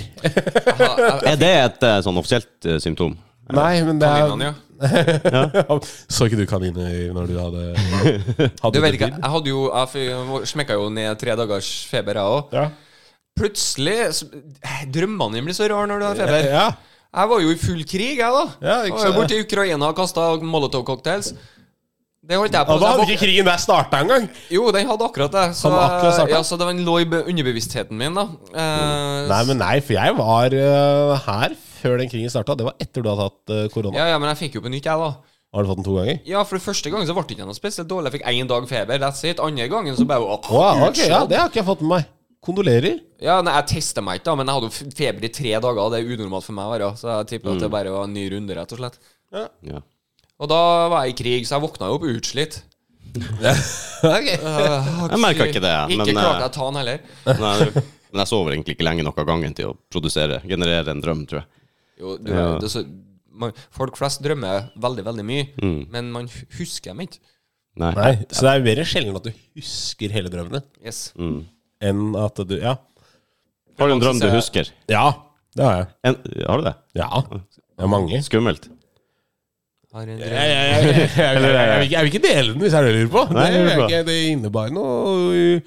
Speaker 2: Er det et eh, sånn offisielt eh, symptom?
Speaker 3: Nei, men det
Speaker 1: Kaninene,
Speaker 3: er
Speaker 1: ja.
Speaker 3: Så ikke du kaniner når du hadde, hadde
Speaker 1: Du vet ikke,
Speaker 3: covid?
Speaker 1: jeg hadde jo Jeg smekka jo ned tre dagers feber, jeg òg.
Speaker 3: Ja.
Speaker 1: Plutselig så- Drømmene dine blir så rare når du har feber.
Speaker 3: ja.
Speaker 1: Jeg var jo i full krig, jeg, da.
Speaker 3: Ja,
Speaker 1: jeg
Speaker 3: ikke
Speaker 1: var jo
Speaker 3: sant?
Speaker 1: borte i Ukraina og kasta Molotov-cocktails. Det holdt jeg på
Speaker 3: Og da hadde
Speaker 1: så Altså, jeg
Speaker 3: ikke krigen der starta engang!
Speaker 1: våk- Jo, den hadde akkurat det. Så,
Speaker 3: Hadde akkurat startet?
Speaker 1: ja, så det var den lå i be- underbevisstheten min, da. Eh,
Speaker 3: Nei, men nei, for jeg var eh, her før den krigen starta. Det var etter du hadde tatt eh, korona.
Speaker 1: ja, ja, men jeg fikk jo på nytt, jeg, da.
Speaker 3: Har du fått den to ganger?
Speaker 1: Ja, for det første gangen så ble det ikke noe spesielt dårlig. Jeg fikk én dag feber, that's it. Andre gangen så bare åh,
Speaker 3: Wow, ok,
Speaker 1: utslått.
Speaker 3: ja, Det har ikke jeg fått med meg. Kondolerer.
Speaker 1: Ja, nei, Jeg testa meg ikke, da, men jeg hadde jo f- feber i tre dager. og Det er unormalt for meg. å være, Så jeg tipper
Speaker 3: Mm.
Speaker 1: at det bare var en ny runde, rett og slett.
Speaker 2: Ja.
Speaker 1: Og da var jeg i krig, så jeg våkna jo opp utslitt.
Speaker 2: Jeg
Speaker 1: Jeg
Speaker 2: merket ikke det,
Speaker 1: Ikke
Speaker 2: men,
Speaker 1: klarte
Speaker 2: eh,
Speaker 1: jeg å ta den heller.
Speaker 2: Nei, det- men jeg sover egentlig ikke lenge nok av gangen til å produsere, generere en drøm, tror jeg.
Speaker 1: Jo, du, det, er så, man, folk flest drømmer veldig, veldig mye,
Speaker 3: Mm.
Speaker 1: men man hu- husker dem ikke.
Speaker 2: Nei.
Speaker 3: Nei, Så det er mer sjelden at du husker hele drømmen din,
Speaker 1: Yes.
Speaker 3: enn at du Ja.
Speaker 2: Mm. Har du en drøm du husker?
Speaker 3: Ja, det har jeg.
Speaker 2: En, har du det?
Speaker 3: Ja. Det er mange.
Speaker 2: Skummelt.
Speaker 1: Har en
Speaker 3: Jeg,
Speaker 1: drøm.
Speaker 3: jeg, jeg, jeg, jeg, jeg, vil- jeg, vil- jeg vil ikke dele den, hvis jeg lurer på.
Speaker 2: Nei, jeg
Speaker 3: det,
Speaker 2: lurer på.
Speaker 3: er ikke- det innebar noe uh,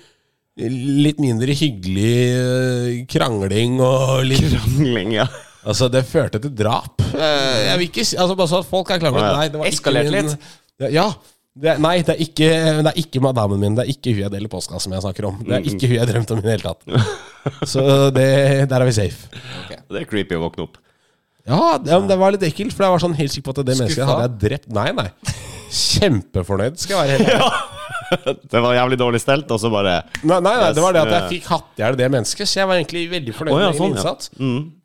Speaker 3: litt mindre hyggelig uh, krangling og litt
Speaker 2: Krangling, ja.
Speaker 3: Altså, det førte til drap. Eh, Jeg vil ikke si Altså, bare så at folk er klar over
Speaker 2: Å,
Speaker 3: det.
Speaker 2: ja.
Speaker 3: Nei, det var
Speaker 1: Eskalert
Speaker 3: ikke min,
Speaker 1: litt.
Speaker 3: Ja, Ja. Det er, nei, det er, ikke, det er ikke madammen min. Det er ikke hun jeg deler postkasse med, jeg snakker om. Det er ikke hun jeg drømte om i det hele tatt. Så det, der er vi safe.
Speaker 2: Det er creepy å våkne opp.
Speaker 3: Ja, det, ja, men det var litt ekkelt, for jeg var sånn helt sikker på at det mennesket
Speaker 1: Skuffa?
Speaker 3: hadde jeg drept. Nei, nei. Kjempefornøyd, skal jeg være helt ærlig.
Speaker 2: Det var jævlig dårlig stelt, og så bare
Speaker 3: Nei, nei, nei, det var det at jeg
Speaker 2: Yes.
Speaker 3: fikk hatt i hjel det mennesket, så jeg var egentlig veldig fornøyd
Speaker 2: Å, ja,
Speaker 3: med min
Speaker 2: sånn, ja.
Speaker 3: innsats.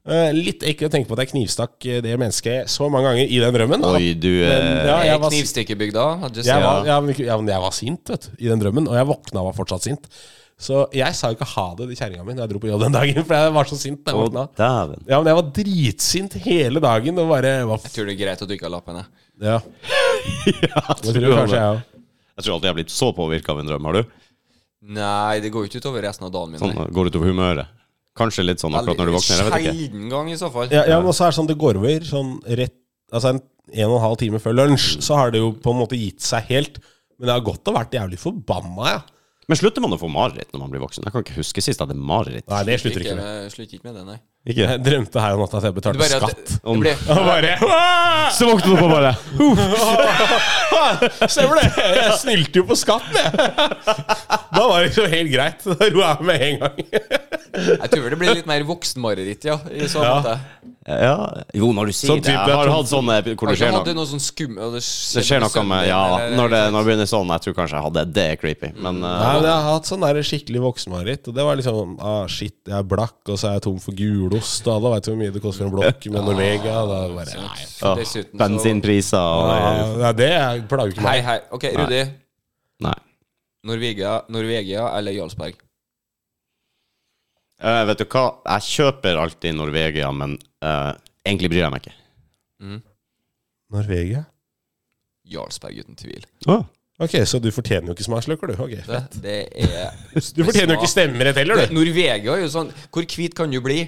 Speaker 3: Eh, Litt ekkelt å tenke på at jeg knivstakk eh, det mennesket så mange ganger i den drømmen. at-
Speaker 2: Oi, du eh,
Speaker 3: Men, ja,
Speaker 1: Jeg
Speaker 3: jeg
Speaker 1: er
Speaker 3: var
Speaker 1: knivstikkebygda. I'll just
Speaker 3: Jeg
Speaker 1: say
Speaker 3: var, ja, men, ikke- ja, men jeg var sint vet du, i den drømmen, og jeg våkna og var fortsatt sint. Så jeg sa jo ikke ha det til kjerringa mi da jeg dro på jobb den dagen, for jeg var så sint da jeg
Speaker 2: Å,
Speaker 3: våkna.
Speaker 2: dæven.
Speaker 3: Ja, men jeg var dritsint hele dagen og bare var
Speaker 1: Jeg tror det er greit at du ikke har lappen. jeg.
Speaker 3: Ja, det tror
Speaker 2: han
Speaker 3: kanskje jeg òg.
Speaker 2: Jeg tror alltid jeg har blitt så påvirka av en drøm, har du?
Speaker 1: Nei, det går jo ikke utover resten av dagen min.
Speaker 2: Sånn,
Speaker 1: nei.
Speaker 2: Går utover humøret. Kanskje litt sånn akkurat når du våkner, jeg vet ikke.
Speaker 1: Sjelden gang, i så fall.
Speaker 3: Ja, ja, men også er det sånn det går over sånn rett Altså en, en og en halv time før lunsj, så har det jo på en måte gitt seg helt. Men det har godt å vært jævlig forbanna, ja.
Speaker 2: Men slutter man å få mareritt når man blir voksen? Jeg kan ikke huske sist jeg hadde mareritt.
Speaker 3: Nei, det slutter
Speaker 1: Ikke
Speaker 3: ikke med.
Speaker 1: med- Slutter ikke med det, nei.
Speaker 2: Ikke?
Speaker 3: Jeg drømte her om natta at jeg
Speaker 1: Du
Speaker 3: betalte
Speaker 1: bare-
Speaker 3: skatt.
Speaker 1: det- det ble-
Speaker 3: Og bare
Speaker 2: Så våkner du opp og bare
Speaker 3: Stemmer det! Jeg snylte jo på skatten, jeg. Da var det liksom helt greit. Da roa jeg med en gang.
Speaker 1: Jeg tror det blir litt mer voksenmareritt, ja. I så
Speaker 3: Ja.
Speaker 1: måte.
Speaker 2: Ja, jo, når du sier
Speaker 3: Sånn
Speaker 2: det.
Speaker 3: type-
Speaker 2: Jeg har hatt sånne
Speaker 1: Har
Speaker 2: hvor det
Speaker 1: ikke
Speaker 2: skjer
Speaker 1: hatt
Speaker 2: noe.
Speaker 1: det noe sånn skum... og Det
Speaker 2: Det skjer noe med Ja,
Speaker 1: eller-
Speaker 2: når det, når det begynner sånn. Jeg tror kanskje jeg hadde det. Det er creepy. Men
Speaker 3: Nei,
Speaker 2: eh,
Speaker 3: men Jeg har hatt sånn der skikkelig voksenmareritt. Og Det var liksom ah, Shit, jeg er blakk, og så er jeg tom for gulost. Da, da veit du hvor mye det koster en blokk med Norvega. Da bare, nei.
Speaker 2: ja,
Speaker 1: Dessuten så-
Speaker 2: bensinpriser og
Speaker 3: Nei, det er- plager ikke
Speaker 1: Hei,
Speaker 3: meg.
Speaker 1: hei. Ok, Rudi.
Speaker 2: Nei.
Speaker 1: Norvegia, Norvegia eller Jarlsberg?
Speaker 2: Eh, vet du hva, jeg kjøper alltid Norvegia, men eh, egentlig bryr jeg meg ikke.
Speaker 3: Norvega?
Speaker 1: Jarlsberg, uten tvil.
Speaker 3: Ok, Så du fortjener jo ikke smaksløker, du. Ok
Speaker 1: Det, det er
Speaker 3: Du fortjener jo ikke stemmerett heller,
Speaker 1: Det-
Speaker 3: du.
Speaker 1: Norvegia er jo sånn Hvor hvit kan du bli?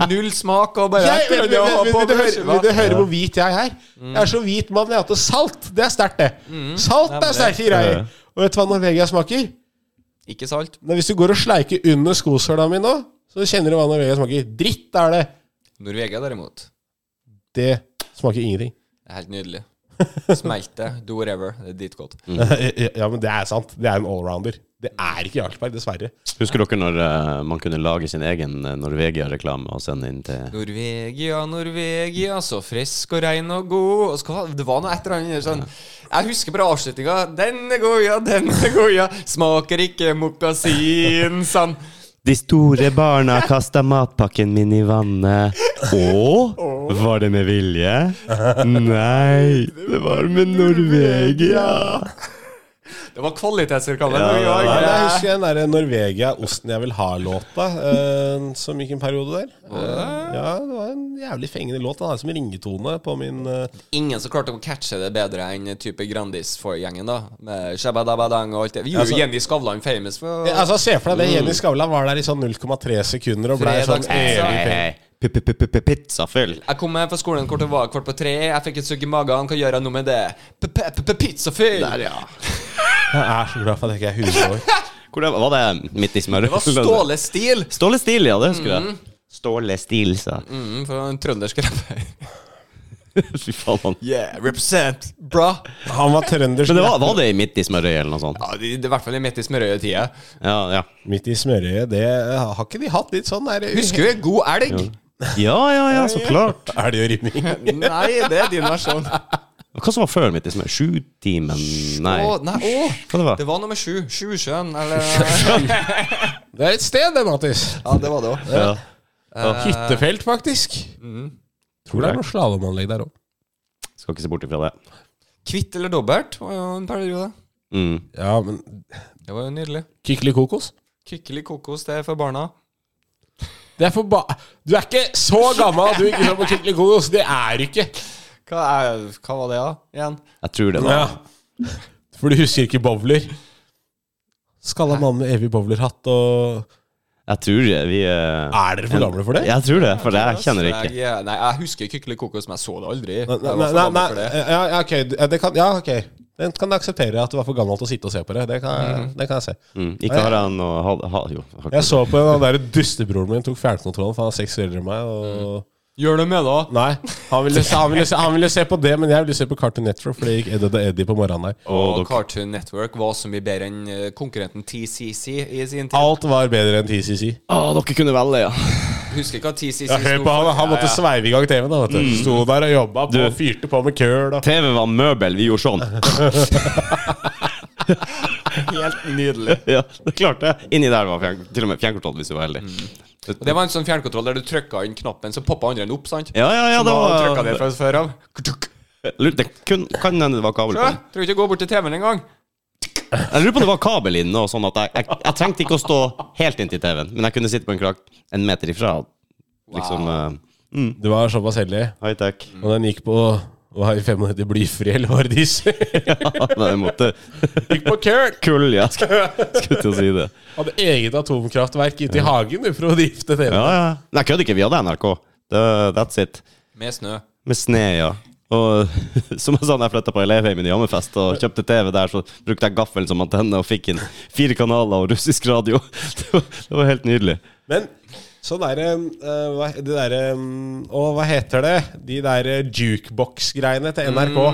Speaker 1: Null smak og bare
Speaker 3: Jeg, vil,
Speaker 1: Etter
Speaker 3: vil,
Speaker 1: det å ha
Speaker 3: vil,
Speaker 1: på
Speaker 3: vil, du høre,
Speaker 1: brødskiva.
Speaker 3: vil du høre hvor hvit jeg er? Jeg er så hvit mann, jeg har hatt salt. Det er sterkt, Mm. det. Salt er sterke greier. Og vet du hva Norvegia smaker?
Speaker 1: Ikke salt?
Speaker 3: Nei, hvis du går og sleiker under skosåla mi nå, så kjenner du hva Norvegia smaker. Dritt er det!
Speaker 1: Norvegia, derimot,
Speaker 3: Det smaker ingenting.
Speaker 1: er helt nydelig. Smelte, do whatever. Det er dritgodt.
Speaker 3: ja, men det er sant. Det er en allrounder. Det er ikke Jarlsberg, dessverre.
Speaker 2: Husker dere når eh, man kunne lage sin egen eh, Norvegia-reklame og sende inn til
Speaker 1: Norvegia, Norvegia, så frisk og rein og god og så, hva- Det var noe et eller annet sånn. Jeg husker bare avslutninga. 'Den er god, ja, den er god, ja'. Smaker ikke mokasin, sann.
Speaker 2: De store barna kasta matpakken min i vannet. Og var det med vilje? Nei, det var med Norvegia.
Speaker 1: Det var kvalitetsreklame.
Speaker 2: Ja,
Speaker 1: det var-
Speaker 2: det
Speaker 3: Ja, men jeg husker den der Norvegia-osten jeg vil ha-låta, eh, som gikk en periode der. Eh, ja, Det var en jævlig fengende låt. Den er som ringetone på min eh,
Speaker 1: Ingen som klarte å catche det bedre enn type Grandis-gjengen, da. Med Shabadabadang og alt det. Vi gjorde
Speaker 3: Altså-
Speaker 1: jo Jenny Skavlan famous for
Speaker 3: Ja, altså Se for deg det. Jenny Skavlan var der i sånn 0,3 sekunder og ble sånn
Speaker 1: Fredagspizza.
Speaker 3: evig
Speaker 2: Hei, hei. P-p-p-p-pizza full.
Speaker 1: Jeg kom hjem fra skolen kvart over kvart på tre. Jeg fikk et sugg i magen. Hva gjør jeg nå med det? P-p-p-pizzafyll!
Speaker 2: Der, ja.
Speaker 3: Jeg er så glad for at jeg ikke er 100 år.
Speaker 2: Hvor det, var det midt i smøret?
Speaker 1: Det var Ståle Stil!
Speaker 2: Ståle Stil, ja. Det husker jeg. Ståle Stil, sa jeg.
Speaker 1: Mm, for en trøndersk rapper.
Speaker 2: Fy faen. han-
Speaker 1: Yeah, represent, bra!
Speaker 3: Han var trøndersk.
Speaker 2: Men det var, var det i midt i smørøyet eller noe sånt?
Speaker 1: Ja, det, det er I hvert fall i midt i smørøyetida.
Speaker 2: Ja, ja.
Speaker 3: Midt i smørøyet. Det eh, har ikke de hatt litt sånn der
Speaker 1: Husker du God elg?
Speaker 2: Ja, ja, ja, så klart.
Speaker 3: Er det jo rimming?
Speaker 1: Nei, det er din versjon.
Speaker 2: Hva som var før midt i smørøyet? Sjutimen? Nei.
Speaker 1: Å, nei, å.
Speaker 2: Hva det var?
Speaker 1: Det var nummer sju. Sjusjøen, eller
Speaker 3: Det er et sted, det, Mattis.
Speaker 1: Ja, det var det òg.
Speaker 2: Ja.
Speaker 3: Hyttefelt, faktisk. Mm. Tror det er noe slalåmanlegg der òg.
Speaker 2: Skal ikke se bort ifra det.
Speaker 1: Kvitt eller dobbelt var jo en periode.
Speaker 2: Mm.
Speaker 3: Ja, men
Speaker 1: Det var jo nydelig.
Speaker 3: Kykeli kokos?
Speaker 1: Kykkeli kokos, det er for barna.
Speaker 3: Det er for ba... Du er ikke så gammel at du ikke så på Kykeli kokos. Det er du ikke.
Speaker 1: Hva, er, hva var det, da? Igjen.
Speaker 2: Jeg tror det var
Speaker 3: Ja. For du husker ikke bowler. Skalla mann med evig bowlerhatt og
Speaker 2: Jeg tror det, vi eh,
Speaker 3: Ah, Er dere for gamle for det?
Speaker 2: Jeg tror det, for jeg kjenner det ikke.
Speaker 1: Jeg, eh, nei, jeg husker Kykkeli kokos, men jeg så det aldri. Jeg
Speaker 3: Nei, nei,
Speaker 1: var for
Speaker 3: nei,
Speaker 1: gammel for det.
Speaker 3: nei, ja, ja, ok. du- ja, Det kan, ja, ok. Den kan jeg akseptere at du var for gammel til å sitte og se på det. Det kan, jeg- det kan jeg se.
Speaker 2: Mm. Ikke har jeg noe ha, ha, Jo. har ikke-
Speaker 3: Jeg så på den der dustebroren min tok fjernkontrollen, for han er seks år eldre enn meg. Og
Speaker 1: Gjør det med, da.
Speaker 3: Nei, han ville, se, han, ville se, han ville se på det, men jeg ville se på Cartoon Network, for det gikk Eddie og Eddie på morgenen der.
Speaker 1: Og
Speaker 2: Og dere-
Speaker 1: Cartoon Network var så mye bedre enn eh, konkurrenten TCC i sin tid.
Speaker 3: Alt var bedre enn TCC.
Speaker 2: Å, dere kunne velge, ja.
Speaker 1: Husker ikke hva TCC
Speaker 3: Ja, hør på han, han måtte sveive i gang TV-en. da, vet du. Sto der og jobba på,
Speaker 2: Du.
Speaker 3: fyrte på med køl. og-
Speaker 2: TV var møbel, vi gjorde sånn.
Speaker 1: Helt nydelig.
Speaker 2: Ja, det klarte jeg. Inni der var fjern, til og med fjernkontroll, hvis vi var heldige.
Speaker 1: Det var en sånn fjernkontroll der du trykka inn knappen, så poppa andre enn opp, sant?
Speaker 2: Ja, ja, ja, det
Speaker 1: Trykka ned
Speaker 2: var
Speaker 1: fra før av.
Speaker 2: Lurer- Det kun, kan hende det var kabel på
Speaker 1: Ja,
Speaker 2: den.
Speaker 1: Tror ikke å gå bort til TV-en engang.
Speaker 2: Jeg lurer på om det var kabel inne, og sånn at jeg, jeg, jeg trengte ikke å stå helt inntil TV-en, men jeg kunne sitte på en krakk en meter ifra. Liksom eh,
Speaker 3: Du var såpass heldig.
Speaker 2: high-tech.
Speaker 3: Og den gikk på hva i 95 blyfri, eller var det disse?
Speaker 2: Ja, nei, jeg måtte
Speaker 3: Gikk på køl!
Speaker 2: Kull, ja. Skulle skulle til å si det.
Speaker 3: Hadde eget atomkraftverk ute i hagen du, for å drifte TV.
Speaker 2: Ja, ja. Nei, kødd ikke. Vi hadde NRK. Det, that's it.
Speaker 1: Med snø.
Speaker 2: Med sne, ja. Og som jeg sa da jeg flytta på elevheimen i Hammerfest og kjøpte TV der, så brukte jeg gaffelen som antenne og fikk inn fire kanaler og russisk radio. Det var, det var helt nydelig.
Speaker 3: Men sånn derre uh, Det derre um, Å, hva heter det? De derre jukebox-greiene til NRK.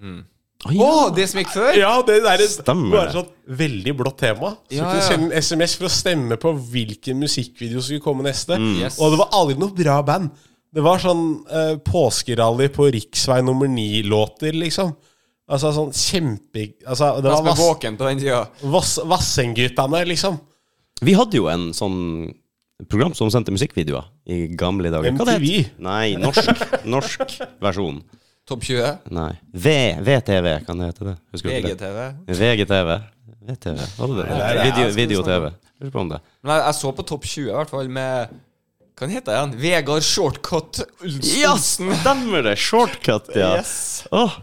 Speaker 2: Mm.
Speaker 1: Å, det som gikk før?
Speaker 3: Ja, det der er
Speaker 2: Stemmer
Speaker 3: bare
Speaker 2: det.
Speaker 3: sånn veldig blått tema. Så
Speaker 1: Ja,
Speaker 3: du kunne
Speaker 1: ja.
Speaker 3: sende en SMS for å stemme på hvilken musikkvideo som skulle komme neste.
Speaker 2: Mm.
Speaker 1: Yes.
Speaker 3: Og det var aldri noe bra band. Det var sånn eh, påskerally på riksvei nummer ni-låter, liksom. Altså sånn kjempe... Altså,
Speaker 1: Jeg
Speaker 3: det var
Speaker 1: var
Speaker 3: vass,
Speaker 1: våken på den tida.
Speaker 3: vass, Vassendgutane, liksom.
Speaker 2: Vi hadde jo en sånn program som sendte musikkvideoer i gamle dager. det
Speaker 3: MTV?
Speaker 2: het? Nei, norsk, norsk versjon.
Speaker 1: Topp 20.
Speaker 2: Nei. V, VTV, kan det hete det? Husker du ikke det?
Speaker 1: VGTV.
Speaker 2: VGTV. VTV, var det det? Video- Video-TV. Lurer på om det.
Speaker 1: Men jeg, jeg så på Topp 20, i hvert fall, med Hva den heter han? Vegard Shortcut Olsen.
Speaker 2: Ja, stemmer det! Shortcut, ja.
Speaker 1: Yes.
Speaker 2: Åh,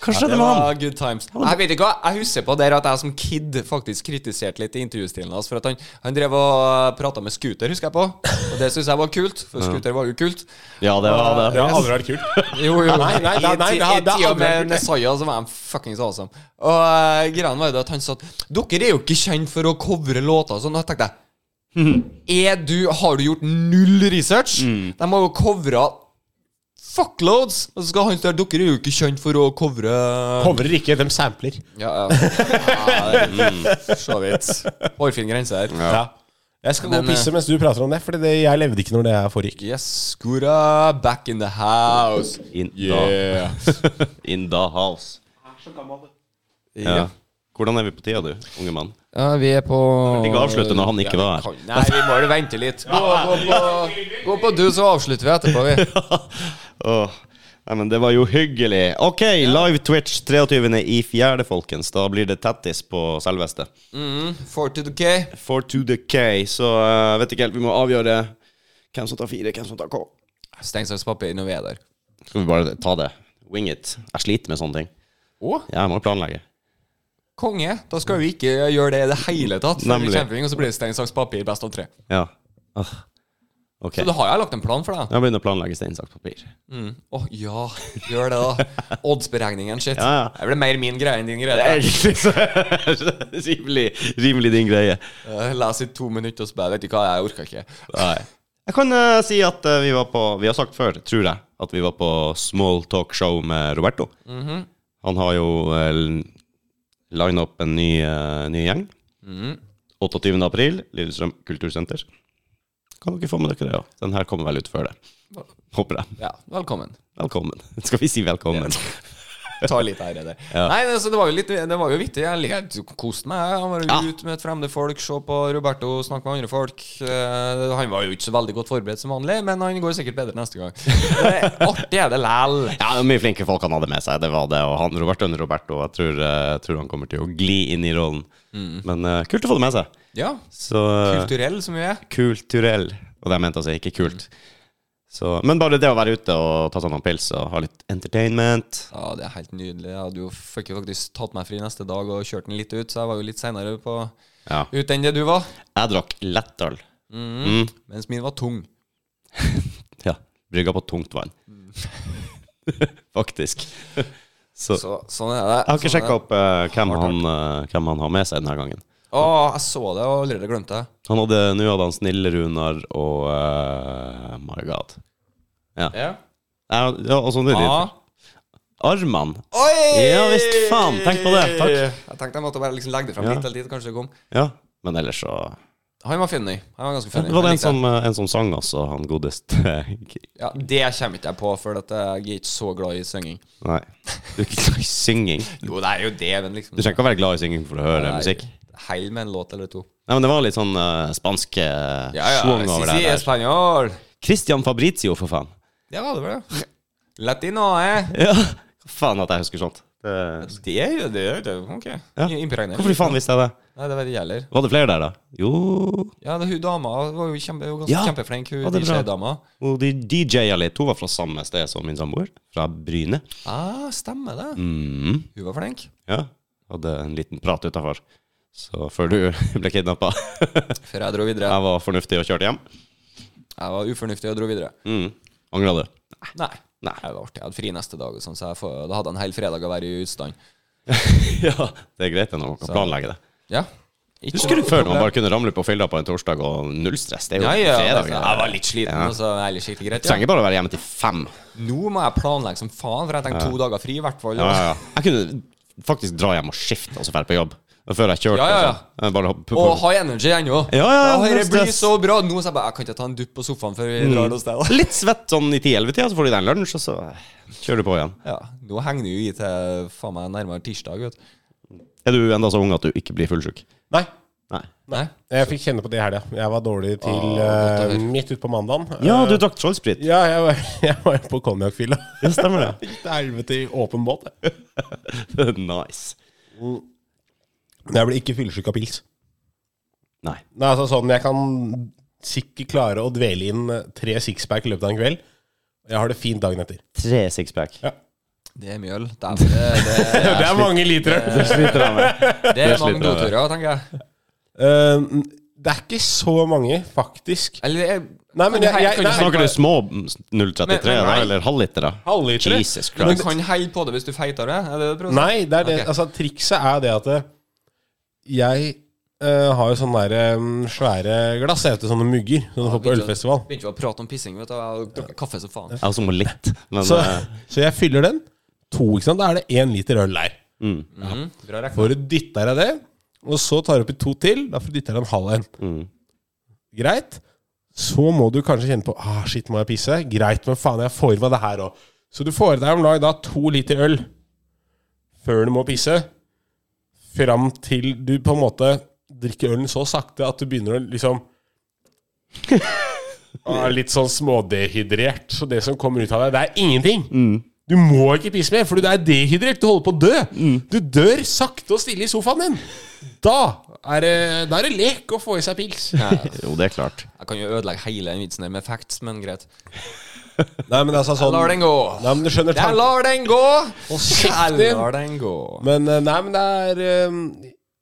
Speaker 2: hva skjedde
Speaker 1: Det
Speaker 2: med han?
Speaker 1: var good times. Jeg vet ikke hva, jeg husker på der at jeg som kid faktisk kritiserte litt i intervjustilen hans. For at han, han drev og prata med scooter, husker jeg på. Og det syns jeg var kult, for scooter var jo kult.
Speaker 2: Ja, det var
Speaker 3: Det
Speaker 2: det.
Speaker 3: har aldri vært kult.
Speaker 1: Jo, jo.
Speaker 3: Nei, nei, nei,
Speaker 1: I
Speaker 3: nei, det har-
Speaker 1: ti-
Speaker 3: det
Speaker 1: i
Speaker 3: har
Speaker 1: tida
Speaker 3: aldri vært
Speaker 1: med
Speaker 3: kult.
Speaker 1: Nesaya så var han fuckings awesome. Og uh, greia var jo det at han sa at dere er jo ikke kjent for å covre låter og sånn. Og jeg tenkte
Speaker 3: Mm.
Speaker 1: er du, har du gjort null research? De har jo covra fuckloads! Og så skal han der Dere er jo ikke kjent for å covre
Speaker 3: Covrer ikke, de sampler.
Speaker 1: Ja, ja. ja det- mm, så vidt. Hårfin grense her.
Speaker 3: Ja. Jeg skal gå
Speaker 1: Men,
Speaker 3: og pisse mens du prater om det, for det, jeg levde ikke når det her foregikk.
Speaker 1: Yes, Kura, back in the house.
Speaker 2: In,
Speaker 1: Yeah.
Speaker 2: the, in the house. Ja.
Speaker 1: Ja.
Speaker 2: Hvordan er vi på tida, du, unge mann?
Speaker 1: Ja, vi er på
Speaker 2: Vi kan avslutte når han ikke var her.
Speaker 1: Nei, vi må jo vente litt. Gå, gå, på, gå på du, så avslutter vi etterpå, vi.
Speaker 2: Åh, Nei, men det var jo hyggelig. OK, live Twitch 23. i fjerde, folkens. Da blir det tattis på selveste.
Speaker 1: Four to the K.
Speaker 2: For to the K, så eh, vet ikke helt. Vi må avgjøre hvem som tar fire, hvem som tar K.
Speaker 1: Stengsakspapir når vi er der.
Speaker 2: Skal vi bare ta det? Wing it. Jeg sliter med sånne ting.
Speaker 1: Å,
Speaker 2: Jeg må planlegge.
Speaker 1: konge! Da skal vi ikke gjøre det i det hele tatt. For
Speaker 2: Nemlig.
Speaker 1: vi kjemper, og så blir det stein, saks, papir, best av tre.
Speaker 2: Ja. Åh. OK.
Speaker 1: Så da har jeg lagt en plan for deg.
Speaker 2: Jeg begynner å planlegge stein, saks, papir.
Speaker 1: Mm. Å ja, gjør det, da. Oddsberegningen, shit.
Speaker 2: Ja, ja.
Speaker 1: Det blir mer min greie enn din
Speaker 2: Det
Speaker 1: greie.
Speaker 2: er rimelig, rimelig, rimelig din greie.
Speaker 1: Jeg leser Eh, i to minutter og så bare Vet du hva, jeg orker ikke.
Speaker 2: Nei. Jeg kan eh, si at eh, vi var på Vi har sagt før, tror jeg, at vi var på small talk show med Roberto. Mhm. Han har jo uh, lina opp en ny, eh, ny gjeng. Mhm. 28. april, Lillestrøm kultursenter. Kan dere få med dere det? Ja. Den her kommer vel ut før det. Håper jeg.
Speaker 1: Ja, velkommen.
Speaker 2: Velkommen. Skal vi si velkommen?
Speaker 1: Ta litt ære der. Nei, altså, det, så det var jo litt Det var jo vittig. Jeg likte koste meg. Han var
Speaker 2: Ja.
Speaker 1: jo ute med fremmede folk, se på Roberto, snakke med andre folk. Eh, han var jo ikke så veldig godt forberedt som vanlig, men han går sikkert bedre neste gang. Det, artig er det læl.
Speaker 2: Ja, det var mye flinke folk han hadde med seg. Det var det, og han, Roberto under Roberto. Jeg tror, eh, jeg tror han kommer til å gli inn i rollen. Men eh, kult å få det med seg.
Speaker 1: Ja.
Speaker 2: Så, eh,
Speaker 1: Kulturell som vi er.
Speaker 2: kulturell. Og det jeg mente altså ikke kult. Så, men bare det å være ute og ta seg noen pils og ha litt entertainment
Speaker 1: Ja, det er helt nydelig. Jeg hadde jo fikk jo faktisk tatt meg fri neste dag og kjørt den litt ut, så jeg var jo litt seinere ut
Speaker 2: Ja.
Speaker 1: enn det du var.
Speaker 2: Jeg drakk lettøl.
Speaker 1: Mens min var tung.
Speaker 2: Ja. Brygga på tungt vann. Faktisk. Så, jeg
Speaker 1: Så sånn er det.
Speaker 2: har
Speaker 1: Sånn
Speaker 2: ikke
Speaker 1: er
Speaker 2: sjekka
Speaker 1: det.
Speaker 2: opp eh, hvem, han, eh, hvem han har med seg denne gangen.
Speaker 1: Å, jeg så det og allerede glemte det.
Speaker 2: Han hadde, Nå hadde han Snille-Runar og eh, My God.
Speaker 1: Ja.
Speaker 2: Ja, ja, og sånn er det.
Speaker 1: Ah.
Speaker 2: Arman.
Speaker 1: Oi!
Speaker 2: Ja visst, faen. Tenk på det. Takk.
Speaker 1: Jeg tenkte jeg måtte bare liksom legge det fram
Speaker 2: Ja.
Speaker 1: litt eller litt, kanskje det kom.
Speaker 2: Ja, Men ellers så
Speaker 1: Han var funny. Han var ganske funny.
Speaker 2: Det var det
Speaker 1: Jeg
Speaker 2: en sånn-
Speaker 1: likte
Speaker 2: som, eh, en som sang også, han godeste
Speaker 1: Ja, det kommer ikke jeg på, for at jeg er ikke så glad i synging.
Speaker 2: Nei. Du er ikke glad i synging.
Speaker 1: Jo, det er jo det, men liksom
Speaker 2: Du trenger ikke å være glad i synging for å høre
Speaker 1: Nei,
Speaker 2: musikk.
Speaker 1: Heil med en låt eller to.
Speaker 2: Nei, men Det var litt sånn eh, spansk eh,
Speaker 1: Ja, ja.
Speaker 2: schwung
Speaker 1: Si,
Speaker 2: over
Speaker 1: si,
Speaker 2: det der.
Speaker 1: espanol.
Speaker 2: Christian Fabrizio, for faen.
Speaker 1: Ja, det var det. Latino, eh?
Speaker 2: Ja, Hva faen at jeg husker sånt. Det...
Speaker 1: Det er jo det. Er, det er, ok.
Speaker 2: Ja.
Speaker 1: Impregnert.
Speaker 2: Hvorfor i faen visste jeg det?
Speaker 1: Nei, det vet jeg heller.
Speaker 2: Var det flere der, da? Jo
Speaker 1: Ja, det, hun dama var jo kjempe, hun var ganske
Speaker 2: Ja.
Speaker 1: kjempeflink, hun
Speaker 2: Ja, det er bra.
Speaker 1: DJ-dama.
Speaker 2: Og de DJ-a litt. Hun var fra samme sted som min samboer. Fra Bryne.
Speaker 1: Ah, stemmer det.
Speaker 2: Mm.
Speaker 1: Hun var flink.
Speaker 2: Ja. Hadde en liten prat utafor. Så før du ble kidnappa.
Speaker 1: Før jeg dro videre.
Speaker 2: Jeg var fornuftig og kjørte hjem.
Speaker 1: Jeg var ufornuftig og dro videre.
Speaker 2: Mm. Angra du?
Speaker 1: Nei.
Speaker 2: Nei.
Speaker 1: Det var artig. Jeg hadde fri neste dag, og sånn, så jeg får, da hadde jeg en hel fredag å være i utstand.
Speaker 2: ja, det er greit når man kan planlegge det.
Speaker 1: Ja. Ikke
Speaker 2: Husker du
Speaker 1: noe
Speaker 2: før når man
Speaker 1: problem.
Speaker 2: bare kunne ramle på fylla på en torsdag og null stress? Det er jo
Speaker 1: Ja, ja,
Speaker 2: fredag.
Speaker 1: altså, jeg var litt sliten, og så er det skikkelig greit. Ja.
Speaker 2: Trenger bare å være hjemme til fem.
Speaker 1: Nå må jeg planlegge som faen, for jeg tenker to dager fri, i hvert fall.
Speaker 2: Ja, ja, ja. Jeg kunne faktisk dra hjem og skifte og så dra på jobb. Og Før jeg kjørte.
Speaker 1: Ja, ja, ja.
Speaker 2: og sånn. Jeg Bare hoppe på.
Speaker 1: Og high energy ennå.
Speaker 2: Ja, ja,
Speaker 1: Å, herre,
Speaker 2: null
Speaker 1: blir
Speaker 2: stress.
Speaker 1: så bra. Nå så jeg bare Jeg kan ikke ta en dupp på sofaen før vi
Speaker 2: Mm.
Speaker 1: drar noe sted. da.
Speaker 2: Litt svett sånn i 10-11-tida, så får du deg en lunsj, og så eh, kjører du på igjen.
Speaker 1: Ja, Nå henger det jo i til faen meg nærmere tirsdag, vet du.
Speaker 2: Er du enda så ung at du ikke blir fullsjuk?
Speaker 3: Nei.
Speaker 2: Nei.
Speaker 1: Nei.
Speaker 3: Jeg fikk kjenne på det i helga. Jeg var dårlig til
Speaker 1: Ah, godt å
Speaker 3: eh,
Speaker 1: høre.
Speaker 3: midt utpå mandagen.
Speaker 2: Ja,
Speaker 3: Eh,
Speaker 2: du drakk trollsprit.
Speaker 3: ja, jeg var, jeg var jo på konjakkfylla.
Speaker 2: Ja, stemmer det.
Speaker 3: Gikk til helvete i åpen båt. jeg.
Speaker 2: nice.
Speaker 3: Men jeg ble ikke fyllesyk av pils.
Speaker 2: Nei.
Speaker 3: Nei, altså sånn, Jeg kan sikkert klare å dvele inn eh, tre sixpack i løpet av en kveld. Jeg har det fint dagen etter.
Speaker 2: Tre sixpack.
Speaker 3: Ja.
Speaker 1: Det er mjøl. Det er, det, det,
Speaker 3: Det er mange liter.
Speaker 2: Det sliter jeg med.
Speaker 1: det,
Speaker 2: Det
Speaker 1: er mange
Speaker 2: sliter jeg.
Speaker 1: godturer, tenker jeg.
Speaker 3: Eh, det er ikke så mange, faktisk.
Speaker 1: Eller jeg,
Speaker 3: Nei, men jeg- jeg- nei,
Speaker 2: Snakker du små 0,33
Speaker 1: Men-
Speaker 2: da,
Speaker 1: men-
Speaker 2: eller halvlitere?
Speaker 3: Halvlitere?
Speaker 2: Jesus
Speaker 1: Du
Speaker 2: Christ.
Speaker 1: kan heie på det hvis du feiter det? Er det det du prøver å si?
Speaker 3: Nei, det altså, er det,
Speaker 1: Ok.
Speaker 3: altså, trikset er det at eh, jeg eh, har jo sånne der, eh, svære glass. Jeg vet det, sånne mugger sånn som du får på
Speaker 1: Begynte å-
Speaker 3: ølfestival.
Speaker 1: Begynte vi å prate om pissing, vet du. og Jeg drakk kaffe som faen.
Speaker 2: Jeg også må litt, men
Speaker 3: Så,
Speaker 2: eh,
Speaker 3: så jeg fyller den. To, ikke sant? Da er det én liter øl der.
Speaker 1: Mhm, Bra rekna.
Speaker 3: Får du dytta deg det, og så tar du oppi to til. Da får du dytta deg en halv en. Greit. Så må du kanskje kjenne på ah, shit, må jeg pisse? Greit, men faen, jeg får i meg det her òg. Så du får i deg om lag da to liter øl før du må pisse. Fram til du på en måte drikker ølen så sakte at du begynner å liksom ah, Litt sånn smådehydrert. Så det som kommer ut av deg, det er ingenting. Du må ikke pisse mer, for du er dehydrert. Du holder på å dø.
Speaker 2: Mm.
Speaker 3: Du dør sakte og stille i sofaen din. Da er det, da er det lek å få i seg pils.
Speaker 2: jo, det er klart.
Speaker 1: Jeg kan jo ødelegge hele den vitsen der med facts, men greit.
Speaker 3: Nei, men altså
Speaker 1: Jeg
Speaker 3: sånn
Speaker 1: lar den gå.
Speaker 3: Nei, men du skjønner
Speaker 1: Jeg
Speaker 3: tanken.
Speaker 1: lar den gå! Jeg
Speaker 3: din.
Speaker 1: lar den gå.
Speaker 3: Men eh, nei, men det er eh,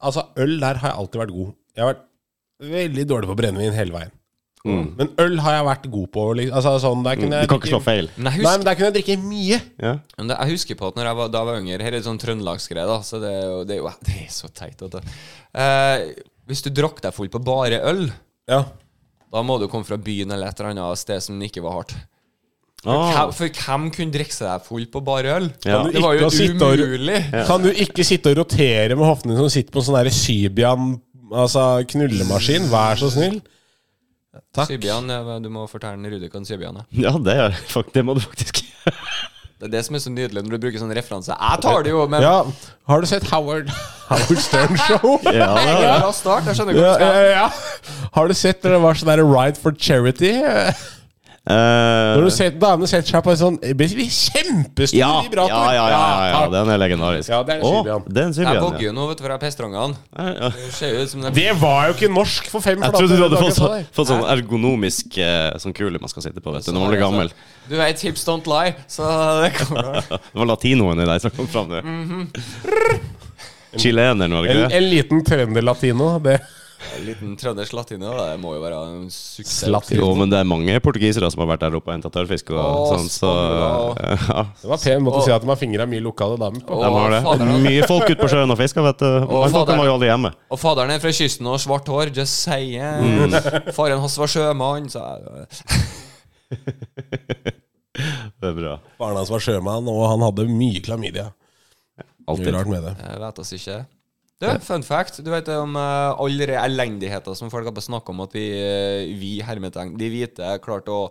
Speaker 3: Altså, øl der har jeg alltid vært god. Jeg har vært veldig dårlig på brennevin hele veien. Men øl har jeg vært god på. Liksom. Altså, sånn, der
Speaker 2: Mm. Du
Speaker 3: kunne jeg
Speaker 2: kan ikke slå feil.
Speaker 1: Men jeg
Speaker 3: Nei,
Speaker 1: husker,
Speaker 3: men der kunne jeg drikke mye.
Speaker 2: Ja.
Speaker 1: men det, jeg husker på at når jeg var, da jeg var yngre Her er det sånn trøndelagsgreie, da. Så det er jo, det er jo det er så teit. At det, eh, hvis du drakk deg full på bare øl,
Speaker 3: Ja.
Speaker 1: da må du komme fra byen eller et eller annet sted som ikke var hardt.
Speaker 2: Ah,
Speaker 1: Hvem- For hvem kunne drikke seg full på bare øl?
Speaker 2: Ja.
Speaker 1: Det var jo
Speaker 3: Ikke å sitte og-
Speaker 1: umulig.
Speaker 3: Kan du ikke sitte og rotere med hoftene som sitter på en sånn der Sybian Altså knullemaskin? Vær så snill. Takk.
Speaker 1: Sybian, eh, du må fortelle Rudikon Sybian. ja.
Speaker 2: ja, det, er, fuck, det må du faktisk.
Speaker 1: Det er det som er så nydelig når du bruker sånn referanse. Jeg tar det jo, men
Speaker 3: Ja, har du sett Howard Howard Stern Show?
Speaker 2: Ja, det er det.
Speaker 1: Bra start. Jeg skjønner
Speaker 3: Ja,
Speaker 1: godt.
Speaker 3: ja, ja. Har du sett når det var sånn der Ride for Charity?
Speaker 2: Eh,
Speaker 3: Når du ser damene setter seg på en sånn basically kjempestor
Speaker 2: ja, ja,
Speaker 3: vibrator.
Speaker 2: ja, ja, ja, ja,
Speaker 3: takk.
Speaker 2: den er legendarisk.
Speaker 3: Ja, det er en
Speaker 2: Å,
Speaker 3: Sybian.
Speaker 2: det er en
Speaker 1: Jeg
Speaker 2: Sybian,
Speaker 1: vogger
Speaker 2: ja.
Speaker 1: jo nå, vet du, fra P-strongene.
Speaker 2: Ja, ja.
Speaker 1: Det ser jo ut som det
Speaker 3: Det var jo ikke norsk for fem
Speaker 2: Jeg
Speaker 3: flater
Speaker 2: trodde du hadde
Speaker 3: dager
Speaker 2: fått,
Speaker 3: på
Speaker 2: sånn-
Speaker 3: deg.
Speaker 2: fått sånn ergonomisk eh, sånn kule man skal sitte på vet du, når man blir gammel.
Speaker 1: Du vet, hips don't lie, så det kommer
Speaker 2: Det var latinoen i deg som kom fram nå.
Speaker 1: Mm-hmm.
Speaker 2: Chileneren, var det
Speaker 3: En,
Speaker 2: ikke det?
Speaker 3: en liten trønder-latino. Det
Speaker 1: En liten trøndersk latino, det må jo være en suksess.
Speaker 3: Slatino.
Speaker 2: Jo, men det er mange portugisere som har vært der oppe og henta tørrfisk. Og
Speaker 1: Å,
Speaker 2: sånn, så ja.
Speaker 3: Det var pen måte å si at de har fingra mye lokale damer på.
Speaker 1: Å,
Speaker 2: De har det.
Speaker 1: faderen.
Speaker 2: Mye folk ute på sjøen og fisker, vet du. Men folk
Speaker 1: fader.
Speaker 2: kommer jo aldri hjemme.
Speaker 1: Og faderen er fra kysten og har svart hår, just saying.
Speaker 3: Mm.
Speaker 1: Faren hans var sjømann, så jeg-
Speaker 2: Det er bra.
Speaker 3: Barna hans var sjømann, og han hadde mye klamydia. Mye
Speaker 2: Alltid.
Speaker 3: rart med det.
Speaker 1: jeg vet oss ikke. Du, fun fact. Du vet om eh, alle de elendigheter som folk har bare snakket om at vi, eh, vi hermetegn, de hvite, klarte å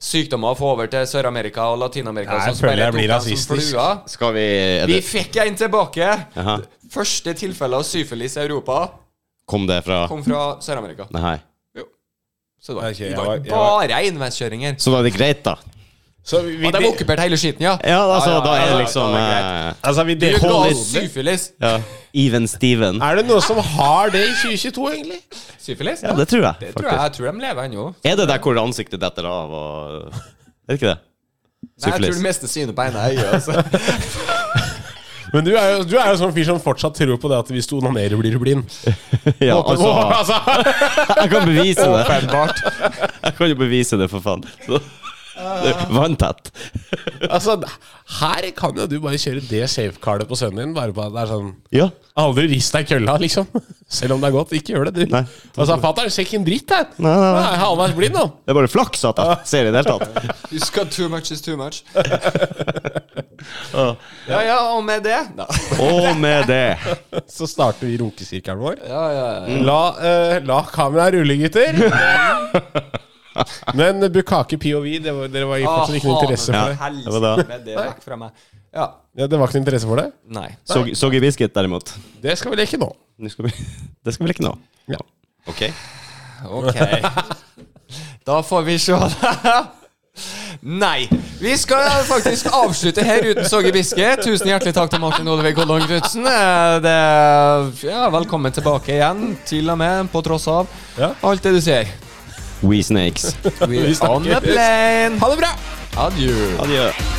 Speaker 1: sykdommer få over til Sør-Amerika og Latin-Amerika.
Speaker 3: Nei,
Speaker 1: sånn
Speaker 3: jeg
Speaker 1: som bare
Speaker 3: føler jeg
Speaker 1: tok
Speaker 3: blir
Speaker 1: dem som
Speaker 3: rasistisk.
Speaker 1: fluer.
Speaker 2: Skal vi er
Speaker 1: Vi
Speaker 2: det,
Speaker 1: fikk en tilbake!
Speaker 2: Jaha.
Speaker 1: Første tilfelle av syfilis i Europa
Speaker 2: Kom det fra
Speaker 1: kom fra Sør-Amerika.
Speaker 2: Nei.
Speaker 1: Så det var,
Speaker 3: Ok, jeg
Speaker 1: det var
Speaker 3: var- jeg var-
Speaker 1: bare enveiskjøringer.
Speaker 2: Så da er det greit, da?
Speaker 3: Så vi, vi,
Speaker 1: Og de okkuperte hele skiten, ja!
Speaker 2: Ja, altså,
Speaker 1: Ja, ja,
Speaker 2: da
Speaker 1: ja,
Speaker 2: er
Speaker 1: ja,
Speaker 2: det liksom
Speaker 1: ja,
Speaker 2: eh,
Speaker 3: altså, vi
Speaker 1: Du
Speaker 3: deler-
Speaker 1: ga
Speaker 3: Holder-
Speaker 1: oss syfilis.
Speaker 2: ja. Even Steven.
Speaker 3: Er det noen som har det i 2022, egentlig?
Speaker 1: Syfilis?
Speaker 2: Ja, det tror jeg,
Speaker 1: Det tror jeg,
Speaker 2: faktisk.
Speaker 1: jeg tror de lever ennå.
Speaker 2: Er det der hvor ansiktet detter av og Er det ikke det?
Speaker 1: Nei, Jeg tror
Speaker 2: Syfilis.
Speaker 1: det meste synet på ene øyet. Altså.
Speaker 3: Men du er, jo, du er jo sånn fyr som fortsatt tror på det at hvis du onanerer, blir du blind.
Speaker 2: Ja,
Speaker 3: altså,
Speaker 2: altså,
Speaker 3: altså.
Speaker 2: jeg kan bevise det. Jeg kan jo bevise det, for faen. Så, det er Vanntett.
Speaker 3: altså, her kan jo du bare kjøre det safecardet på sønnen din. Bare på at det er sånn
Speaker 2: Ja.
Speaker 3: Aldri rist deg i kølla, liksom. Selv om det er godt. Ikke gjør det, du.
Speaker 2: Nei.
Speaker 3: Altså, fatter'n ser ikke en dritt her.
Speaker 2: Nei, nei, nei.
Speaker 3: Jeg er halvveis blind nå.
Speaker 2: Det er bare flaks at jeg ser det i det hele tatt.
Speaker 1: Husk at too much is too much. Ja ja, og med det Nei.
Speaker 2: Og med det
Speaker 3: Så starter vi runkesirkelen vår.
Speaker 1: Ja, ja, ja.
Speaker 3: La, eh, la kameraet rulle, gutter. Men Bukake POV, det var, dere var fortsatt ikke noe interesse for det?
Speaker 2: det var
Speaker 1: Helsike
Speaker 2: det.
Speaker 1: med det vekk fra meg. Ja.
Speaker 3: Ja, det var ikke noe interesse for det?
Speaker 1: Nei.
Speaker 2: Soggy soggy biscuit, derimot.
Speaker 3: Det skal vi leke nå.
Speaker 2: Nå skal vi, det skal vi ikke nå.
Speaker 3: Ja.
Speaker 2: Ok.
Speaker 1: Ok. Da får vi se. Nei. Vi skal faktisk avslutte her uten Soggy Biske. Tusen hjertelig takk til Martin Olve Gollong Knutsen. Eh, det- Ja, velkommen tilbake igjen, til og med på tross av
Speaker 3: Ja.
Speaker 1: alt det du ser.
Speaker 2: We snakes.
Speaker 1: We're on the
Speaker 3: snakkes.
Speaker 1: plane.
Speaker 3: Ha det bra!
Speaker 1: Adjø.
Speaker 2: Adjø.